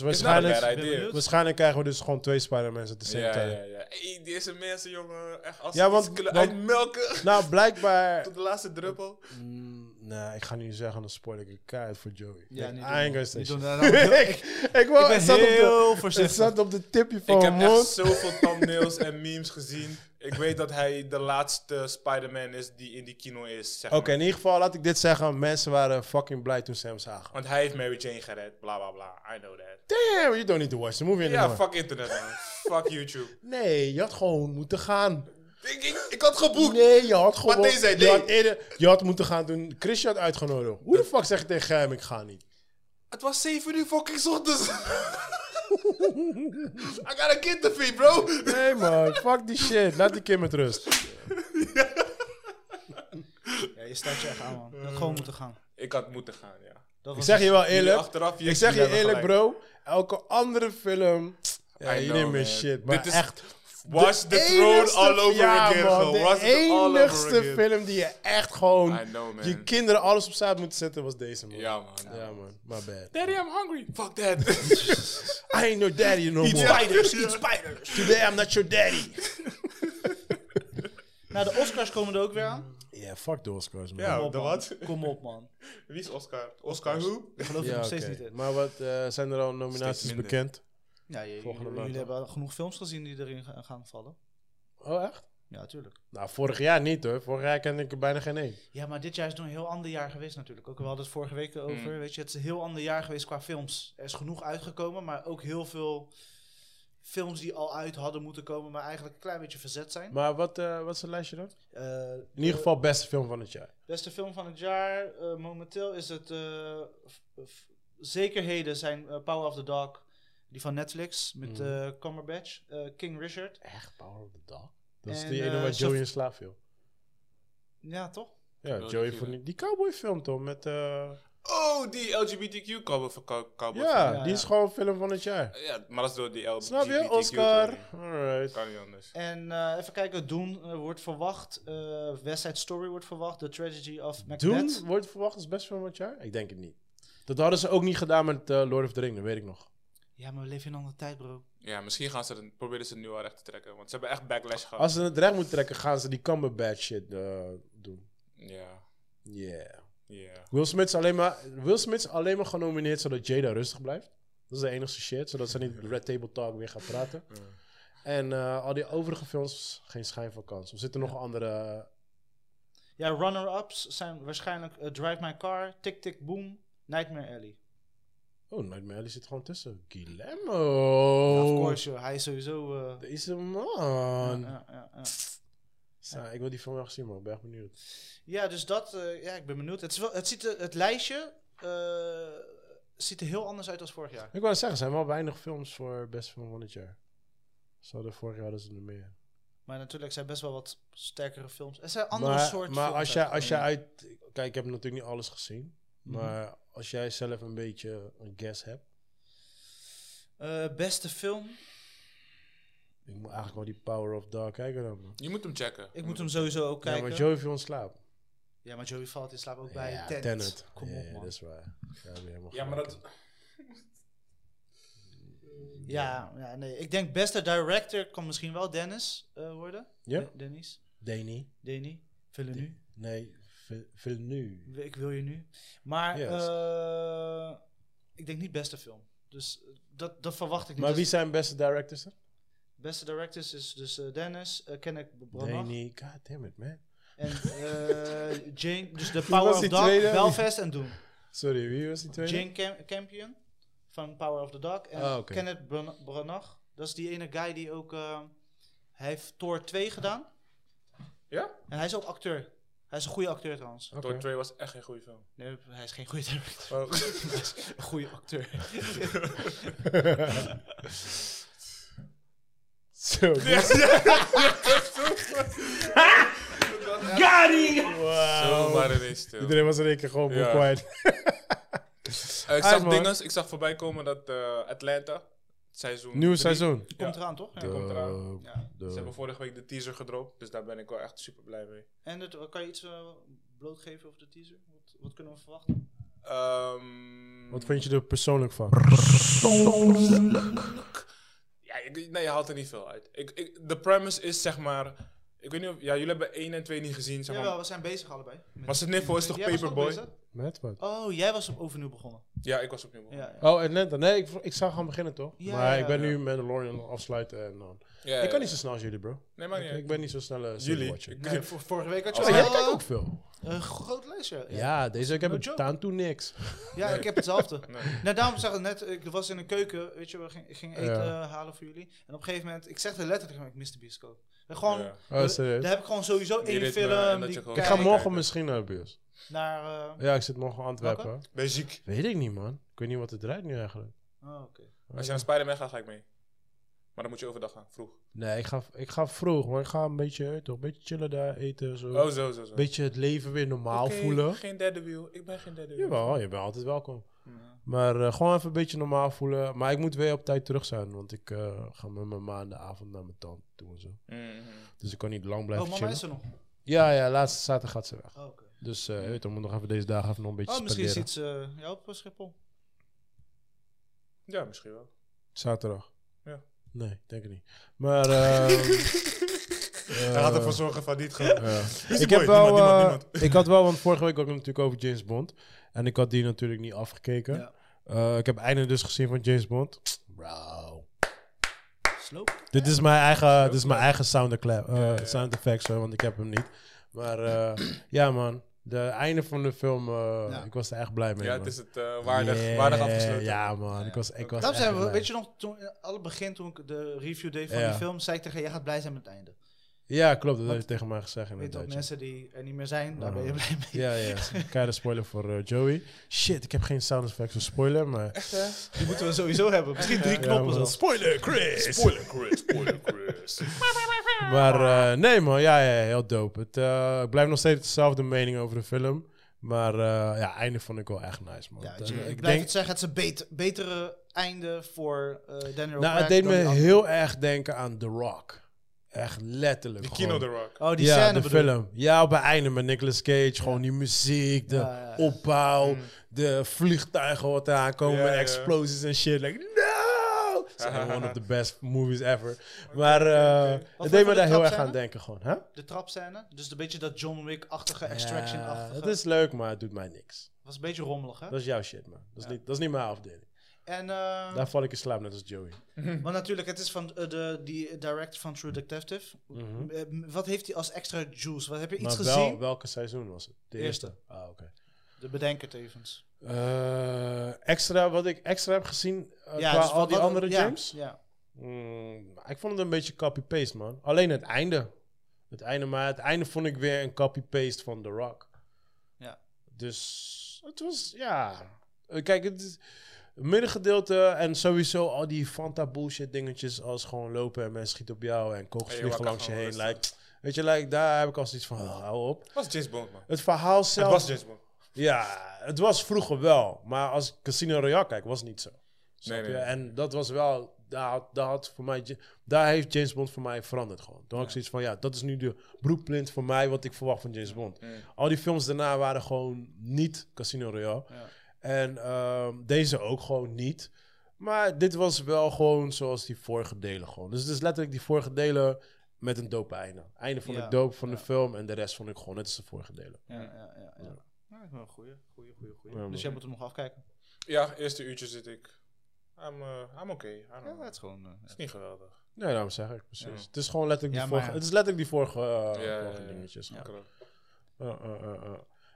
A: Is not a
C: waarschijnlijk,
A: bad idea.
C: waarschijnlijk krijgen we dus gewoon twee Spider-Mans at the same
A: Ja,
C: time.
A: ja, ja. Hey, deze mensen, jongen, echt als
C: Ja,
A: ja,
C: want-
A: want, kunnen
C: want-
A: uitmelken
C: Nou, blijkbaar...
A: tot de laatste druppel.
C: [LAUGHS] Mm, nee, ik ga nu zeggen, dan spoil ik een kaart voor Joey.
B: Ja, niet
C: I
B: doen,
C: ain't gonna
B: man.
C: say
B: Niet
C: shit. [LAUGHS]
B: doen, daar- daar-
C: ik, ik, wou,
B: Ik ben
C: het zat op de,
B: heel
C: het
B: voorzichtig.
C: zat op de tipje van
A: Ik heb
C: mijn
A: echt
C: mond.
A: zoveel thumbnails en memes gezien. Ik weet dat hij de laatste Spider-Man is die in die kino is, zeg
C: Oké,
A: maar.
C: in ieder geval laat ik dit zeggen. Mensen waren fucking blij toen ze hem zagen.
A: Want hij heeft Mary Jane gered, bla bla bla. I know that.
C: Damn, you don't need to watch the movie anymore.
A: Ja, fuck internet,
C: [LAUGHS]
A: man. fuck YouTube.
C: Nee, je had gewoon moeten gaan.
A: Ik, ik, ik had geboekt.
C: Nee, je had gewoon...
A: Maar deze zei
C: je, had
A: nee.
C: eerder, je had moeten gaan doen. Chris je had uitgenodigd. Hoe de fuck zeg je tegen hem, ik ga niet?
A: Het was 7 uur fucking
C: [LAUGHS]
A: ochtends. I got a kid to feed, bro.
C: Nee man, fuck die shit. Laat die kind met rust.
B: Ja, je staat je echt aan, man. Je had gewoon moeten gaan.
A: Ik had moeten gaan, ja.
B: Dat
C: Ik
B: was dus-
C: zeg je wel
A: Jullie
C: eerlijk.
A: achteraf,
C: Ik zeg je
A: jullie
C: eerlijk
A: hebben
C: bro. Elke andere film... Ja,
A: I
C: je
A: know,
C: neemt meer
A: man.
C: shit.
A: Dit
C: Maar
A: is
C: echt...
A: Wash
C: de
A: the throne
C: enigste-
A: all over
C: ja,
A: again.
C: man,
A: gewoon. Wash
C: de
A: it all over
C: enigste
A: again.
C: film die je echt gewoon...
A: I know, man.
C: Je kinderen alles opzij had moeten zetten was deze man.
A: Ja, man.
C: Ja, man, my bad.
A: Daddy, I'm hungry. Fuck [LAUGHS] that.
C: I ain't your daddy no more.
A: spiders, [LAUGHS] eat spiders.
C: Today I'm not your daddy.
B: Nou, de Oscars komen er ook weer aan.
C: Ja, fuck de Oscars, man.
A: Ja,
B: Kom op,
A: de
B: man.
A: wat?
B: Kom op, man.
A: Wie is Oscar? Oscar who?
B: Ik geloof er
C: Ja,
B: nog steeds
C: oké.
B: niet in.
C: Maar wat, eh, zijn er al nominaties
A: Steeds minder.
C: bekend?
B: Ja, je-
C: Volgende
B: jullie
C: maand.
B: hebben genoeg films gezien die erin ga- gaan vallen.
C: Oh, echt?
B: Ja, tuurlijk.
C: Nou, vorig jaar niet hoor. Vorig jaar kende ik er bijna geen één.
B: Ja, maar dit jaar is nog een heel ander jaar geweest natuurlijk. Ook we hadden het vorige week over.
C: Mm.
B: Weet je, het is een heel ander jaar geweest qua films. Er is genoeg uitgekomen, maar ook heel veel films die al uit hadden moeten komen, maar eigenlijk een klein beetje verzet zijn.
C: Maar wat, eh, wat is het lijstje dan?
B: Eh,
C: In ieder geval beste film van het jaar.
B: Beste film van het jaar. eh, momenteel is het. eh, f- f- zekerheden zijn eh, Power of the Dog. Die van Netflix met
C: Mm.
B: eh Cumberbatch. eh, King Richard.
C: Echt, Power of the Dog? Dat is
B: En,
C: die ene
B: eh,
C: waar Joey
B: Sof-
C: in slaap viel.
B: Ja, toch?
C: Ja,
A: Oh,
C: Joey
A: die-
C: vond die, die cowboy film toch? Met, eh,
A: Oh, die LGBTQ cowboy van cow- cowboy.
C: ja,
B: ja,
C: die is
B: ja.
C: gewoon film van het jaar.
A: Ja, maar dat is door die LGBTQ.
C: Snap je? Oscar. Alright.
A: Kan niet anders.
B: En eh, even kijken. Doen wordt verwacht. eh West Side Story wordt verwacht. The Tragedy of Macbeth.
C: Dune wordt verwacht als best film van het jaar? Ik denk het niet. Dat hadden ze ook niet gedaan met eh, Lord of the Ring, dat weet ik nog.
B: Ja, maar we leven in een andere tijd, bro.
A: Ja, misschien gaan ze het, proberen ze het nu al recht te trekken. Want ze hebben echt backlash gehad.
C: Als ze het recht moeten trekken, gaan ze die Cumberbatch shit eh, doen.
A: Ja,
C: Yeah.
A: ja.
C: Will Smith, is alleen maar, Will Smith is alleen maar genomineerd zodat Jada rustig blijft. Dat is de enige shit, zodat ze niet Red Table Talk weer gaat praten. En eh, al die overige films, geen schijn van kans. Of zitten nog andere... eh,
B: Ja, runner-ups zijn waarschijnlijk eh, Drive My Car. Tick Tick Boom. Nightmare Alley.
C: Oh, Nightmare Alley zit gewoon tussen. Guillermo!
B: Of course, joh, hij is sowieso... eh,
C: Dat is een man.
B: ja, ja, ja.
C: Ja, ik wil die film wel gezien, man. Ik ben echt benieuwd.
B: Ja, dus dat, eh, ja, ik ben benieuwd. Het, is wel, het, ziet er, het lijstje eh, ziet er heel anders uit dan vorig jaar.
C: Ik wou net zeggen, er zijn wel weinig films voor best film van het jaar. Ze hadden vorig jaar hadden ze er meer.
B: Maar natuurlijk zijn best wel wat sterkere films. Er zijn andere
C: maar,
B: soorten
C: Maar
B: films.
C: als jij, als
B: uitgekomen.
C: jij uit... Kijk, ik heb natuurlijk niet alles gezien.
B: Mhm.
C: Maar als jij zelf een beetje een guess hebt...
B: Eh, beste film?
C: Ik moet eigenlijk wel die Power of Dog kijken dan, man.
A: Je moet hem checken.
B: Ik moet hem sowieso ook
C: Ja,
B: kijken.
C: maar Joey viel in slaap.
B: Joey valt in slaap ook bij
C: ja,
B: Tenet.
C: Tenet.
B: Kom
C: ja,
B: op,
C: ja,
B: man.
C: dat is waar. Ja, heb je helemaal
A: Ja, maar
C: gelijk.
A: dat...
B: Ja, ja, nee. Ik denk beste director kan misschien wel Dennis eh, worden.
C: Ja?
B: De- Dennis.
C: Danny.
B: Danny. Villeneuve.
C: Nee, Vil- Villeneuve.
B: nu. Ik wil je nu. Maar
C: Yes.
B: eh, ik denk niet beste film. Dus eh, dat, dat verwacht ik niet.
C: Maar wie
B: Dus
C: zijn beste directors dan?
B: Beste directors is dus eh, Dennis, eh Kenneth Branagh
C: Danny, god damn it, man.
B: en eh, Jane.
C: [LAUGHS]
B: Dus de Power
C: was
B: of
C: die
B: Dog,
C: tweede?
B: Belfast en Doom.
C: Sorry, wie was die tweede?
B: Jane Cam- Campion van Power of the Dog. En
C: Ah, oké.
B: Kenneth Bran- Branagh. Dat is die ene guy die ook... eh, hij heeft Thor 2 gedaan.
A: Ja?
B: En hij is ook acteur. Hij is een goede acteur trouwens.
C: Oké.
A: Door 2 was echt geen goede film.
B: Nee, hij is geen goede director.
A: Oh,
B: hij is een [LAUGHS] goede acteur.
C: [LAUGHS]
A: [LAUGHS]
C: Zo, dit-
A: [LAUGHS] [LAUGHS]
C: [LAUGHS]
A: Zo waren deze stil.
C: Oh. iedereen was in één keer gewoon
A: Ja.
C: quiet.
A: Eh, ik,
C: Uit,
A: zag
C: man.
A: dinges, ik zag voorbij komen dat eh, Atlanta, seizoen
C: Nieuw
A: drie,
C: seizoen.
B: Komt eraan toch? Ja.
A: komt eraan.
C: Dope,
B: Ja.
C: dope.
A: Ze hebben vorige week de teaser gedropt, dus daar ben ik wel echt super blij mee.
B: En het, kan je iets eh, blootgeven over de teaser? Wat, wat kunnen we verwachten?
A: Ehm,
C: Wat vond je er persoonlijk van?
A: Ja, ik- nee, je haalt er niet veel uit. Ik, ik, de premise is zeg maar. Ik weet niet of. Ja, jullie hebben 1 en 2 niet gezien. Zeg maar.
B: Jawel, we zijn bezig allebei. Met-
A: Maar Sniffel is toch
B: Jij was ook
A: Paperboy?
B: bezig?
C: Met wat?
B: Oh, jij was op overnieuw begonnen.
A: Ja, ik was opnieuw. begonnen.
B: Ja, ja.
C: Oh, Atlanta. Nee, ik, ik zag gaan beginnen toch?
B: Ja,
C: maar
B: ja,
C: ik ben
A: ja.
C: nu Mandalorian aan het afsluiten en dan.
A: Ja,
C: Ik
A: ja.
C: kan niet zo snel als jullie, bro.
A: Nee, maar niet.
C: ik,
A: uit.
C: ik ben niet zo snel eh
A: jullie.
C: seriewatcher.
A: Ik-
B: Nee, vor- vorige week had je
C: Oh,
B: al
C: jij kijkt ook veel.
B: een groot lijstje.
C: Ja, deze week heb
B: No
C: ik
B: joke.
C: taan toen niks.
B: Ja, ik heb hetzelfde.
A: Nee.
B: Nou, daarom zag ik net, ik was in een keuken, weet je, we ging, ik ging eten
C: Ja.
B: eh, halen voor jullie. En op een gegeven moment, ik zeg er letterlijk, ik mis de bioscoop. En gewoon,
A: Ja.
C: Oh, serieus?
B: daar heb ik gewoon sowieso
A: Die
B: één
A: ritme en dat
B: film die
A: je gewoon-
B: ik
C: ik ga
A: Kijk,
B: kijk
A: mo-
C: morgen
A: kijk.
C: misschien naar de bus.
B: naar... eh,
C: Ja, ik zit morgen in Antwerpen.
A: Ben je ziek.
C: Weet ik niet, man. Ik weet niet wat het draait nu eigenlijk.
B: oh, oké.
A: Als je naar Spider-Man gaat, ga ik mee. Maar dan moet je overdag gaan, vroeg.
C: Nee, ik ga, ik ga vroeg, maar ik ga een beetje, eh, toch, een beetje chillen daar, eten, zo.
A: Oh, zo, zo, zo.
C: beetje het leven weer normaal
A: Oké,
C: voelen.
A: Geen derde wiel. Ik ben geen derde wiel.
C: Jawel, je bent altijd welkom. Maar eh, gewoon even een beetje normaal voelen. Maar ik moet weer op tijd terug zijn, want ik eh, ga met mijn maandagavond naar mijn tante toe en zo.
A: Mhm.
C: Dus ik kan niet lang
B: Oh,
C: blijven
B: mama
C: chillen.
B: is er nog.
C: Ja, ja, laatste zaterdag gaat ze weg.
B: Oh, oké.
C: Dus eh, je weet, dan moet nog even deze dagen even nog een beetje
B: oh misschien
C: spenderen.
B: ziet ze jou op eh, Schiphol.
A: Ja, misschien wel.
C: Zaterdag?
A: Ja.
C: Nee, ik denk het niet. Maar... [LAUGHS] ehm eh,
A: Hij gaat ervoor zorgen van niet gaan.
C: Ja.
A: Beastie
C: ik, heb
A: Boy,
C: wel,
A: niemand, niemand,
C: eh, ik had wel, want vorige week ook natuurlijk over James Bond. En ik had die natuurlijk niet afgekeken.
B: Ja.
C: Eh, ik heb einde dus gezien van James Bond. Bro.
B: Sloop.
C: Dit is mijn eigen, dit is mijn eigen sound, clap, eh, sound effects, hoor, want ik heb hem niet. Maar eh, [CLEARS THROAT] ja, man. De einde van de film, eh,
B: Ja.
C: ik was er echt blij mee.
A: Ja,
C: man.
A: het is het eh, waardig,
C: Yeah,
A: waardig afgesloten.
C: Ja, man. Ik was, ik was
B: Daarom
C: echt
B: zijn we,
C: blij.
B: weet je nog, toen, eh, alle begin toen ik de review deed van
C: Ja.
B: die film, zei ik tegen je, jij gaat blij zijn met het einde.
C: Ja, klopt. Dat
B: Want-
C: had je tegen mij gezegd
B: Weet
C: inderdaad.
B: dat
C: ja.
B: mensen die er niet meer zijn, daar
C: Oh.
B: ben je blij mee.
C: Ja, ja. Keiharde spoiler voor eh, Joey. Shit, ik heb geen sound effects of spoiler, maar...
B: [LAUGHS] Die moeten we sowieso hebben. Misschien drie knoppen
C: man.
B: zelfs.
A: Spoiler Chris! Spoiler Chris, spoiler Chris.
C: Maar eh, nee man, ja, ja, heel dope. Het, eh, ik blijf nog steeds dezelfde mening over de film. Maar eh, ja, einde vond ik wel echt nice man.
B: Ja,
C: Dat-
B: ik
C: ik
B: blijf
C: denk,
B: het zeggen, het is een beter, betere einde voor eh Daniel
C: nou, het
B: Craig
C: deed
B: dan
C: me
B: die andere.
C: heel erg denken aan The Rock. Echt letterlijk.
A: Die
C: gewoon.
A: [LAUGHS] Kino The Rock.
B: Oh, die
C: ja,
B: scène
C: de
B: bedoel je?
C: film. Ja, op het einde met Nicolas Cage. Gewoon die muziek, de
B: Ja, ja, Mm. ja.
C: opbouw, de vliegtuigen wat eraan komen,
A: Ja, ja.
C: explosies en shit. Like, no! It's
A: [LAUGHS]
C: one of the best movies ever. Maar eh, het
B: vond je
C: deed
B: van
C: me daar
B: de
C: heel erg
B: trapscène?
C: aan denken gewoon. Hè?
B: De trapscène. Dus een beetje dat John Wick-achtige, Extraction-achtige.
C: Het is leuk, maar het doet mij niks.
B: was een beetje rommelig, hè?
C: Dat is jouw shit, man. Dat is, niet, dat is niet mijn afdeling.
B: En, eh,
C: Daar val ik in slaap, net als Joey.
B: [LAUGHS] maar natuurlijk, het is van eh, de, die director van True Detective. Eh, wat heeft hij als extra juice? Wat, heb je iets
C: maar
B: gezien?
C: wel, welke seizoen was het? De
B: Eerste.
C: eerste. Ah, oké.
B: De bedenker tevens.
C: Eh, extra, wat ik extra heb gezien eh, qua
B: dus
C: al
B: wat-
C: die
B: wat-
C: andere
B: ja,
C: James.
B: Ja.
C: Mm, ik vond het een beetje copy-paste, man. Alleen het einde. Het einde, maar het einde vond ik weer een copy-paste van The Rock.
B: Ja.
C: Dus het was, ja. Eh, Kijk, het, is- het middengedeelte en sowieso al die Fanta bullshit dingetjes als gewoon lopen en mensen schieten op jou en kogels
A: Hey,
C: vliegen
A: wakker
C: langs je
A: van
C: heen.
A: rustig.
C: Like, weet je, like, daar heb ik als iets van, oh, hou op.
A: Het was James Bond, man.
C: Het verhaal zelf,
A: Het dus was James Bond.
C: ja, het was vroeger wel. Maar als ik Casino Royale kijk, was het niet zo. Snap
A: nee,
C: je?
A: nee.
C: En dat was wel, daar, had- daar, had voor mij, Ja- daar heeft James Bond voor mij veranderd gewoon. Toen had ik zoiets van, ja, dat is nu de broekprint voor mij wat ik verwacht van James Bond. Al die films daarna waren gewoon niet Casino Royale. En ehm, deze ook gewoon niet. Maar dit was wel gewoon zoals die vorige delen gewoon. Dus het is letterlijk die vorige delen met een dope einde. Einde vond
B: Ja,
C: ik dope van de film en de rest vond ik gewoon net als de vorige delen.
B: Ja, ja, ja. ja. Ja, ik ben een goeie, goeie, goeie, goeie.
C: Ja, man.
B: dus jij moet hem nog afkijken.
A: Ja, eerste uurtje zit ik. I'm, eh, I'm okay. I don't
B: Ja,
A: know.
B: het
A: Het
B: is gewoon... eh,
A: is niet geweldig.
C: Nee, daarom zeg ik precies.
A: Ja.
C: Het is gewoon letterlijk
B: Ja,
C: die
B: maar
C: vorige.
B: ja.
C: Het is letterlijk die vorige, eh,
A: Ja,
C: vorige
A: ja, ja.
C: dingetjes. Eh,
B: Ja.
C: Ja.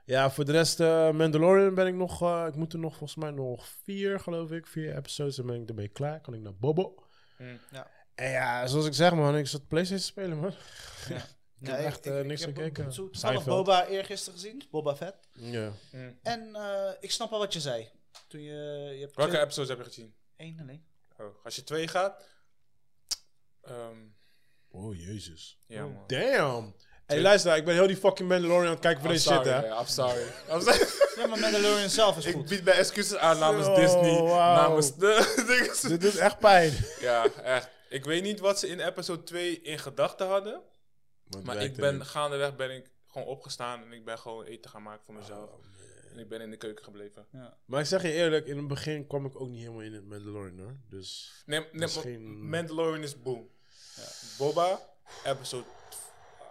C: ja, voor de rest, eh, Mandalorian ben ik nog. eh, ik moet er nog volgens mij nog vier, geloof ik. Vier episodes. Dan ben ik ermee klaar. Kan ik naar Bobo.
A: Mm.
B: Ja.
C: En ja, zoals ik zeg, man, ik zat PlayStation te spelen, man.
B: Ik
C: heb echt, eh, niks gekeken.
B: Ik heb toevallig
C: Seinfeld.
B: Boba eergisteren gezien, Boba Fett.
C: Ja.
A: Mm.
B: En eh, ik snap al wat je zei. Toen je, je hebt
A: Welke
B: twee-
A: episodes heb je gezien?
B: één alleen.
A: Oh, als je twee gaat. ehm,
C: Oh, jezus.
A: ja, man.
C: Damn. Hey, luister, ik ben heel die fucking Mandalorian aan het kijken voor
A: I'm
C: deze shit,
A: sorry,
C: hè.
A: hè, I'm sorry.
C: [LAUGHS]
A: I'm sorry.
B: Ja, maar Mandalorian zelf is
A: ik
B: goed.
A: bied mijn excuses aan namens
C: Zo,
A: Disney.
C: Oh, wauw.
A: Namens de [LAUGHS] dinges.
C: Dit is echt pijn. [LAUGHS]
A: Ja, echt. Ik weet niet wat ze in episode 2 in gedachten hadden. Maar ik ben gaandeweg ben ik gewoon opgestaan en ik ben gewoon eten gaan maken voor
C: Oh,
A: mezelf. en ik ben in de keuken gebleven.
C: Maar ik zeg je eerlijk, in het begin kwam ik ook niet helemaal in het Mandalorian, hoor. Dus...
A: Nee, nee,
C: Misschien-
A: maar Mandalorian is boom. Boba, episode...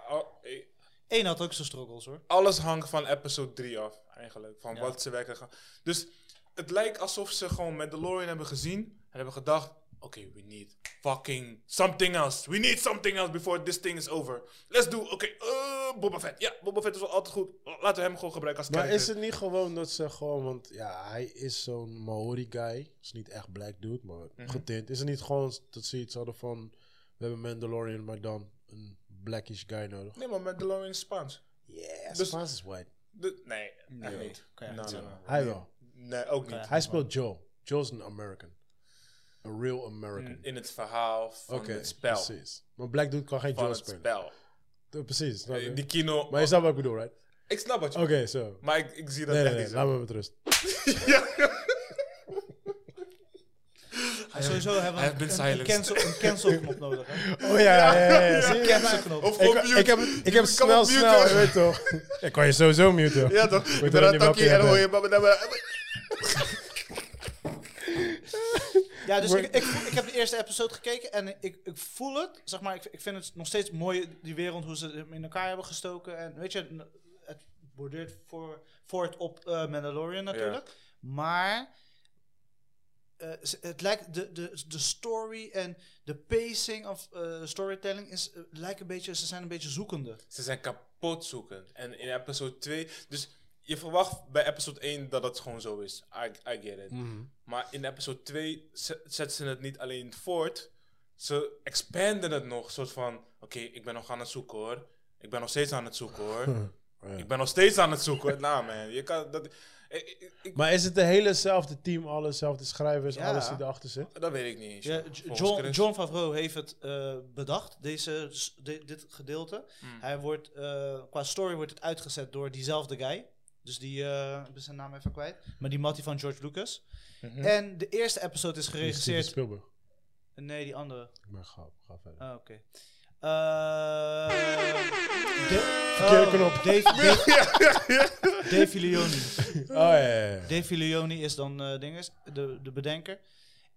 A: al- eh,
B: Eén had ook zijn struggles hoor.
A: Alles hangt van episode 3 af, eigenlijk. Van
B: Ja.
A: wat ze werken gaan... Dus het lijkt alsof ze gewoon Mandalorian hebben gezien en hebben gedacht... Oké, we need fucking something else. We need something else before this thing is over. Let's do... Oké, eh, Boba Fett. Ja, Boba Fett is wel altijd goed. Laten we hem gewoon gebruiken als
C: Maar
A: character.
C: is het niet gewoon dat ze gewoon, want ja, hij is zo'n Maori guy, is niet echt black dude, maar
A: Mhm.
C: getint. Is het niet gewoon dat ze iets hadden van, we hebben Mandalorian, maar dan een blackish guy nodig?
A: Nee, maar Mandalorian is Spaans.
C: Yes,
A: Dus-
C: Spaans is white.
A: De- nee, echt
B: Nee,
A: niet.
B: kan je
A: No,
B: echt
A: no,
B: niet zeggen.
A: no.
C: Hij wel.
A: Nee, ook niet.
C: Hij speelt Joe. Joe's een American. Een real American.
A: In het verhaal Mm, van
C: Oké,
A: het spel.
C: precies. Maar black dude kan geen
A: Van
C: Joe
A: het
C: spelen.
A: spel.
C: Eh, Precies. snap je?
A: Die kino...
C: Maar je snapt wat ik bedoel, right?
A: ik snap wat je
C: Oké, zo.
A: Maar ik, ik zie dat
C: Nee, nee,
A: echt
C: nee,
A: niet
C: laat me met rust. Oh
A: zo. [LAUGHS] Ja.
B: En sowieso hebben
A: hij heeft
B: we
A: been
B: een, een,
A: silenced.
B: cancel, een cancelknop nodig. Hè?
C: Oh ja, ja,
A: [LAUGHS]
C: ja. ja. Zie je?
B: Een cancelknop.
A: Of op
C: Ik,
A: mute.
C: ik heb, ik heb
A: kan
C: snel,
A: op mute,
C: snel,
A: hè?
C: je weet toch.
B: [LAUGHS]
C: Ik kan je sowieso muten.
A: Ja toch? Ik
C: wel
A: ben aan
C: niet
A: takkie en
C: welke jij
A: hoor je... maar- maar- maar-
B: Ja, dus ik, ik, ik heb de eerste episode gekeken en ik, ik voel het. Zeg maar, ik, ik vind het nog steeds mooi, die wereld, hoe ze hem in elkaar hebben gestoken. En weet je, n- het bordeert voor, voort op eh, Mandalorian natuurlijk. Maar eh, ze- het lijkt, de, de, de story en de pacing of eh, storytelling is, eh, lijkt een beetje, ze zijn een beetje zoekende.
A: Ze zijn kapot zoeken. En in episode 2... Dus je verwacht bij episode 1 dat het gewoon zo is. I, I get it. Maar in episode 2 zetten ze het niet alleen voort. Ze expanden het nog. soort van... Oké, ik ben nog aan het zoeken hoor. Ik ben nog steeds aan het zoeken
C: [LAUGHS]
A: hoor. Ik ben nog steeds aan het zoeken. nou man, je kan... Dat, ik- ik- ik-
C: [LAUGHS] Maar is het de helezelfde team, allezelfde schrijvers,
B: Ja.
C: alles die erachter zit?
A: dat weet ik niet eens.
B: Ja,
A: joh.
B: J-
A: Volgens
B: John,
A: Chris.
B: John Favreau heeft het eh, bedacht, deze, s- di- dit gedeelte.
A: Hmm.
B: Hij wordt, eh, qua story wordt het uitgezet door diezelfde guy. Dus die, eh, ik ben zijn naam even kwijt. Maar die Mattie van George Lucas.
C: Mhm.
B: En de eerste episode is
C: Steven
B: geregisseerd...
C: Spielberg.
B: Nee, die andere.
C: Maar ga, ga verder.
B: Ah, oké. Eh, Da-
C: Verkeerde
B: oh,
C: knop.
B: Dave,
C: [LAUGHS]
B: Dave, Dave Filoni.
C: Oh ja, ja, ja.
B: Dave Filoni is dan eh, dinges, de, de bedenker.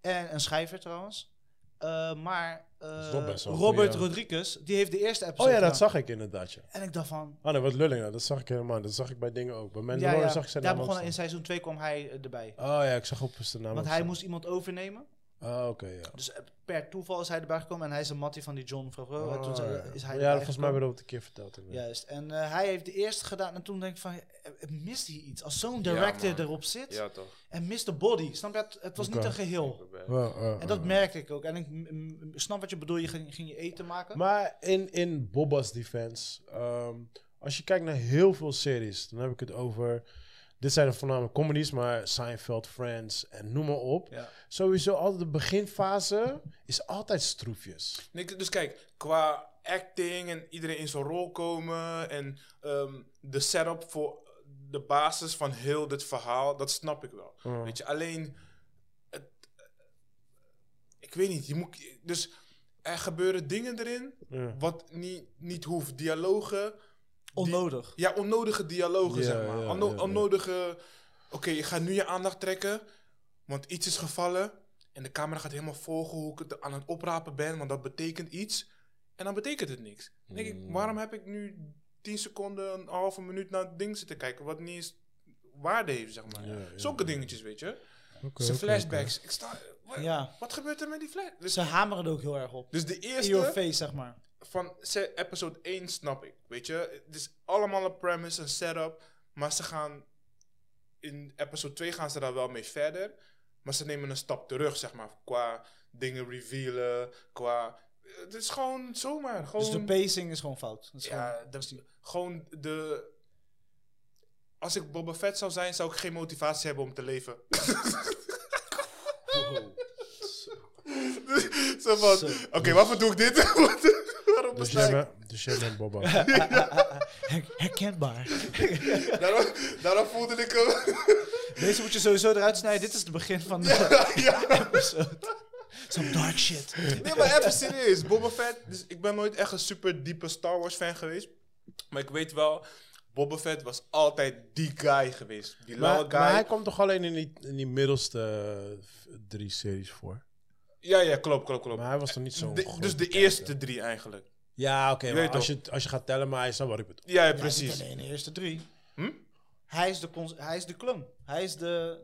B: En een schrijver trouwens. Eh, maar eh,
C: is toch best wel een
B: Robert
C: goeie-
B: Rodriguez, die heeft de eerste episode
C: Oh ja, dat
B: gedaan.
C: zag ik inderdaad, ja.
B: En ik dacht van...
C: Ah nee, wat lulling, nou, dat zag ik helemaal. Dat zag ik bij dingen ook. Bij
B: Ja,
C: Mandalorian
B: ja,
C: zag ik zijn
B: daar
C: naam ook
B: begon in
C: staan.
B: seizoen 2 kwam hij eh, erbij.
C: Oh ja, ik zag ook zijn naam
B: Want
C: ook
B: hij
C: staan.
B: moest iemand overnemen.
C: Ah, oké, ja.
B: Dus eh, per toeval is hij erbij gekomen. En hij is een mattie van die John Favreau. en toen
C: Ah,
B: zijn-
C: ja.
B: is hij
C: ja,
B: erbij
C: volgens mij
B: gekomen.
C: werd dat een keer verteld. inderdaad.
B: Juist. En eh, hij heeft de eerste gedaan. En toen denk ik van... eh, eh, Mist hij iets? Als zo'n
A: Ja,
B: director
A: man.
B: erop zit.
A: Ja toch.
B: En mist de body. Snap je? Het, het was niet
C: Oké.
B: een geheel.
C: Wel, eh,
B: En dat
C: eh.
B: merkte ik ook. En ik m- m- snap wat je bedoelt. Je ging, ging je eten maken.
C: Maar in, in Bobba's defense, ehm, als je kijkt naar heel veel series, dan heb ik het over. Dit zijn er voornamelijk comedies, maar Seinfeld, Friends en noem maar op.
B: Ja.
C: Sowieso altijd de beginfase is altijd stroefjes.
A: Nee, k- dus kijk, qua acting en iedereen in zijn rol komen en ehm, de setup voor de
C: Oh.
A: basis van heel dit verhaal, dat snap ik wel. Weet je, alleen het, ik weet niet, je moet, dus er gebeuren dingen erin
C: Ja.
A: wat niet, niet hoeft. Dialogen,
B: Onnodig.
A: ja, onnodige dialogen,
C: Ja,
A: zeg maar.
C: ja,
A: Onno-
C: ja, ja.
A: Onnodige, oké, je gaat nu je aandacht trekken, want iets is gevallen. En de camera gaat helemaal volgen hoe ik het aan het oprapen ben, want dat betekent iets. En dan betekent het niks. Dan denk ik,
C: Mm.
A: waarom heb ik nu 10 seconden, een halve minuut naar het ding zitten kijken, wat niet eens waarde heeft, zeg maar.
C: Ja, ja,
A: Zulke
C: ja.
A: dingetjes, weet je.
C: Oké,
A: Zijn
C: oké,
A: flashbacks. Ik sta, wa-
B: Ja.
A: Wat gebeurt er met die flash? Dus,
B: Ze hameren er ook heel erg op.
A: dus de
B: In your
A: eerste
B: face, zeg maar.
A: van se- episode 1 snap ik. Weet je, het is allemaal een premise, een setup. Maar ze gaan. In episode 2 gaan ze daar wel mee verder. Maar ze nemen een stap terug, zeg maar. Qua dingen revealen. Qua. Het is gewoon zomaar. Gewoon,
B: Dus de pacing is gewoon fout. Dat is
A: ja,
B: gewoon-
A: dat- gewoon de. Als ik Boba Fett zou zijn, zou ik geen motivatie hebben om te leven. [LAUGHS] Zo van,
B: Zo.
A: Oké, waarvoor doe ik dit? [LAUGHS] Wat- Waarom
C: Dus
A: besta
C: jij
A: ik?
C: bent- dus jij bent [LAUGHS] Boba.
B: Her- herkenbaar.
A: Daarom, daarom voelde ik hem.
B: Deze moet je sowieso eruit snijden. Dit is het begin van de [LAUGHS]
A: ja.
B: episode. Some dark shit.
A: Nee, maar even serieus. Boba Fett. Dus ik ben nooit echt een super diepe Star Wars fan geweest. Maar ik weet wel, Boba Fett was altijd die guy geweest. Die
C: Maar,
A: lange guy.
C: maar hij komt toch alleen in die, in die middelste eh, drie series voor?
A: Ja, ja, klopt, klopt, klopt.
C: Maar hij was toch niet zo'n
A: De-
C: grote
A: dus de
C: kijker?
A: eerste drie eigenlijk.
C: Ja, oké.
A: Je
C: maar
A: weet
C: als,
A: toch.
C: je, als je gaat tellen, maar hij snapt wat ik bedoel.
A: Ja, ja,
B: Ja,
A: precies.
B: niet alleen de eerste drie.
A: Hm?
B: Hij is de, cons- hij is de clone. Hij is de...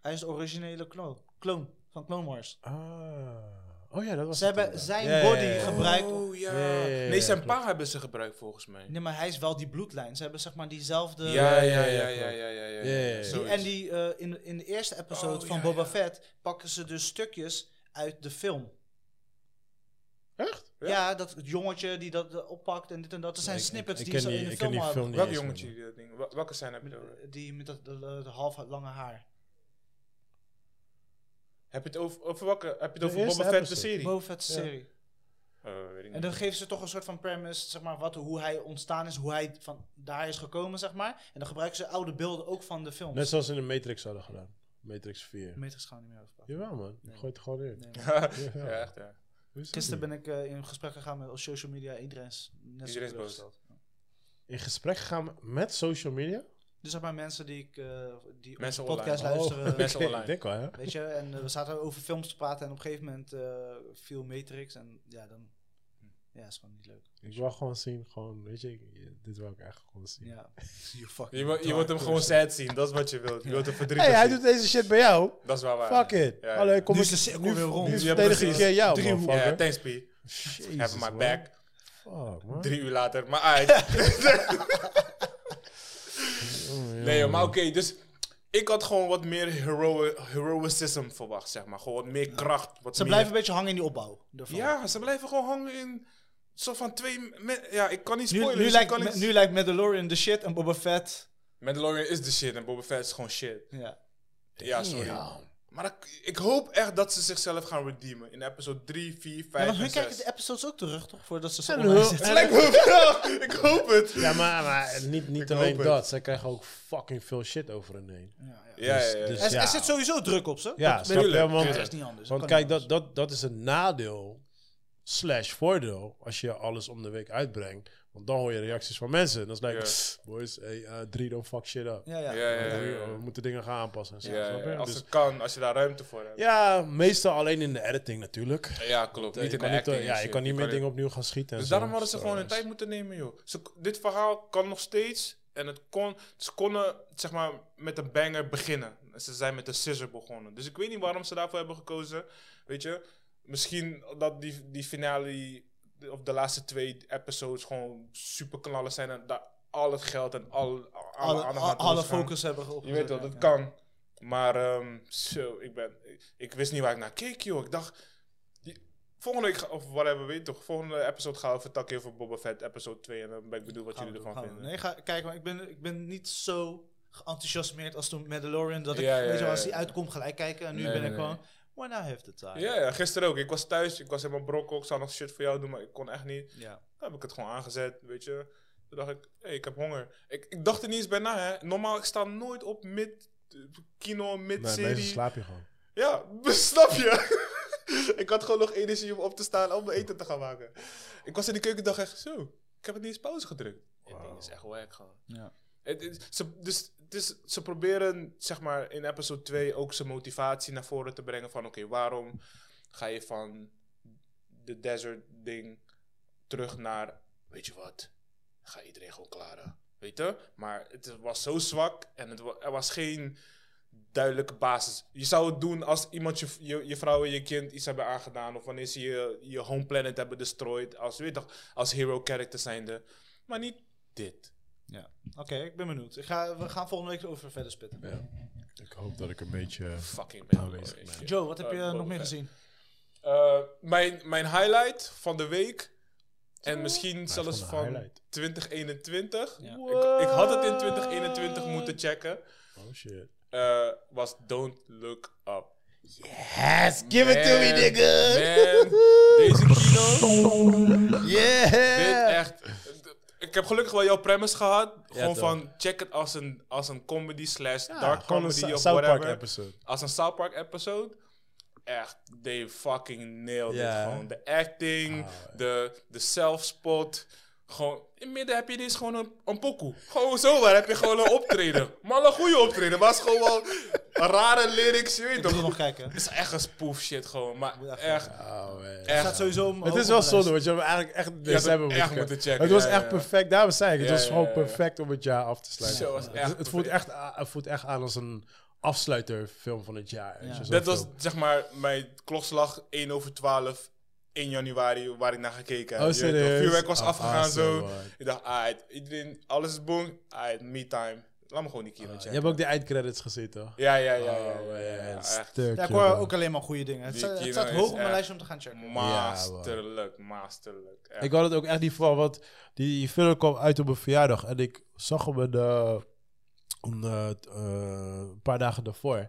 B: Hij is de originele clone, clone van Clone Wars.
C: Ah. Oh ja, dat was
B: Ze
C: het
B: hebben
C: inderdaad.
B: zijn
C: Ja, ja,
B: body
C: ja, ja.
B: gebruikt. om-
A: Oh ja.
C: Ja, ja, ja, ja,
A: nee, zijn
C: klopt.
A: pa hebben ze gebruikt volgens mij.
B: Nee, maar hij is wel die bloedlijn. Ze hebben zeg maar diezelfde...
A: Ja, ja,
C: ja,
A: ja, ja,
C: ja,
A: ja,
C: klopt.
A: ja, ja, ja.
C: Ja, ja, ja.
B: Die-
A: Zoiets.
B: en die, eh, in, in de eerste episode
A: Oh,
B: van
A: ja,
B: Boba
A: ja.
B: Fett pakken ze dus stukjes uit de film.
A: Echt?
B: Ja, dat het jongetje die dat eh, oppakt en dit en dat. Er zijn
C: Ik- ik-
B: snippets
C: ik
B: die
C: ken
B: ze in de
C: ik ken
B: film
C: die
B: hadden.
C: film niet
A: Welk
C: eens,
A: jongetje
C: man.
A: die dat ding? wel- Welke zijn heb je het over?
B: Die met dat de, de half lange haar.
A: Heb je het over, over welke? Heb je het
C: De
A: over
C: eerste
A: Boba Fett, de
C: episode.
A: serie?
B: Boba Fett's serie.
A: Eh, weet ik niet.
B: En dan geven ze toch een soort van premise, zeg maar, wat, hoe hij ontstaan is, hoe hij van daar is gekomen, zeg maar. En dan gebruiken ze oude beelden ook van de films.
C: Net zoals ze in de Matrix hadden gedaan. Matrix 4.
B: Meters gaan we niet meer overpakken.
C: Jawel, man. Je gooit het gewoon in.
B: Nee,
C: [LAUGHS]
A: [LAUGHS]
B: man.
A: ja, echt, ja.
C: Hoe is dat
B: Gisteren
C: nu?
B: ben ik eh, in gesprek gegaan met op social media. Iedereen is net zo
A: Iedereen is boos.
B: teleurgesteld.
C: In gesprek gegaan met social media?
B: Dus zeg maar mensen die ik eh, die
A: Mensen
B: onze podcast
A: online.
C: [LAUGHS]
A: Oh.
B: luisteren. [LAUGHS]
A: Mensen
C: oké,
A: online.
C: Oh, Ik denk wel, hè?
B: Weet je, en eh, we zaten over films te praten en op een gegeven moment eh, viel Matrix en ja, dan ja, is gewoon niet leuk.
C: Ik wil gewoon zien, gewoon, weet je, ik- dit wil ik echt gewoon zien. [LAUGHS]
B: Ja, you fucking
A: Je, wil- je wilt hem
B: dark
A: gewoon
B: person.
A: sad zien, dat is wat je wilt. Je wilt hem verdrietig
C: hey, hij
A: zien.
C: doet deze shit bij jou.
A: Dat is wel waar.
C: Fuck it.
A: Ja, ja.
C: Hallo, kom
B: Nu
C: ik-
B: is de cirkel
C: nu-
B: weer rond.
C: Nu
A: Ja,
C: verdedig ik
A: precies.
C: keer jou,
A: Drie
C: man.
A: uur. Ja, thanks P. Have my back.
C: Fuck, man.
A: Drie uur later, maar
C: [LAUGHS]
A: uit.
C: Oh,
A: nee, joh, maar oké, dus ik had gewoon wat meer hero heroicism verwacht, zeg maar. Gewoon wat meer kracht. Wat
B: Ze
A: meer-
B: blijven een beetje hangen in die opbouw. Ervan.
A: Ja, ze blijven gewoon hangen in. Zo van twee. me- Ja, ik kan niet
B: nu,
A: spoilen.
B: nu,
A: dus ik
B: lijkt,
A: kan
B: me-
A: niet...
B: nu lijkt Mandalorian de shit en Boba Fett.
A: Mandalorian is de shit en Boba Fett is gewoon shit.
B: Ja.
A: Ja, sorry. Maar dat- ik hoop echt dat ze zichzelf gaan redeemen in episode 3, 4, 5
B: En dan
A: en
B: hun
A: 6.
B: kijken de episodes ook terug, toch? Voordat ze ze
C: En
B: online
C: hun-
B: zetten.
A: Het lijkt me wel. Ik hoop het.
C: Ja, maar, maar niet, niet
A: hoop
C: alleen
A: het.
C: dat. Zij krijgen ook fucking veel shit over hun heen.
B: Ja, ja.
A: Ja, ja,
C: Dus-
A: ja.
C: dus-
B: Er, er
C: Ja.
B: zit sowieso druk op ze.
C: Ja,
B: Dat
C: snap
A: tuurlijk.
C: je? Want,
B: dat is niet anders.
C: want
B: kan
C: kijk,
B: niet
C: dat, dat, dat is een nadeel slash voordeel als je alles om de week uitbrengt. Want dan hoor je reacties van mensen. Dan is het like, boys, hey, eh, drie, don't fuck shit up.
B: anders. Ja, ja.
A: Ja, ja, ja,
C: We-
A: ja.
C: We moeten dingen gaan aanpassen. en zo,
A: Ja,
C: snap je?
A: ja, als
C: Dus-
A: het kan, als je daar ruimte voor hebt.
C: ja, meestal alleen in de editing natuurlijk.
A: Ja, klopt.
C: je kan niet, eh, ja, je kan niet meer dingen opnieuw gaan schieten. en
A: Dus
C: zo.
A: daarom hadden ze gewoon hun
C: Dus-
A: tijd moeten nemen, joh. Ze, dit verhaal kan nog steeds. En het kon, ze konden, zeg maar, met een banger beginnen. En Ze zijn met de scissor begonnen. Dus ik weet niet waarom ze daarvoor hebben gekozen. Weet je, misschien dat die, die finale of de laatste twee episodes gewoon super knallen zijn. En daar al het geld en al, alle,
B: Alle,
A: aandacht
B: alle,
A: naartoe is gaan.
B: focus hebben op.
A: Je weet wel, dat kan. Maar ehm, zo, ik ben... Ik, ik wist niet waar ik naar keek, joh. Ik dacht... die- volgende week, ga- of whatever, weet je toch. Volgende episode gaan we vertakken over Boba Fett, episode 2. En dan ben ik benieuwd wat jullie ervan vinden.
B: Nee, ga, kijk, maar ik ben, ik ben niet zo geenthousiasmeerd als toen Mandalorian. Dat ik,
A: Ja, ja,
B: weet je, wel, als
A: ja,
B: die
A: ja.
B: uitkomt, gelijk kijken. En nu
A: Nee,
B: ben
A: nee,
B: ik
A: nee.
B: gewoon, why not have the time?
A: Ja, ja, gisteren ook. Ik was thuis, ik was helemaal brokkel. Ik zou nog shit voor jou doen, maar ik kon echt niet.
B: Ja.
A: Dan heb ik het gewoon aangezet, weet je. Toen dacht ik, hé, ik heb honger. Ik, ik dacht er niet eens bij na, hè. Normaal, ik sta nooit op mid... eh, Kino,
C: Nee, meestal
A: mid-serie.
C: slaap je gewoon.
A: ja, [LAUGHS] snap je? [LAUGHS] ik had gewoon nog energie om op te staan om mijn eten te gaan maken. Ik was in de keuken en dacht echt zo, ik heb het niet eens pauze gedrukt. Het ding is echt wack gewoon.
B: Ja.
A: Het, is- ze, dus, het is- ze proberen zeg maar in episode 2 ook zijn motivatie naar voren te brengen van oké, waarom ga je van de desert ding terug naar, weet je wat, ga iedereen gewoon klaren. Weet je? Maar het was zo zwak en het wa- er was geen duidelijke basis. Je zou het doen als iemand je, je, je vrouw en je kind iets hebben aangedaan. Of wanneer ze je, je home planet hebben destroyed. Als, weet je toch, als hero character zijnde. Maar niet dit.
B: Ja. Oké, ik ben benieuwd. Ik ga, we gaan volgende week over verder spitten.
C: Ik hoop dat ik een beetje...
A: Fucking ben
C: Aanwezig, Oh, man.
B: Joe, wat heb
A: Eh,
B: je
A: Boba
B: nog meer
A: Fett.
B: gezien?
A: Eh, mijn, mijn highlight van de week. En misschien zelfs
C: gewoon een
A: van
C: highlight.
A: 2021.
B: Ja.
A: Ik, ik had het in 2021 moeten checken.
C: Oh shit.
A: eh, was Don't Look Up.
C: Yes, give
A: Man, Man, deze kino. Dit
C: Yeah!
A: echt. Ik heb gelukkig wel jouw premise gehad. Gewoon
C: toch.
A: van check het als een, als een comedy slash
C: Ja,
A: dark
C: gewoon een
A: comedy
C: Sa-
A: of
C: South
A: whatever.
C: Park episode.
A: Als een South Park episode. Echt, they fucking nailed
C: Ja, Ah.
A: it
C: hè?
A: gewoon. De acting, de, de self-spot. Gewoon, in het midden heb je dus gewoon een, een pokoe. Gewoon zo, waar heb je gewoon een
C: [LAUGHS]
A: optreden. Maar een goede optreden, maar het is gewoon wel rare lyrics, je weet
B: Ik wil
A: toch.
C: [LAUGHS]
B: nog kijken.
A: Het is echt een spoof shit gewoon, maar
B: Moet even-
A: echt,
C: Oh man.
B: Het
A: echt.
B: gaat sowieso om.
C: Het is wel zonde, want je hebt eigenlijk echt
A: had
C: deze
A: hem
C: hebben
A: echt moeten checken,
C: Het was
A: ja,
C: echt
A: ja.
C: perfect, daarom zei ik, het
A: Ja,
C: was
A: ja,
C: gewoon
A: ja.
C: perfect om het jaar af te sluiten.
A: Zo was
C: het,
A: echt
C: het voelt
A: perfect.
C: echt, a- het voelt echt aan als een afsluiterfilm van het jaar. weet
B: Ja.
C: je, Oh, zo'n
A: Dat was
C: film.
A: zeg maar mijn klokslag 1 over 12, 1 januari, waar ik naar gekeken heb.
C: Oh,
A: Je weet toch,
C: serieus?
A: Vuurwerk was
C: Oh,
A: afgegaan
C: awesome,
A: zo.
C: man.
A: Ik dacht, aight, iedereen, alles is boom, aight, me time. Laat me gewoon die kino
C: Ah, Je
A: checken.
C: hebt ook de eindcredits gezien, toch?
A: Ja, ja, ja. ja,
C: Oh,
A: ja, ja,
C: man,
A: echt
C: stuk,
B: Ja, ik hoor
C: jongen.
B: ook alleen maar goede dingen. Het,
A: Die
B: staat- het
A: kino
B: staat
A: is
B: hoog op mijn
A: echt-
B: lijstje om te gaan checken.
A: Masterlijk, masterlijk. echt.
C: Ik had het ook echt niet voor, want die film kwam uit op een verjaardag en ik zag hem een, eh, een, eh, t- eh, een paar dagen daarvoor.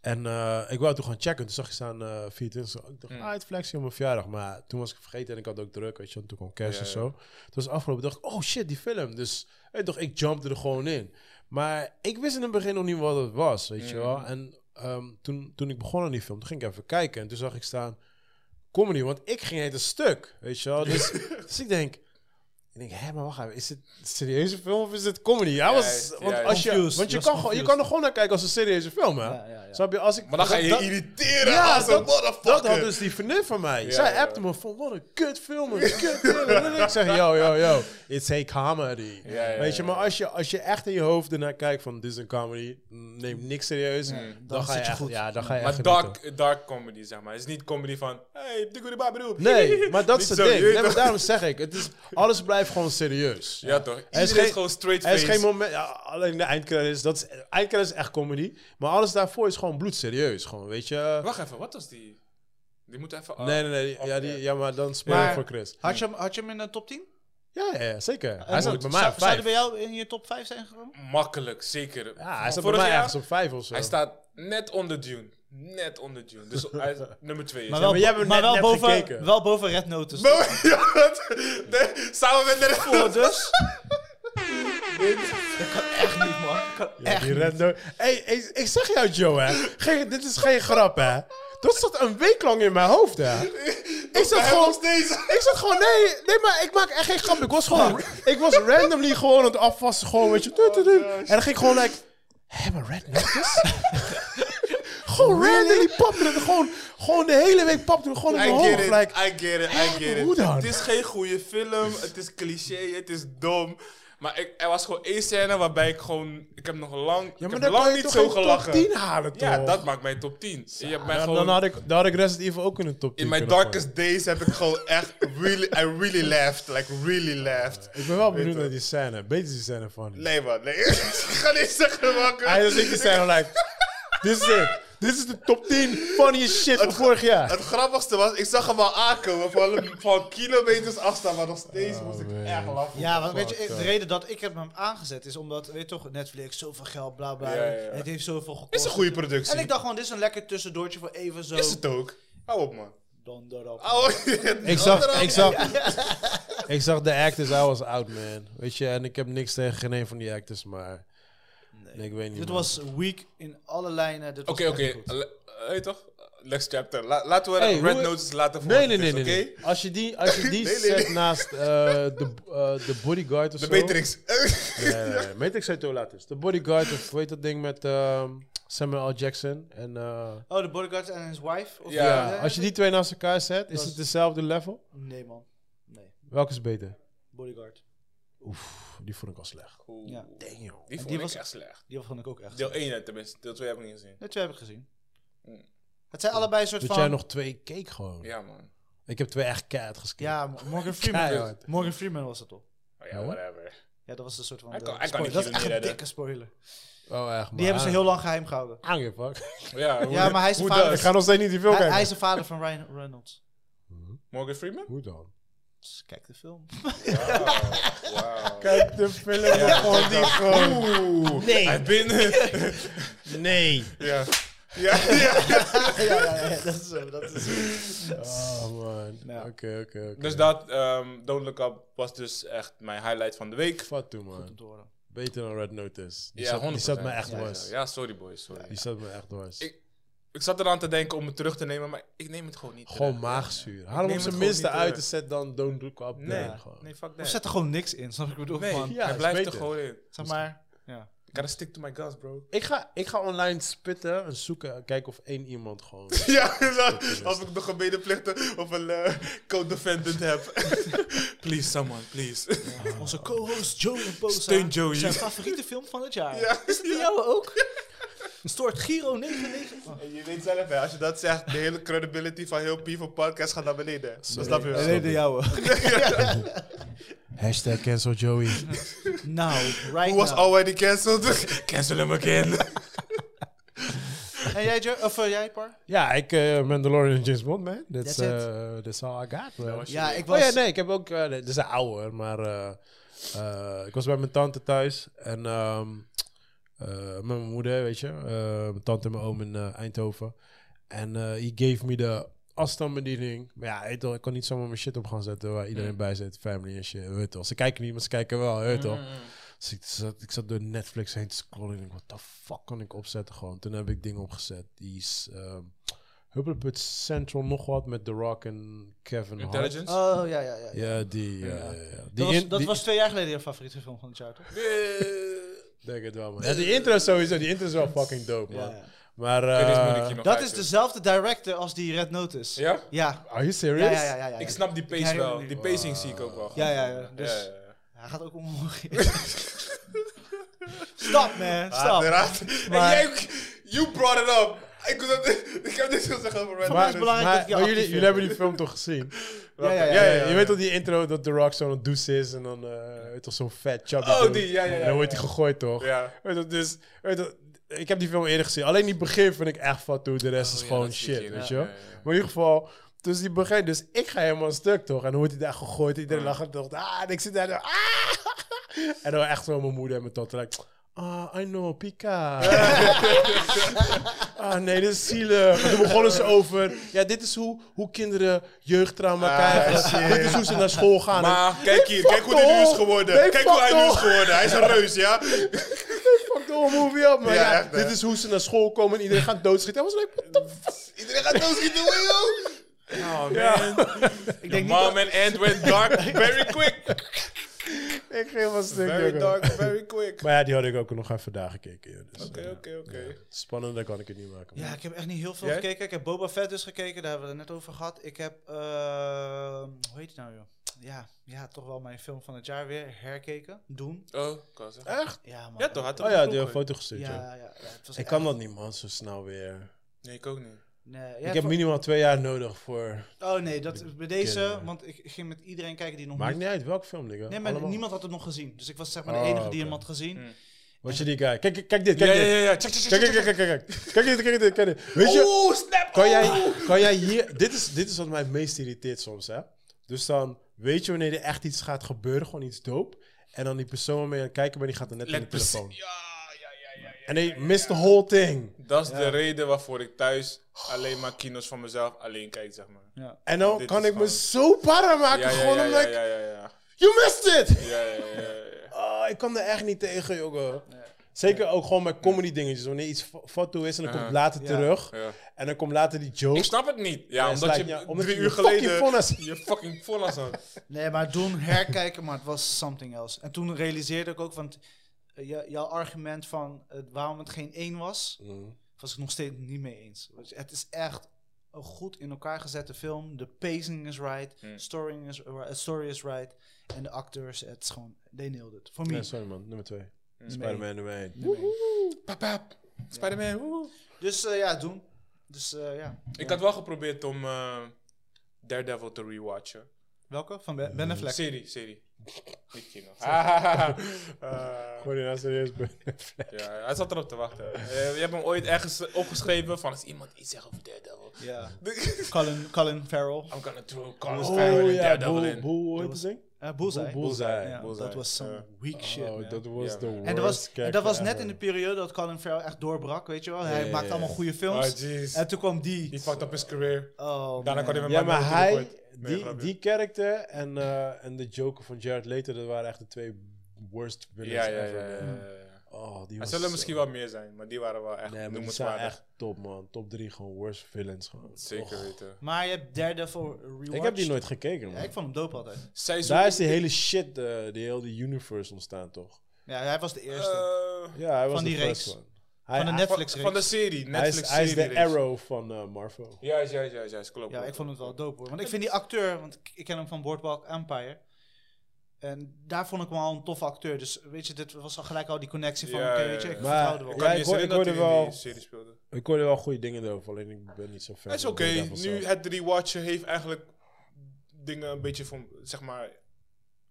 C: En eh, ik wou toen gaan checken, toen zag ik staan eh 24. Ik
A: Mm.
C: dacht, ah, het flexie op mijn verjaardag. Maar toen was ik vergeten en ik had ook druk, weet je, want toen kwam kerst
A: Ja,
C: en
A: ja.
C: zo. Toen was het afgelopen, dacht ik, oh shit, die film. Dus weet je toch, ik jumpte er gewoon in. Maar ik wist in het begin nog niet wat het was, weet
A: Mhm.
C: je wel. En ehm, toen, toen ik begon aan die film, toen ging ik even kijken en toen zag ik staan comedy, want ik ging het een stuk, weet je
A: [LAUGHS]
C: wel. Dus, dus ik denk, ik denk, hé, maar wacht even, is het een serieuze film of is het comedy? Ja, was,
A: Juist,
C: want,
A: juist.
C: als je,
B: Confused,
C: want je,
B: was
C: kan, gewoon- je
B: confused.
C: kan er gewoon naar kijken als een serieuze film, hè?
B: Ja, ja, ja.
C: Snap je? Als ik,
A: Maar dan ga je je
C: dat-
A: irriteren
C: ja,
A: als een
C: dat, dat had
A: motherfucker.
C: dus die vriendin van mij.
A: Ja,
C: Zij
A: ja.
C: appte me van, wat een kut film, een kut film. En ik zeg, yo, yo, yo, it's a comedy.
A: Ja, ja,
C: Weet je,
A: ja,
C: maar als je, als je echt in je hoofd ernaar kijkt van, dit is een comedy, neem niks serieus,
A: Hmm,
C: dan,
B: dan
C: ga je
B: zit je
C: echt,
B: goed.
C: Ja, dan ga je echt
A: maar
C: genieten.
A: dark, dark comedy, zeg maar. Het is niet comedy van, hey, dikke de baberoe.
C: Nee, maar
A: [LAUGHS]
C: dat is
A: Niet
C: het
A: zo,
C: ding.
A: je weet
C: Nee, maar
A: toch?
C: daarom zeg ik, het is, alles blijft gewoon serieus.
A: Ja, toch? Iedereen is,
C: geen-
A: gewoon straight
C: Er
A: face.
C: is geen moment, ja, alleen de eindcredits, dat is, eindcredits is echt comedy. Maar alles daarvoor is gewoon bloedserieus, gewoon, weet je.
A: Wacht even, wat was die? Die moet even...
C: Nee, nee, nee, ja,
A: Oh,
C: die, ja maar dan speel
B: Maar-
C: ik voor Chris.
B: Had je, hem- had je hem in de top 10?
C: Ja, ja, ja, zeker.
B: Eh,
C: Hij zat ook bij mij
B: zou-
C: op
B: Zou
C: vijf.
B: hij bij jou in je top 5 zijn gekomen?
A: Makkelijk, zeker.
C: Ja, hij
A: Van
C: staat bij
A: vorig
C: mij
A: jaar,
C: ergens op vijf of zo.
A: Hij staat net onder Dune. Net onder Dune. Dus hij
C: [LAUGHS]
A: is nummer twee. is
B: Maar
A: hij.
C: maar
B: wel,
C: jij hebt hem
B: maar
C: net-
B: wel,
C: net
B: boven,
C: gekeken.
B: wel boven Red Notice.
A: [LAUGHS] Ja, dat- nee, samen met de rest.
B: Oh, dus. dat kan echt niet, man. Dat kan
C: Ja,
B: echt
C: die
B: niet.
C: random- Hey, ik, ik zeg jou, Joe, hè. Geen, dit is geen grap, hè. Dat zat een week lang in mijn hoofd,
A: [LAUGHS]
C: hè. Ik zat gewoon... Ik zat gewoon... Nee, nee, maar ik maak echt geen grap. Ik was
A: [LAUGHS]
C: gewoon... Ik was randomly gewoon aan het afwassen. Gewoon, weet je...
A: Oh,
C: doet, doet, doet. en dan ging ik gewoon, like... Hé, maar red notice? [LAUGHS] gewoon randomly papte het. Gewoon, gewoon de hele week papte het gewoon in
A: I
C: mijn
A: get
C: hoofd.
A: it,
C: like,
A: I get it, I get it.
C: Hoe dan?
A: Het is geen goede film, het is cliché, het is dom. Maar ik, er was gewoon één scène waarbij ik gewoon... Ik heb nog lang,
C: ja,
A: ik
C: maar
A: heb
C: dan kan
A: lang
C: je
A: niet
C: toch
A: zo
C: geen top
A: gelachen.
C: 10 halen, toch?
A: ja, dat maakt mijn top 10. Je hebt mij
C: dan,
A: gewoon...
C: dan had ik, dan had ik Resident Evil ook in de top 10
A: in my
C: kunnen
A: darkest days heb ik gewoon echt... Really, I really laughed, like really laughed.
C: gooien. Ik ben wel
A: Weet
C: benieuwd
A: je.
C: naar die scène. Beter die scène van...
A: Nee man, nee. [LAUGHS] ik ga niet zeggen wakker.
C: Hij was in de zijn like, this is it. Dit is de top 10 funniest shit van vorig jaar.
A: Het grappigste was, ik zag hem al aankomen van, van kilometers afstand, maar nog steeds moest ik
C: Oh, man.
A: echt lachen.
B: Ja, want weet je,
C: Fuck,
B: de
C: ja.
B: reden dat ik heb hem aangezet is omdat, weet je toch, Netflix, zoveel geld, bla bla.
A: Ja, ja, ja.
B: Het heeft zoveel gekost.
A: Is een goede productie.
B: En ik dacht gewoon, dit is een lekker tussendoortje voor even zo.
A: Is het ook? Hou op man.
B: Donderop.
A: Hou op.
F: Oh.
A: [LAUGHS]
C: Ik zag, ik, zag, [LAUGHS] ik zag de actors, I was out, man. Weet je, en ik heb niks tegen geen een van die actors, maar... Nee, ik weet niet,
B: Dit
C: man.
B: was weak in alle lijnen. Dit was
A: Oké,
B: echt
A: oké.
B: goed.
A: Le- eh, Weet je toch? next chapter. La- laten we
F: Hey,
A: Red
F: hoe-
A: Notice laten voor
F: Nee,
A: wat
F: nee,
A: het
F: nee.
A: is,
F: nee,
A: oké?
F: nee. Als je die, als je die
A: [LAUGHS] Nee, nee,
F: zet
A: nee.
F: naast eh, de, eh, de Bodyguard of
A: De
F: zo.
A: Matrix. [LAUGHS]
F: Nee, nee, nee. Matrix heet hoe laat is. De Bodyguard of, weet dat ding met ehm, Samuel L. Jackson en... eh,
B: Oh, de bodyguard en his wife? Of
A: Ja,
F: ja, als je die twee naast elkaar zet, is
B: Dat
F: het
B: is-
F: dezelfde level?
B: Nee, man. Nee.
F: Welke is beter?
B: Bodyguard.
F: Oef, die vond ik al slecht.
A: Oeh,
B: Ja.
A: Die vond
B: Die
A: ik
B: was-
A: echt slecht.
B: Die vond ik ook echt.
A: Deel 1 tenminste, deel 2 heb ik niet gezien.
B: Nee, twee heb ik gezien.
A: Mm.
B: Het zijn allebei een soort
F: Dat
B: van...
F: jij nog twee keek gewoon.
A: Ja man.
F: Ik heb twee echt keihard geskipt.
B: [LAUGHS] Ja, Morgan Freeman.
F: Keihard.
B: Morgan Freeman was het toch?
A: Maar Oh, ja,
F: Huh?
A: whatever.
B: Ja, dat was een soort van...
A: Hij
B: de
A: kan- hij kan
B: spoiler.
A: niet
B: dat is echt een
A: iedereen
B: dikke spoiler.
F: Oh, echt, man.
B: Die hebben ze heel lang geheim gehouden.
F: Aange, fuck.
A: Ja, hoe-
B: Ja, maar hij is de
A: hoe
B: vader-
A: dat?
C: Ik ga nog steeds niet die film
B: Hij,
C: kijken.
B: hij is de vader van Ryan Reynolds.
A: Morgan Freeman?
F: Hoe dan?
B: Dus kijk de film.
A: Wauw.
C: Kijk de film gewoon [LAUGHS] die gewoon.
B: [LAUGHS]
A: Hij binnen.
C: Nee.
A: ja. Ja, ja.
B: ja, ja, ja, dat is zo. Dat is
C: Oh man.
B: Ja.
C: Oké, oké, oké.
A: Dus dat, ehm Don't Look Up, was dus echt mijn highlight van de week.
C: Wat doen
B: Goed om
C: man.
B: te horen.
C: Beter dan Red Notice. Die
A: ja,
C: zat- Die zat me
A: 100%.
C: echt
A: Ja,
C: dwars.
A: ja, Ja, sorry boys, sorry.
C: Die zat me echt dwars.
A: Ik- Ik zat eraan te denken om het terug te nemen, maar ik neem het gewoon niet
C: Gewoon
A: terug.
C: maagzuur. Haal hem
A: neem
C: op zijn
A: het gewoon
C: minste
A: niet
C: uit
A: terug.
C: en zet dan Don't Look Up.
A: Nee,
C: down gewoon.
A: nee, fuck
B: Of
A: that.
B: zet er gewoon niks in, snap ik wat ik bedoel,
A: Nee,
B: man.
A: ja, hij
C: is
A: blijft er
C: beter.
A: gewoon in.
B: Zeg maar, ja.
A: I gotta stick to my guns, bro.
C: Ik ga, ik ga online spitten en zoeken en kijken of één iemand gewoon...
A: [LAUGHS] Ja, of ik nog een medeplichter of een eh, co-defendant heb. [LAUGHS] please, someone, please.
B: Onze co-host Ah. Joey en Poza.
A: Steun Joey.
B: Zijn favoriete film van het jaar.
A: [LAUGHS] Ja.
B: Is het die jouwe ook? Stoort Giro 99. Oh,
A: En je weet zelf, hè, als je dat zegt, de hele credibility van heel People Podcast gaat naar beneden. Dat snap je wel.
B: alleen de
C: [LAUGHS]
B: jouwe. [LAUGHS]
C: Hashtag cancel Joey.
B: Nou, right
A: Who was
B: now.
A: already cancelled? Cancel him again. [LAUGHS]
B: En jij, Jo- of eh, jij, Par?
C: [LAUGHS] Ja, ik eh Mandalorian en James Bond, man. That's,
B: That's it.
C: eh, that's all I got, man.
B: Ja, ik
C: Oh
B: was...
C: ja, nee, ik heb ook... eh, nee, dit is een oude, hoor, maar... eh, eh, ik was bij mijn tante thuis en ehm, eh, met mijn moeder, weet je. eh, mijn tante en mijn oom in eh, Eindhoven. En eh he gave me de afstandsbediening. Maar ja, weet je wel, ik kon niet zomaar mijn shit op gaan zetten waar
B: Mm.
C: iedereen bij zit. Family en shit, weet je wel. Ze kijken niet, maar ze kijken wel, weet
B: Mm,
C: je wel. Dus ik zat, ik zat door Netflix heen te scrollen en ik dacht, what the fuck kan ik opzetten gewoon? Toen heb ik dingen opgezet. Die is ehm Huppelput Central nog wat met The Rock en Kevin Hart.
A: Intelligence?
B: Oh, ja, ja, ja.
C: Ja, die. Ja, ja, ja. Die
B: Dat, was,
C: in-
B: dat
C: die-
B: was twee jaar geleden jouw favoriete film van het jaar,
A: Ah.
B: toch?
C: Denk het wel, man. Ja, die intro sowieso, die intro is wel fucking dope, man.
B: Ja, ja.
C: Maar...
A: Dit
C: eh,
A: moet ik hier nog
B: Dat
A: uit
B: is
A: doen.
B: dezelfde director als die Red Notice.
A: Ja?
B: Ja.
C: Are you
B: Ja, ja,
C: serious?
B: ja. ja, ja, ja.
A: Ik snap die pace
B: herinner
A: wel.
B: me.
A: Die pacing zie ik ook wel.
B: Ja, ja, ja. Dus- Hij gaat ook omhoog. [LAUGHS] stop, man.
A: Ah,
B: Stop.
A: Uiteraard.
B: Maar-
A: En jij, you brought it up. Ik, kon dat- [LAUGHS] ik heb niks gezegd over Red
B: Maar-
A: Notice.
B: belangrijk
C: maar,
B: dat je
C: maar jullie,
B: actief
C: jullie hebben die film toch gezien?
B: Ja, ja,
C: Ja,
B: ja.
C: ja,
A: ja,
C: je
A: ja.
C: weet toch die intro dat The Rock zo'n douche is en dan eh, weet je toch zo'n vet chubby
A: Oh,
C: dude.
A: die, ja, ja, ja,
C: En dan wordt
A: ja.
C: hij gegooid, toch?
A: Ja.
C: Weet je, dus, weet je, ik heb die film eerder gezien. Alleen die begin vind ik echt van toe. De rest is gewoon
A: dat zie ik
C: shit,
A: hier,
C: weet je
A: Oh, ja,
C: wel.
A: ja, ja.
C: Maar in ieder geval, dus die begin, dus ik ga helemaal stuk, toch? En dan wordt hij daar gegooid. Iedereen lacht en dacht, ah, en ik zit daar, zo, ah. [LAUGHS] En dan echt zo mijn moeder en mijn tante, like, ah, I
A: [LAUGHS]
C: know, Pika. ah, nee, dit is zielig. En toen begonnen ze over, ja, dit is hoe, hoe kinderen jeugdtrauma krijgen. Dit is hoe ze naar school gaan. En-
A: Ah, Maar kijk hier, kijk hoe
C: fuck
A: hij nu is
C: off.
A: geworden.
C: Nee,
A: kijk hoe
C: fuck
A: hij nu is
C: off.
A: geworden. Hij is een reus, ja?
C: fuck the whole movie up, man.
A: Ja,
C: Ja,
A: echt, hè?
C: dit is hoe ze naar school komen en iedereen gaat doodschieten. Hij was like, what the fuck?
A: Iedereen gaat doodschieten, hoor, joh. Oh man,
B: Ik
A: the
B: denk niet dat-
A: mom and aunt went dark very quick.
C: Ik ging wel stuk,
A: Very
C: jongen.
A: dark, very quick.
C: Maar ja, die had ik ook nog even vandaag gekeken. joh. Dus,
A: Oké,
C: eh,
A: oké, oké.
C: Spannender kan ik het niet maken.
B: Ja,
C: man.
B: ik heb echt niet heel veel
A: Jij?
B: gekeken. Ik heb Boba Fett dus gekeken, daar hebben we het net over gehad. Ik heb, ehm, hoe heet die nou joh? Ja, ja, toch wel mijn film van het jaar weer herkeken. Doen.
A: Oh, ik wou zeggen.
C: Echt?
B: Ja, man.
A: Ja toch, had toch
C: Oh ja,
A: een
C: die had
A: ploeg,
C: een foto gestuurd,
B: Ja,
C: ja.
B: ja, ja, het
C: Ik
B: was echt-
C: kan dat niet, man, zo snel weer.
A: hoor. Nee, ik ook niet.
B: Nee, ja,
C: ik
B: het
C: heb
B: was-
C: minimaal twee jaar nodig voor...
B: Oh nee, dat, bij deze,
C: kinderen.
B: want ik ik ging met iedereen kijken die nog
C: Maakt niet uit welke film, nigga.
B: Nee, maar
C: Allemaal.
B: niemand had het nog gezien. Dus ik was zeg maar de
C: Oh,
B: enige die
C: oké.
B: hem had gezien.
A: Mm.
C: Wat je die kijkt. Kijk, kijk dit,
A: Ja,
C: kijk
A: ja,
C: dit.
A: ja, ja. Check, check, check,
C: Kijk,
A: check, check.
C: kijk, kijk, kijk, kijk. Kijk dit, kijk dit, kijk dit. Weet je...
A: Oeh, snap!
C: Kan
A: oh.
C: jij, kan jij hier... Dit is, dit is wat mij het meest irriteert soms, hè. Dus dan weet je wanneer er echt iets gaat gebeuren, gewoon iets dope. En dan die persoon waarmee je aan het kijken bent, die gaat dan net in de
A: Let precies-
C: telefoon.
A: Ja, ja, ja, ja, ja.
C: En hij mist the whole thing.
A: Dat is de reden waarvoor ik thuis alleen maar kino's van mezelf alleen kijk, zeg maar.
C: En dan
A: Dit
C: kan
A: is
C: ik me
A: gewoon-
C: zo para maken,
A: Ja, ja,
C: gewoon
A: ja,
C: omdat
A: ja,
C: ik...
A: ja, ja, ja.
C: You missed it!
A: Ja, ja, ja, ja, ja.
C: Ah, ik kan er echt niet tegen, jongen. Zeker ook gewoon met comedy dingetjes. Wanneer iets fa- foto is en dan komt later terug.
D: Ja.
C: En dan komt later die joke.
D: Ik snap het niet.
C: Ja,
D: Ja, omdat
C: slijt,
D: je
C: ja, omdat
D: drie
C: je
D: uur
C: je fucking
D: geleden
C: vonnis-
D: je fucking vonnis had.
B: Nee, maar doen herkijken, maar het was something else. En toen realiseerde ik ook, want eh, jou- jouw argument van eh, waarom het geen één was,
C: Mm.
B: was ik nog steeds niet mee eens. Dus het is echt een goed in elkaar gezette film. De pacing is right,
D: Hmm.
B: story, is, ri- eh, story is right. En de acteurs, het is gewoon, they nailed it. Voor
C: Nee,
B: mij.
C: sorry man, nummer twee.
D: Nee.
C: Spider-Man nummer één.
D: Pap, pap. Spider-Man. woehoe.
B: Dus eh, ja, doen. Dus eh, ja.
D: Ik had wel geprobeerd om eh, Daredevil te rewatchen.
B: Welke? Van Ben, ben Affleck?
D: Serie, serie. [LAUGHS] Niet kino. Ah, eh,
C: Gewoon nou serieus ben.
D: ja, hij zat erop te wachten. Eh, je hebt hem ooit ergens eh, opgeschreven van als iemand iets zegt over Daredevil.
B: Ja. Colin, Colin Farrell.
D: I'm gonna throw Carlos
C: Oh
D: Spider-Man
C: ja,
D: Daredevil
C: boel,
D: in.
C: boel, hoe heet dat ding?
B: Eh Bullseye.
C: Boel- Bullseye.
B: Ja,
C: Bullseye.
B: Dat was some
C: Ja.
B: weak shit,
C: Oh,
B: man.
C: dat was
D: Ja.
C: de worst
B: En dat was, en dat was net
C: character
B: in de
C: ever.
B: periode dat Colin Farrell echt doorbrak, weet je wel. Hij
C: ja,
B: maakte
C: ja.
B: allemaal goede
D: Oh
B: films.
D: jeez.
B: en toen kwam die.
D: He fucked up his career.
B: Oh,
D: Daarna
B: man.
D: kon hij met
C: Ja,
D: mijn
C: maar
D: broer
C: hij,
D: terugkomen. Nee,
C: die,
D: grapje.
C: die character en, eh, en de Joker van Jared Leto, dat waren echt de twee worst
D: Ja,
C: villains
D: ja, ja.
C: ever.
D: ja,
C: man.
D: ja, ja.
C: Oh, die
D: Er
C: was
D: zullen
C: zo-
D: misschien wel meer zijn, maar die waren wel echt
C: Nee, maar die zijn
D: noemenswaardig.
C: echt top, man. Top 3 gewoon worst villains, gewoon.
D: Zeker
C: Och.
D: weten.
B: Maar je hebt Daredevil rewatched.
C: Ik heb die nooit gekeken,
B: Ja,
C: man.
B: ik vond hem dope altijd.
D: Seizoen...
C: Daar is die hele shit, eh die hele universe ontstaan, toch?
B: Ja, hij was de eerste.
D: Eh,
C: Ja, hij was
B: Van die
C: de first
B: reeks.
C: one. Hij,
B: van de
C: hij-
B: Netflix
D: van, van de serie.
C: hij, is,
D: Netflix
C: hij is
D: serie.
C: de arrow van eh Marvel.
D: Juist, juist, juist, juist. Klopt.
B: Ja,
D: klopt.
B: ik vond het wel dope hoor. Want ik vind die acteur, want ik, ik ken hem van Boardwalk Empire. En daar vond ik hem al een toffe acteur. Dus weet je, dit was al gelijk al die connectie van,
D: Ja,
B: oké,
D: ja,
B: weet je,
D: ja.
B: ik
C: Maar-
B: vertrouwde wel.
D: Ik
C: Ja,
D: kan
C: ik
D: niet
C: hoor-
D: herinneren
C: ik
D: dat hij
C: hoorde
D: in
C: wel-
D: die serie speelde.
C: Ik hoorde wel goede dingen erover, alleen ik ben niet zo fan.
D: Het is
C: van
D: oké.
C: Daredevil
D: Nu
C: zelf.
D: het rewatchen heeft eigenlijk dingen een beetje van, zeg maar,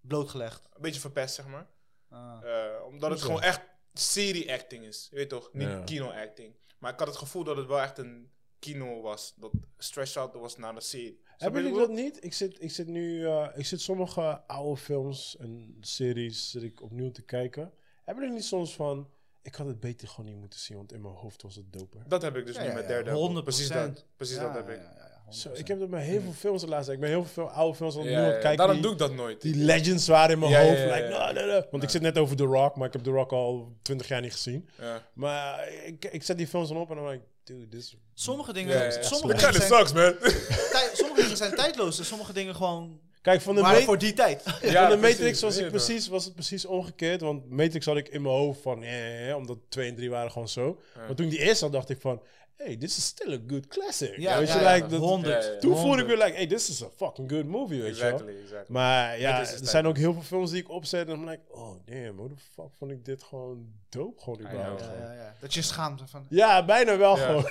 B: Blootgelegd.
D: een beetje verpest, zeg maar.
B: Ah.
D: Eh, omdat het gewoon echt serie-acting is. Je weet toch? Niet
C: Ja.
D: kino-acting. Maar ik had het gevoel dat het wel echt een kino was. Dat stretched out was naar de serie. Snap je
C: Hebben
D: wat ik
C: jullie dat niet? Ik zit, ik zit nu, eh, ik zit sommige oude films en series zit ik opnieuw te kijken. Hebben jullie niet soms van, ik had het beter gewoon niet moeten zien, want in mijn hoofd was het doper.
D: Dat heb ik dus
B: Ja,
D: nu
B: ja,
D: met
B: ja,
D: Daredevil.
B: 100%.
D: Precies dat, precies
B: Ja,
D: dat heb ik.
B: ja, ja, ja,
C: Zo, ik heb dat bij heel veel films de laatste tijd. Ik ben heel veel oude films opnieuw
D: Ja,
C: aan
D: ja,
C: het
D: ja.
C: kijken.
D: Daarom
C: die-
D: doe ik dat nooit.
C: Die legends waren in mijn
D: Ja, ja,
C: hoofd.
D: ja,
C: like,
D: ja.
C: nah, nah, nah. Want ik zit net over The Rock, maar ik heb The Rock al twintig jaar niet gezien.
D: Ja.
C: Maar ik, ik zet die films dan op en dan like, dude, this...
B: Sommige
D: Ja,
B: dingen,
D: ja, ja.
B: sommige
D: It
B: dingen
D: kinda
B: zijn
D: sucks, man.
B: Tij- sommige dingen zijn tijdloos en sommige dingen gewoon.
C: Kijk, van de,
B: maar
C: Ma-
B: voor die tijd.
D: Ja,
C: van de
D: precies,
C: Matrix was,
D: weet
C: ik
D: je toch.
C: precies, was het precies omgekeerd. Want Matrix had ik in mijn hoofd van, eh, eh, eh, omdat 2 en 3 waren gewoon zo. Maar toen ik die eerst had, dacht ik van, hey, this is still a good classic.
B: Ja,
C: Weet
B: ja,
C: je,
B: ja,
C: like, dat-
B: 100.
D: Ja, ja, ja.
C: Toen voelde ik
D: Honderd.
C: weer like, hey, this is a fucking good movie, weet je wel.
D: [LAUGHS] Exactly, exactly.
C: Maar ja,
D: Dit
C: er
D: is de
C: zijn ook heel veel films die ik opzet en dan ben ik, oh damn, hoe de fuck vond ik dit gewoon dope gewoon überhaupt.
D: know.
B: Ja,
C: gewoon.
B: ja, ja. Dat je schaamt ervan.
C: Ja, bijna wel
D: Ja.
C: gewoon.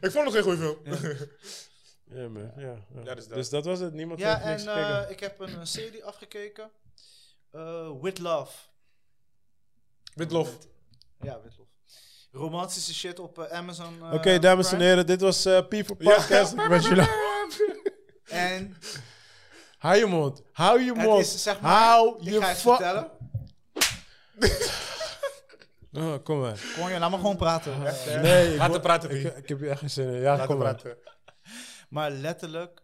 D: Ik vond het geen goede film. [LAUGHS]
C: Ja, man, ja, ja.
D: Dat is dat.
C: Dus dat was het, niemand
B: Ja,
C: heeft niks
B: en eh,
C: gekeken.
B: ik heb een eh, serie afgekeken. Eh, With Love.
D: Witlof.
B: Ja, With Love. Romantische shit op eh, Amazon. eh,
C: Oké, dames en
B: Prime.
C: heren, dit was eh P voor Podcast. Ik wens jullie-
B: En
C: Hou je mond, hou je
B: het
C: mond,
B: is zeg maar.
C: hou
B: ik
C: je
B: ga het
C: fuck...
B: vertellen.
C: Oh, kom maar.
B: Kon je, laat me gewoon praten.
C: Nee, ik,
D: Laten
C: word-
D: praten, Pie.
C: ik, ik heb hier echt geen zin in. Ja,
D: Laten
C: kom maar.
D: praten.
B: Maar letterlijk.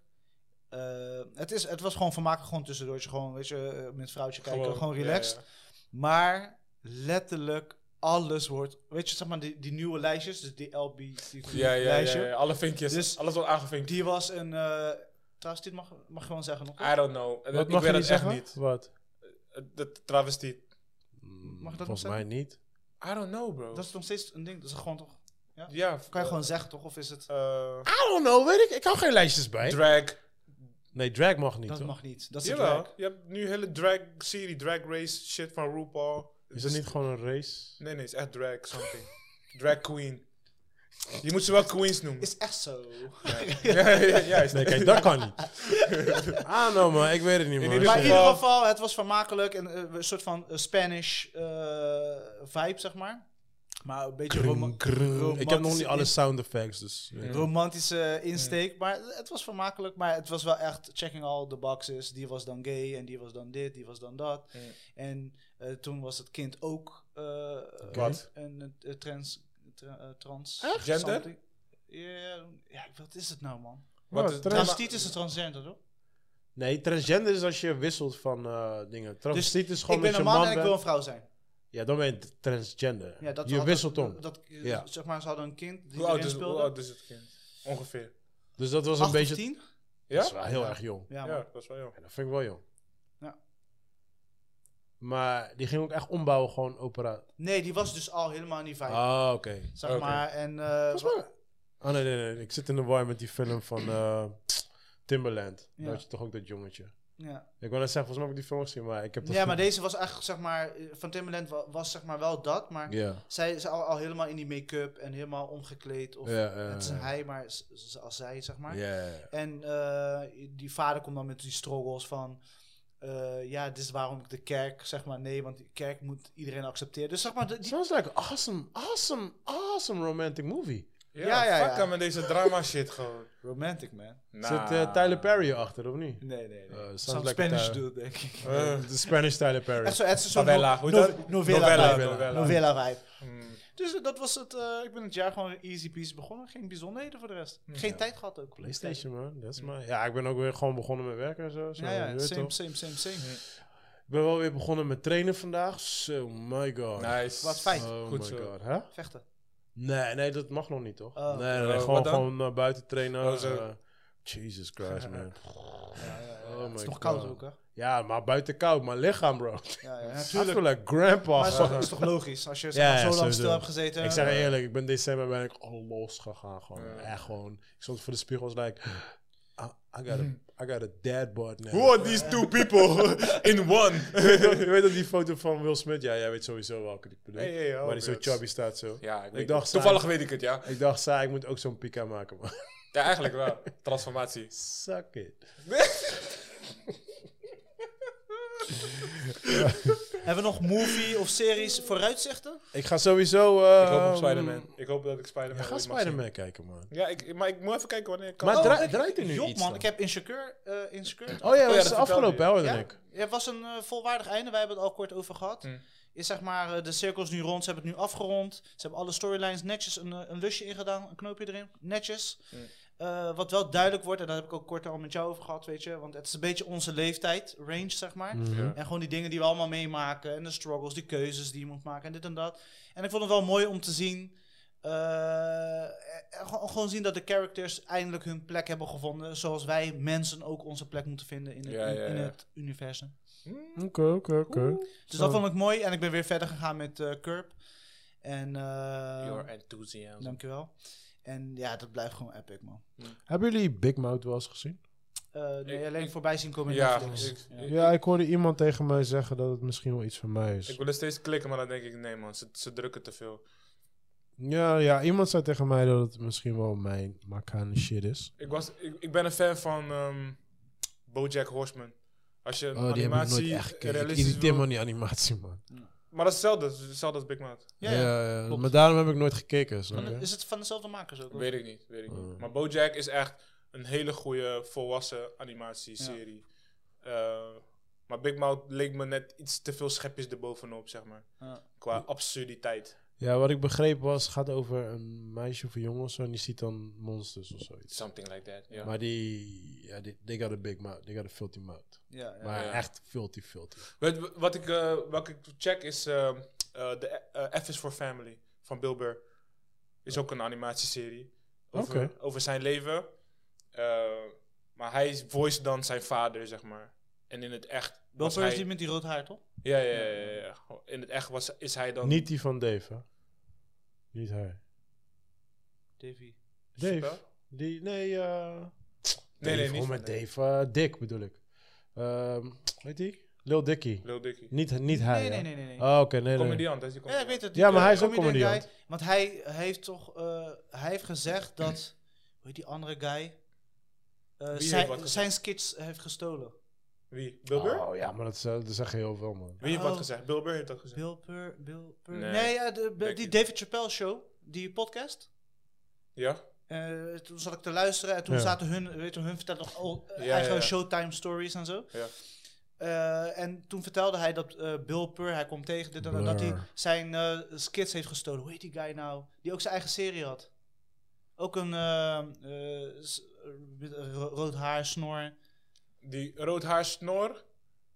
B: eh, het, is, het was gewoon vermaken, gewoon tussendoor. Gewoon, weet je, eh, met vrouwtje kijken, gewoon, relaxed.
D: ja,
B: Maar letterlijk alles wordt. Weet je, zeg maar, die, die nieuwe lijstjes, dus die LB
D: Ja, ja, ja,
B: lijstje.
D: ja, ja. Alle vinkjes.
B: Dus-
D: alles wordt aangevinkt.
B: Die was een. eh trouwens, dit mag, mag je gewoon zeggen nog.
D: I don't know. En
C: Wat
D: ik
C: mag
D: weet
C: je niet
D: het echt
C: zeggen?
D: niet.
C: Wat?
D: Het- De travestie.
B: Mag dat nog
C: Volgens mij niet.
D: I don't know, bro.
B: Dat is nog steeds een ding. Dat is gewoon toch.
D: ja.
B: Kan je
D: eh,
B: gewoon zeggen, toch? Of is het.
D: eh,
C: I don't know, weet ik. Ik hou geen lijstjes bij.
D: drag.
C: nee, drag mag niet,
B: dat
C: toch?
B: mag niet. Dat is het
D: Jawel.
B: werk.
D: Je hebt nu hele drag-serie, drag race shit van RuPaul.
C: Is dat
D: Dus-
C: niet gewoon een race?
D: Nee, nee, het is echt drag something. [LAUGHS] drag queen. Je moet ze wel queens noemen.
B: Is echt zo.
D: [LAUGHS] ja, ja, juist.
C: Nee, kijk, dat kan niet.
B: [LAUGHS]
C: ah, nou man, ik weet het niet, man.
D: ieder Dus,
B: maar
D: eh,
B: in ieder geval, het was vermakelijk. En, eh, een soort van eh, Spanish eh, vibe, zeg maar. Maar een beetje roma-
C: Ik heb nog niet
B: romantische
C: alle sound effects, dus... eh.
B: romantische insteek. Maar het was vermakelijk. Maar het was wel echt checking all the boxes. Die was dan gay en die was dan dit, die was dan dat.
D: Mm.
B: En eh, toen was het kind ook eh,
D: Wat?
B: een eh, trans. tra- eh, trans
D: Gender?
B: something. Ja, ja, wat is het nou, man?
D: Wat
C: Ja,
D: is
C: trans-
B: Transitiet is een transgender, toch?
C: Nee, transgender is als je wisselt van eh, dingen. Transitiet is
B: Ik
C: gewoon
B: ben
C: dat
B: een
C: je
B: man
C: man
B: en ik
C: bent.
B: wil een vrouw zijn.
C: Ja, dan ben je t- transgender.
B: Ja, dat ze
C: je
B: hadden-
C: wisselt om.
B: Dat, eh,
C: Ja.
B: Zeg maar, ze hadden een kind die
D: Hoe oud,
B: erin
D: is, hoe
B: speelde.
D: oud is het kind? Ongeveer.
C: dus dat was
B: Acht
C: een beetje...
B: of tien?
C: Dat is
D: Ja?
C: wel heel
B: Ja.
C: erg jong.
B: Ja, man.
D: Ja, dat is wel jong.
C: Ja, dat vind ik wel jong.
B: Ja.
C: Maar die ging ook echt ombouwen, gewoon opera.
B: Nee, die was dus al helemaal niet vijf.
C: Ah, oké.
B: zeg
D: oké.
B: maar, en... eh,
C: Oh nee, nee, nee. Ik zit in de war met die film van eh, Timberland.
B: Ja.
C: Daar had je toch ook dat jongetje.
B: ja.
C: Ik wil net zeggen, volgens mij heb ik die film gezien, maar ik heb dat...
B: ja, maar deze was eigenlijk, zeg maar... eh, Van Timberland wa- was zeg maar wel dat, maar...
C: Ja,
B: Zij is al, al helemaal in die make-up en helemaal omgekleed. Of,
C: ja, ja.
B: het is
C: ja.
B: een hij, maar z- z- als zij, zeg maar.
C: Ja, ja, ja.
B: En eh, die vader komt dan met die struggles van... eh, ja, dit is waarom ik de kerk, zeg maar, nee, want de kerk moet iedereen accepteren. Dus zeg maar, de- die,
C: Sounds like an awesome, awesome, awesome romantic movie.
D: Ja,
B: Ja, ja,
D: fuck
B: ja.
D: hem met deze drama shit gewoon.
B: Romantic, man.
C: Zit eh, Tyler Perry achter, of niet?
B: Nee, nee, nee.
C: Eh,
B: Zo'n
C: sounds like a
B: Spanish
C: Thai-
B: dude, denk ik.
C: Eh, De Spanish Tyler Perry.
B: Echt zo, echt zo'n
D: Novella,
B: no-
D: hoe
B: no-
D: heet dat?
B: novella,
D: Novella,
B: vibe.
D: novella.
B: Novella vibe.
D: Hmm.
B: Dus eh, dat was het. eh, ik ben het jaar gewoon easy peasy begonnen. Geen bijzonderheden voor de rest. Geen tijd gehad ook.
C: PlayStation, man. Dat is maar... Ja, ik ben ook weer gewoon begonnen met werken en zo. zo
B: Ja,
C: je
B: ja,
C: weet
B: same,
C: toch?
B: same, same, same.
C: Ik ben wel weer begonnen met trainen vandaag. So my god.
D: Nice.
B: Wat fijn.
C: Oh
D: Goed
C: my
D: zo.
C: god, hè?
B: Vechten.
C: Nee, nee, dat mag nog niet, toch?
B: Oh.
C: nee, nee,
D: Oh,
C: gewoon,
D: wat dan?
C: gewoon naar buiten trainen.
D: Oh, zo.
C: eh, Jesus
B: [LAUGHS]
C: Christ, man. Oh my
B: Het is nog
C: God.
B: koud ook, hè?
C: Ja, maar buiten koud, mijn lichaam, bro.
B: Ja, ja,
C: I
B: natuurlijk.
C: feel like grandpa.
B: Maar het is toch- het is toch logisch? Als je zeg
C: Ja,
B: maar,
C: ja,
B: zo lang
C: sowieso.
B: stil hebt gezeten.
C: ik zeg je eerlijk, ik ben december ben ik al los gegaan. Gewoon.
D: Ja.
C: Echt gewoon. Ik stond voor de spiegel was like, I, I got, a, I got a dad bod now.
D: Who are these two people in one?
C: Je weet toch- [LAUGHS] je weet dat die foto van Will Smith? Ja, jij weet sowieso welke ik bedoel.
D: Hey, hey,
C: waar hij zo
D: obvious.
C: chubby staat zo.
D: Ja, ik, weet
C: dacht,
D: het. Toevallig weet ik het, ja.
C: Ik dacht, Sa, ik moet ook zo'n pika maken, man. [LAUGHS]
D: Ja, eigenlijk wel. Transformatie.
C: Suck it.
B: Hebben we nog movie of series vooruitzichten?
C: Ik ga sowieso... eh,
D: Ik hoop op Spider-Man. Ik hoop dat ik
C: Ja,
D: Spider-Man
C: ga
D: ooit mag zien.
C: Spider-Man kijken, man.
D: Ja, ik, maar ik moet even kijken wanneer ik kan.
C: Maar
D: Oh,
C: draai- draait er nu
B: Jok,
C: iets
B: man.
C: dan?
B: Ik heb Insecure. eh Insecure.
C: Oh ja, dat
D: dat
C: is
D: vertelde
C: afgelopen, hè, hoorde
B: Ja?
C: ik.
B: Ja, het was een eh, volwaardig einde. Wij hebben het al kort over gehad.
D: Hmm.
B: Is zeg maar, eh, de cirkels nu rond. Ze hebben het nu afgerond. Ze hebben alle storylines netjes een, eh, een lusje ingedaan. Een knoopje erin. Netjes.
D: Hmm.
B: Eh, wat wel duidelijk wordt, en daar heb ik ook kort al met jou over gehad, weet je. Want het is een beetje onze leeftijd, range, zeg maar.
C: Mhm.
D: Ja.
B: En gewoon die dingen die we allemaal meemaken. En de struggles, de keuzes die je moet maken en dit en dat. En ik vond het wel mooi om te zien. eh, eh, gewoon, gewoon zien dat de characters eindelijk hun plek hebben gevonden. Zoals wij mensen ook onze plek moeten vinden in het,
D: Ja, ja,
B: in
D: ja.
B: het universum.
G: Oké, oké, oké.
B: Dus dat vond ik mooi. En ik ben weer verder gegaan met eh Curb. En eh,
D: Your enthusiasm.
B: dankjewel. En ja, dat blijft gewoon epic, man.
G: Hebben jullie Big Mouth wel eens gezien?
B: Eh, nee,
D: Ik-
B: alleen voorbij zien komen in
D: Ja,
B: Netflix.
D: ik-
B: Ja.
D: ik-
G: Ja, ik hoorde iemand tegen mij zeggen dat het misschien wel iets voor mij is.
D: Ik wil er steeds klikken, maar dan denk ik, nee man, ze, ze drukken te veel.
G: Ja, ja, iemand zei tegen mij dat het misschien wel mijn makane shit is.
D: Ik, was, ik, ik ben een fan van ehm, Bojack Horseman. Als je een
G: Oh, die heb ik
D: animatie
G: nooit echt gekeken. Ik
D: realistisch
G: irriteer me
D: wil-
G: aan die animatie, man.
D: Maar dat is hetzelfde, het is hetzelfde als Big Mouth.
B: Ja,
G: Ja,
B: ja.
G: ja,
B: klopt.
G: maar daarom heb ik nooit gekeken. snap
B: Van de-
G: je?
B: Is het van dezelfde makers ook? of?
D: Weet ik niet, weet ik niet.
G: Oh.
D: Maar Bojack is echt een hele goede volwassen animatieserie. Eh, maar Big Mouth leek me net iets te veel schepjes erbovenop, zeg maar.
B: Ja.
D: Qua absurditeit.
G: Ja, wat ik begreep was, het gaat over een meisje of een jongen of zo, en die ziet dan monsters of zoiets.
D: Something like that, ja.
G: Maar die, ja, die, they got a big mouth, they got a filthy mouth.
B: Ja, ja.
G: maar
D: ja.
G: echt filthy, filthy.
D: Wat, wat ik, eh, wat ik check is eh, eh, de eh, F is for Family van Bill Burr. Is ook een animatieserie. Over,
G: Oké.
D: over zijn leven. Eh, maar hij voice dan zijn vader, zeg maar. En in het echt was
B: Wel,
D: hij...
B: is die met die rood haar, toch?
D: Ja, ja, ja, ja, ja. In het echt was, is hij dan...
G: Niet die van Dave, hè? Niet hij.
B: Davy.
G: Dave? Die, nee, eh...
D: Nee, nee,
G: Dave,
D: niet
G: oh,
D: van
G: met Dave. eh, Dick bedoel ik. Ehm hoe heet die? Lil Dicky.
D: Lil Dicky.
G: Niet, niet hij,
B: Nee, nee,
G: hè?
B: nee, nee. nee.
G: Oh, oké, nee, nee.
D: Comediant, dat is die
B: ja, ik
D: comediant.
B: weet het. Eh,
G: Ja, maar hij is ook
B: comedian
G: comediant.
B: guy, want hij heeft toch... eh, hij heeft gezegd dat... Hoe heet die andere guy? eh,
D: heeft wat
B: zijn,
D: gezegd?
B: zijn skits heeft gestolen.
D: Wie? Bill Burr?
G: Oh, ja, maar dat, is, eh, dat zeg je heel veel, man.
D: Wie heeft wat
B: Oh.
D: gezegd? Bill Burr heeft dat gezegd.
B: Bill Burr... Bill Burr. Nee,
D: Nee,
B: ja, de-
D: denk
B: die
D: ik.
B: David Chappelle show. Die podcast.
D: Ja?
B: eh, toen zat ik te luisteren en toen
G: Ja.
B: zaten hun... Weet je, hun vertelden nog al, eh,
D: Ja,
B: eigen
D: ja, ja.
B: showtime stories en zo.
D: Ja.
B: Eh, en toen vertelde hij dat eh, Bill Burr, hij komt tegen dit en dat, dat hij
G: Blur.
B: zijn eh, skits heeft gestolen. Hoe heet die guy nou? Die ook zijn eigen serie had. Ook een eh, eh, s- eh, ro- rood haar, snor.
D: Die rood haar snor.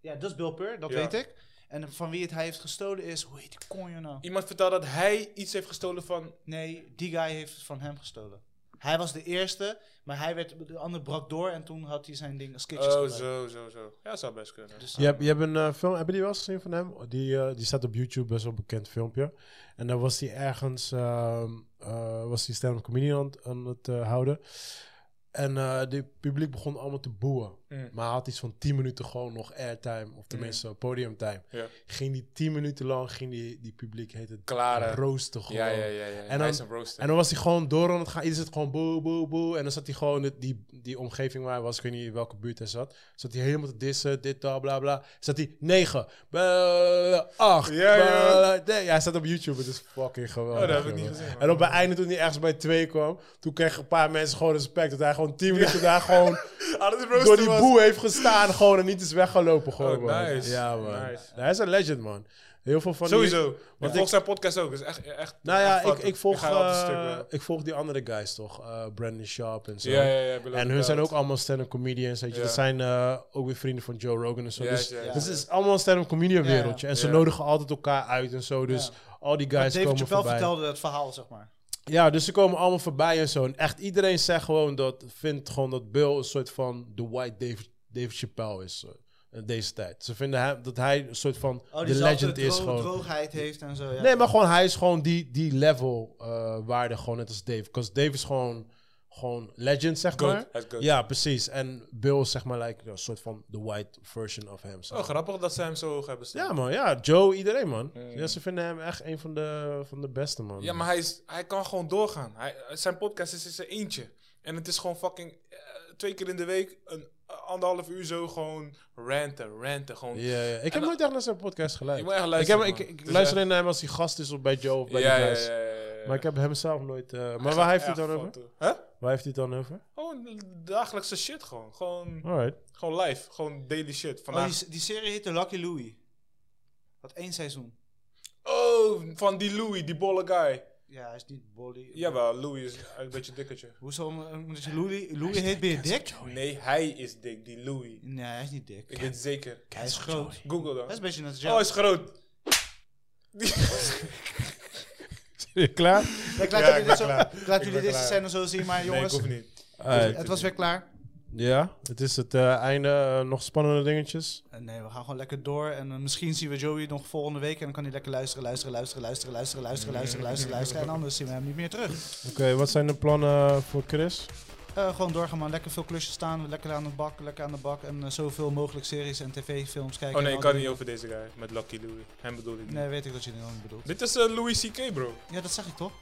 B: Ja, dat is Bill Burr, dat
D: Ja.
B: weet ik. En van wie het hij heeft gestolen is, hoe heet die konjo nou?
D: Iemand vertelde dat hij iets heeft gestolen van...
B: Nee, die guy heeft het van hem gestolen. Hij was de eerste, maar hij werd, de ander brak door en toen had hij zijn ding als kitjes
D: Oh,
B: gebruikt.
D: zo, zo, zo. Ja, zou best kunnen.
B: Dus,
C: Je hebt, je hebt een eh, film, heb je die wel eens gezien van hem? Die, eh, die staat op YouTube, best wel bekend filmpje. En dan was hij ergens, ehm, eh, was hij stand-up comedy aan, het- aan het eh, houden. En eh die publiek begon allemaal te boeien.
D: Mm.
C: Maar hij had iets van 10 minuten gewoon nog airtime, of tenminste podiumtime.
D: Ja.
C: Ging die 10 minuten lang, ging die, die publiek heet het
D: Klaren.
C: roosten gewoon.
D: Ja, ja, ja. ja.
C: En
D: hij
C: dan-
D: is een rooster.
C: En dan was hij gewoon door aan het gaan. Iedereen zit gewoon boe, boe, boe. En dan zat hij gewoon in die, die omgeving waar hij was. Ik weet niet in welke buurt hij zat. Zat hij helemaal te dissen, dit, dat, bla, bla. Zat hij 9, acht.
D: Ja, ja.
C: bla, bla. Nee, hij staat op YouTube. Het is fucking geweldig.
D: Oh, dat heb ik niet
C: jongen.
D: gezien, man.
C: En op het einde, toen hij ergens bij twee kwam, toen kreeg een paar mensen gewoon respect. Dat hij gewoon 10 minuten daar gewoon
D: Ah, dat is
C: door
D: [LAUGHS] rooster
C: die
D: was.
C: boe heeft gestaan. Gewoon en niet is weggelopen. Gewoon,
D: Oh,
C: man.
D: nice.
C: Ja, man.
D: Nice.
C: Hij is een legend, man. Heel veel van die-
D: Sowieso.
C: ik-
D: Want volgens zijn podcast ook. Is echt, echt
C: Nou ja,
D: echt
C: ik,
D: fout.
C: ik, volg,
D: ga altijd een
C: eh,
D: stuk, man.
C: ik volg die andere guys toch. eh, Brandon Sharp en zo.
D: Ja, ja, ja. Below
C: En
D: the
C: hun zijn
D: Belt.
C: ook allemaal stand-up comedians. Weet je.
D: Ja.
C: Dat zijn eh, ook weer vrienden van Joe Rogan en zo.
D: Ja,
C: dus
D: ja, ja.
C: dus het is allemaal een stand-up comedian
B: Ja.
C: wereldje. En ze
D: Ja.
C: nodigen altijd elkaar uit en zo. Dus al die guys
B: David
C: komen
B: Chappelle
C: voorbij.
B: vertelde het verhaal, zeg maar.
C: Ja, dus ze komen allemaal voorbij en zo. En echt iedereen zegt gewoon dat, vindt gewoon dat Bill een soort van de white David, David Chappelle is. eh, in deze tijd. Ze vinden hem, dat hij een soort van
B: Oh,
C: de
B: die
C: legend is
B: dro-
C: gewoon.
B: droogheid heeft en zo. Ja.
C: Nee, maar gewoon, hij is gewoon die, die level eh, waarde, gewoon net als Dave. Because Dave is gewoon, gewoon legend, zeg
D: Goat.
C: maar.
D: Hij is goat.
C: Ja, precies. En Bill is zeg maar like, een soort van de white version of hem. zeg
D: Oh,
C: maar.
D: grappig dat ze hem zo hoog hebben staan.
C: ja, man. Ja, Joe, iedereen, man. Ja, ze vinden hem echt een van de, van de beste, man.
D: Ja, maar hij, is, hij kan gewoon doorgaan. Hij, zijn podcast is in zijn eentje. En het is gewoon fucking eh, twee keer in de week, een eh, anderhalf uur zo gewoon ranten, ranten. Gewoon.
C: Ja, ja. Ik
D: En
C: heb
D: dan-
C: nooit echt naar zijn podcast
D: Je
C: geluisterd.
D: moet echt
C: ik
D: luisteren,
C: heb, ik,
D: man.
C: ik
D: Het is
C: luister
D: echt-
C: alleen naar hem als hij gast is of bij Joe of bij
D: ja,
C: de
D: ja,
C: guys.
D: ja, ja, ja.
C: Maar ik heb hem zelf nooit... eh, maar waar heeft hij het dan over?
D: Huh?
C: Waar heeft hij het dan over?
D: Gewoon dagelijkse shit gewoon. Gewoon,
C: Alright. [LAUGHS]
D: gewoon live. Gewoon daily shit.
B: Oh,
D: Vandaag.
B: die, die serie heette Lucky Louie. Had één seizoen.
D: Oh, van die Louis, die bolle guy.
B: Ja, hij is niet bolly.
D: Jawel, Louis is een beetje dikkertje.
B: Hoezo? Omdat je Louis, Louis heet, ben je dik?
D: Nee, hij is dik, die Louis.
B: Nee, hij is niet dik.
D: Ik weet zeker.
B: Hij is groot. Hij
D: Google dan.
B: is een beetje net als
D: Oh, hij
B: jou.
D: is groot.
C: Klaar?
B: Ik laat
D: Ja,
B: jullie
D: ik
B: dit
D: ben
B: zo-
D: klaar.
B: ik laat
D: Ik
B: jullie
D: ben
B: deze
D: klaar.
B: scène zo zien, maar
D: Nee, ik
B: jongens,
D: hoef niet.
C: Alright.
B: het was weer klaar.
C: Ja, het is het eh, einde. eh, nog spannende dingetjes.
B: Eh, Nee, we gaan gewoon lekker door. En eh, misschien zien we Joey nog volgende week. En dan kan hij lekker luisteren, luisteren, luisteren, luisteren, luisteren, luisteren, luisteren, luisteren, luisteren. En anders zien we hem niet meer terug.
C: Oké, wat zijn de plannen voor Chris?
B: Eh, gewoon doorgaan, man. Lekker veel klusjes staan. Lekker aan de bak, lekker aan de bak. En eh, zoveel mogelijk series en tv-films kijken.
D: Oh nee,
B: En
D: ik
B: al
D: kan
B: die-
D: niet over deze guy. Met Lucky Louis. Hem bedoel ik niet.
B: Nee, weet ik dat je dat niet bedoelt.
D: Dit is eh, Louis C.K. bro.
B: Ja, dat zeg ik toch?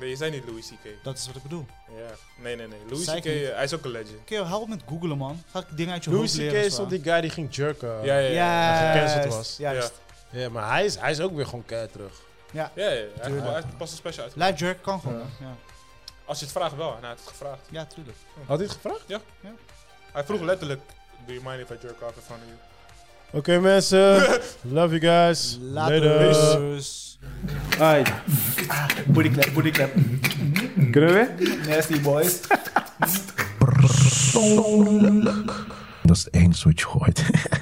D: Nee, je zei niet Louis C.K.
B: Dat is wat ik bedoel.
D: Ja. Nee, nee, nee. Louis
B: Zei
D: C.K.
B: ik niet.
D: eh, hij is ook een legend.
B: Keo, help met googelen, man. Ga ik dingen uit je
C: Louis
B: hoofd leren.
C: C.K. is
B: zwaar.
C: toch die guy die ging jerken?
D: Ja, ja, ja.
B: Ja,
C: Dat gecanceld was.
D: Ja,
B: Juist.
C: Ja, maar hij is, hij is ook weer gewoon keihard terug.
D: ja, ja. Hij,
B: Tuurlijk.
D: hij heeft pas een special uit.
B: Live jerk kan gewoon. hè? Ja,
D: Als je het vraagt wel. En hij heeft het gevraagd.
B: ja tuurlijk.
C: Had hij het gevraagd?
D: Hij vroeg letterlijk... Do you mind if I jerk off in front of you?
C: Oké mensen, [LAUGHS] love you guys. Later.
B: Laters.
H: Bodyclap, bodyclap.
C: Kunnen we weer?
H: Nasty boys.
I: persoonlijk. Dat is het enige wat je gooit.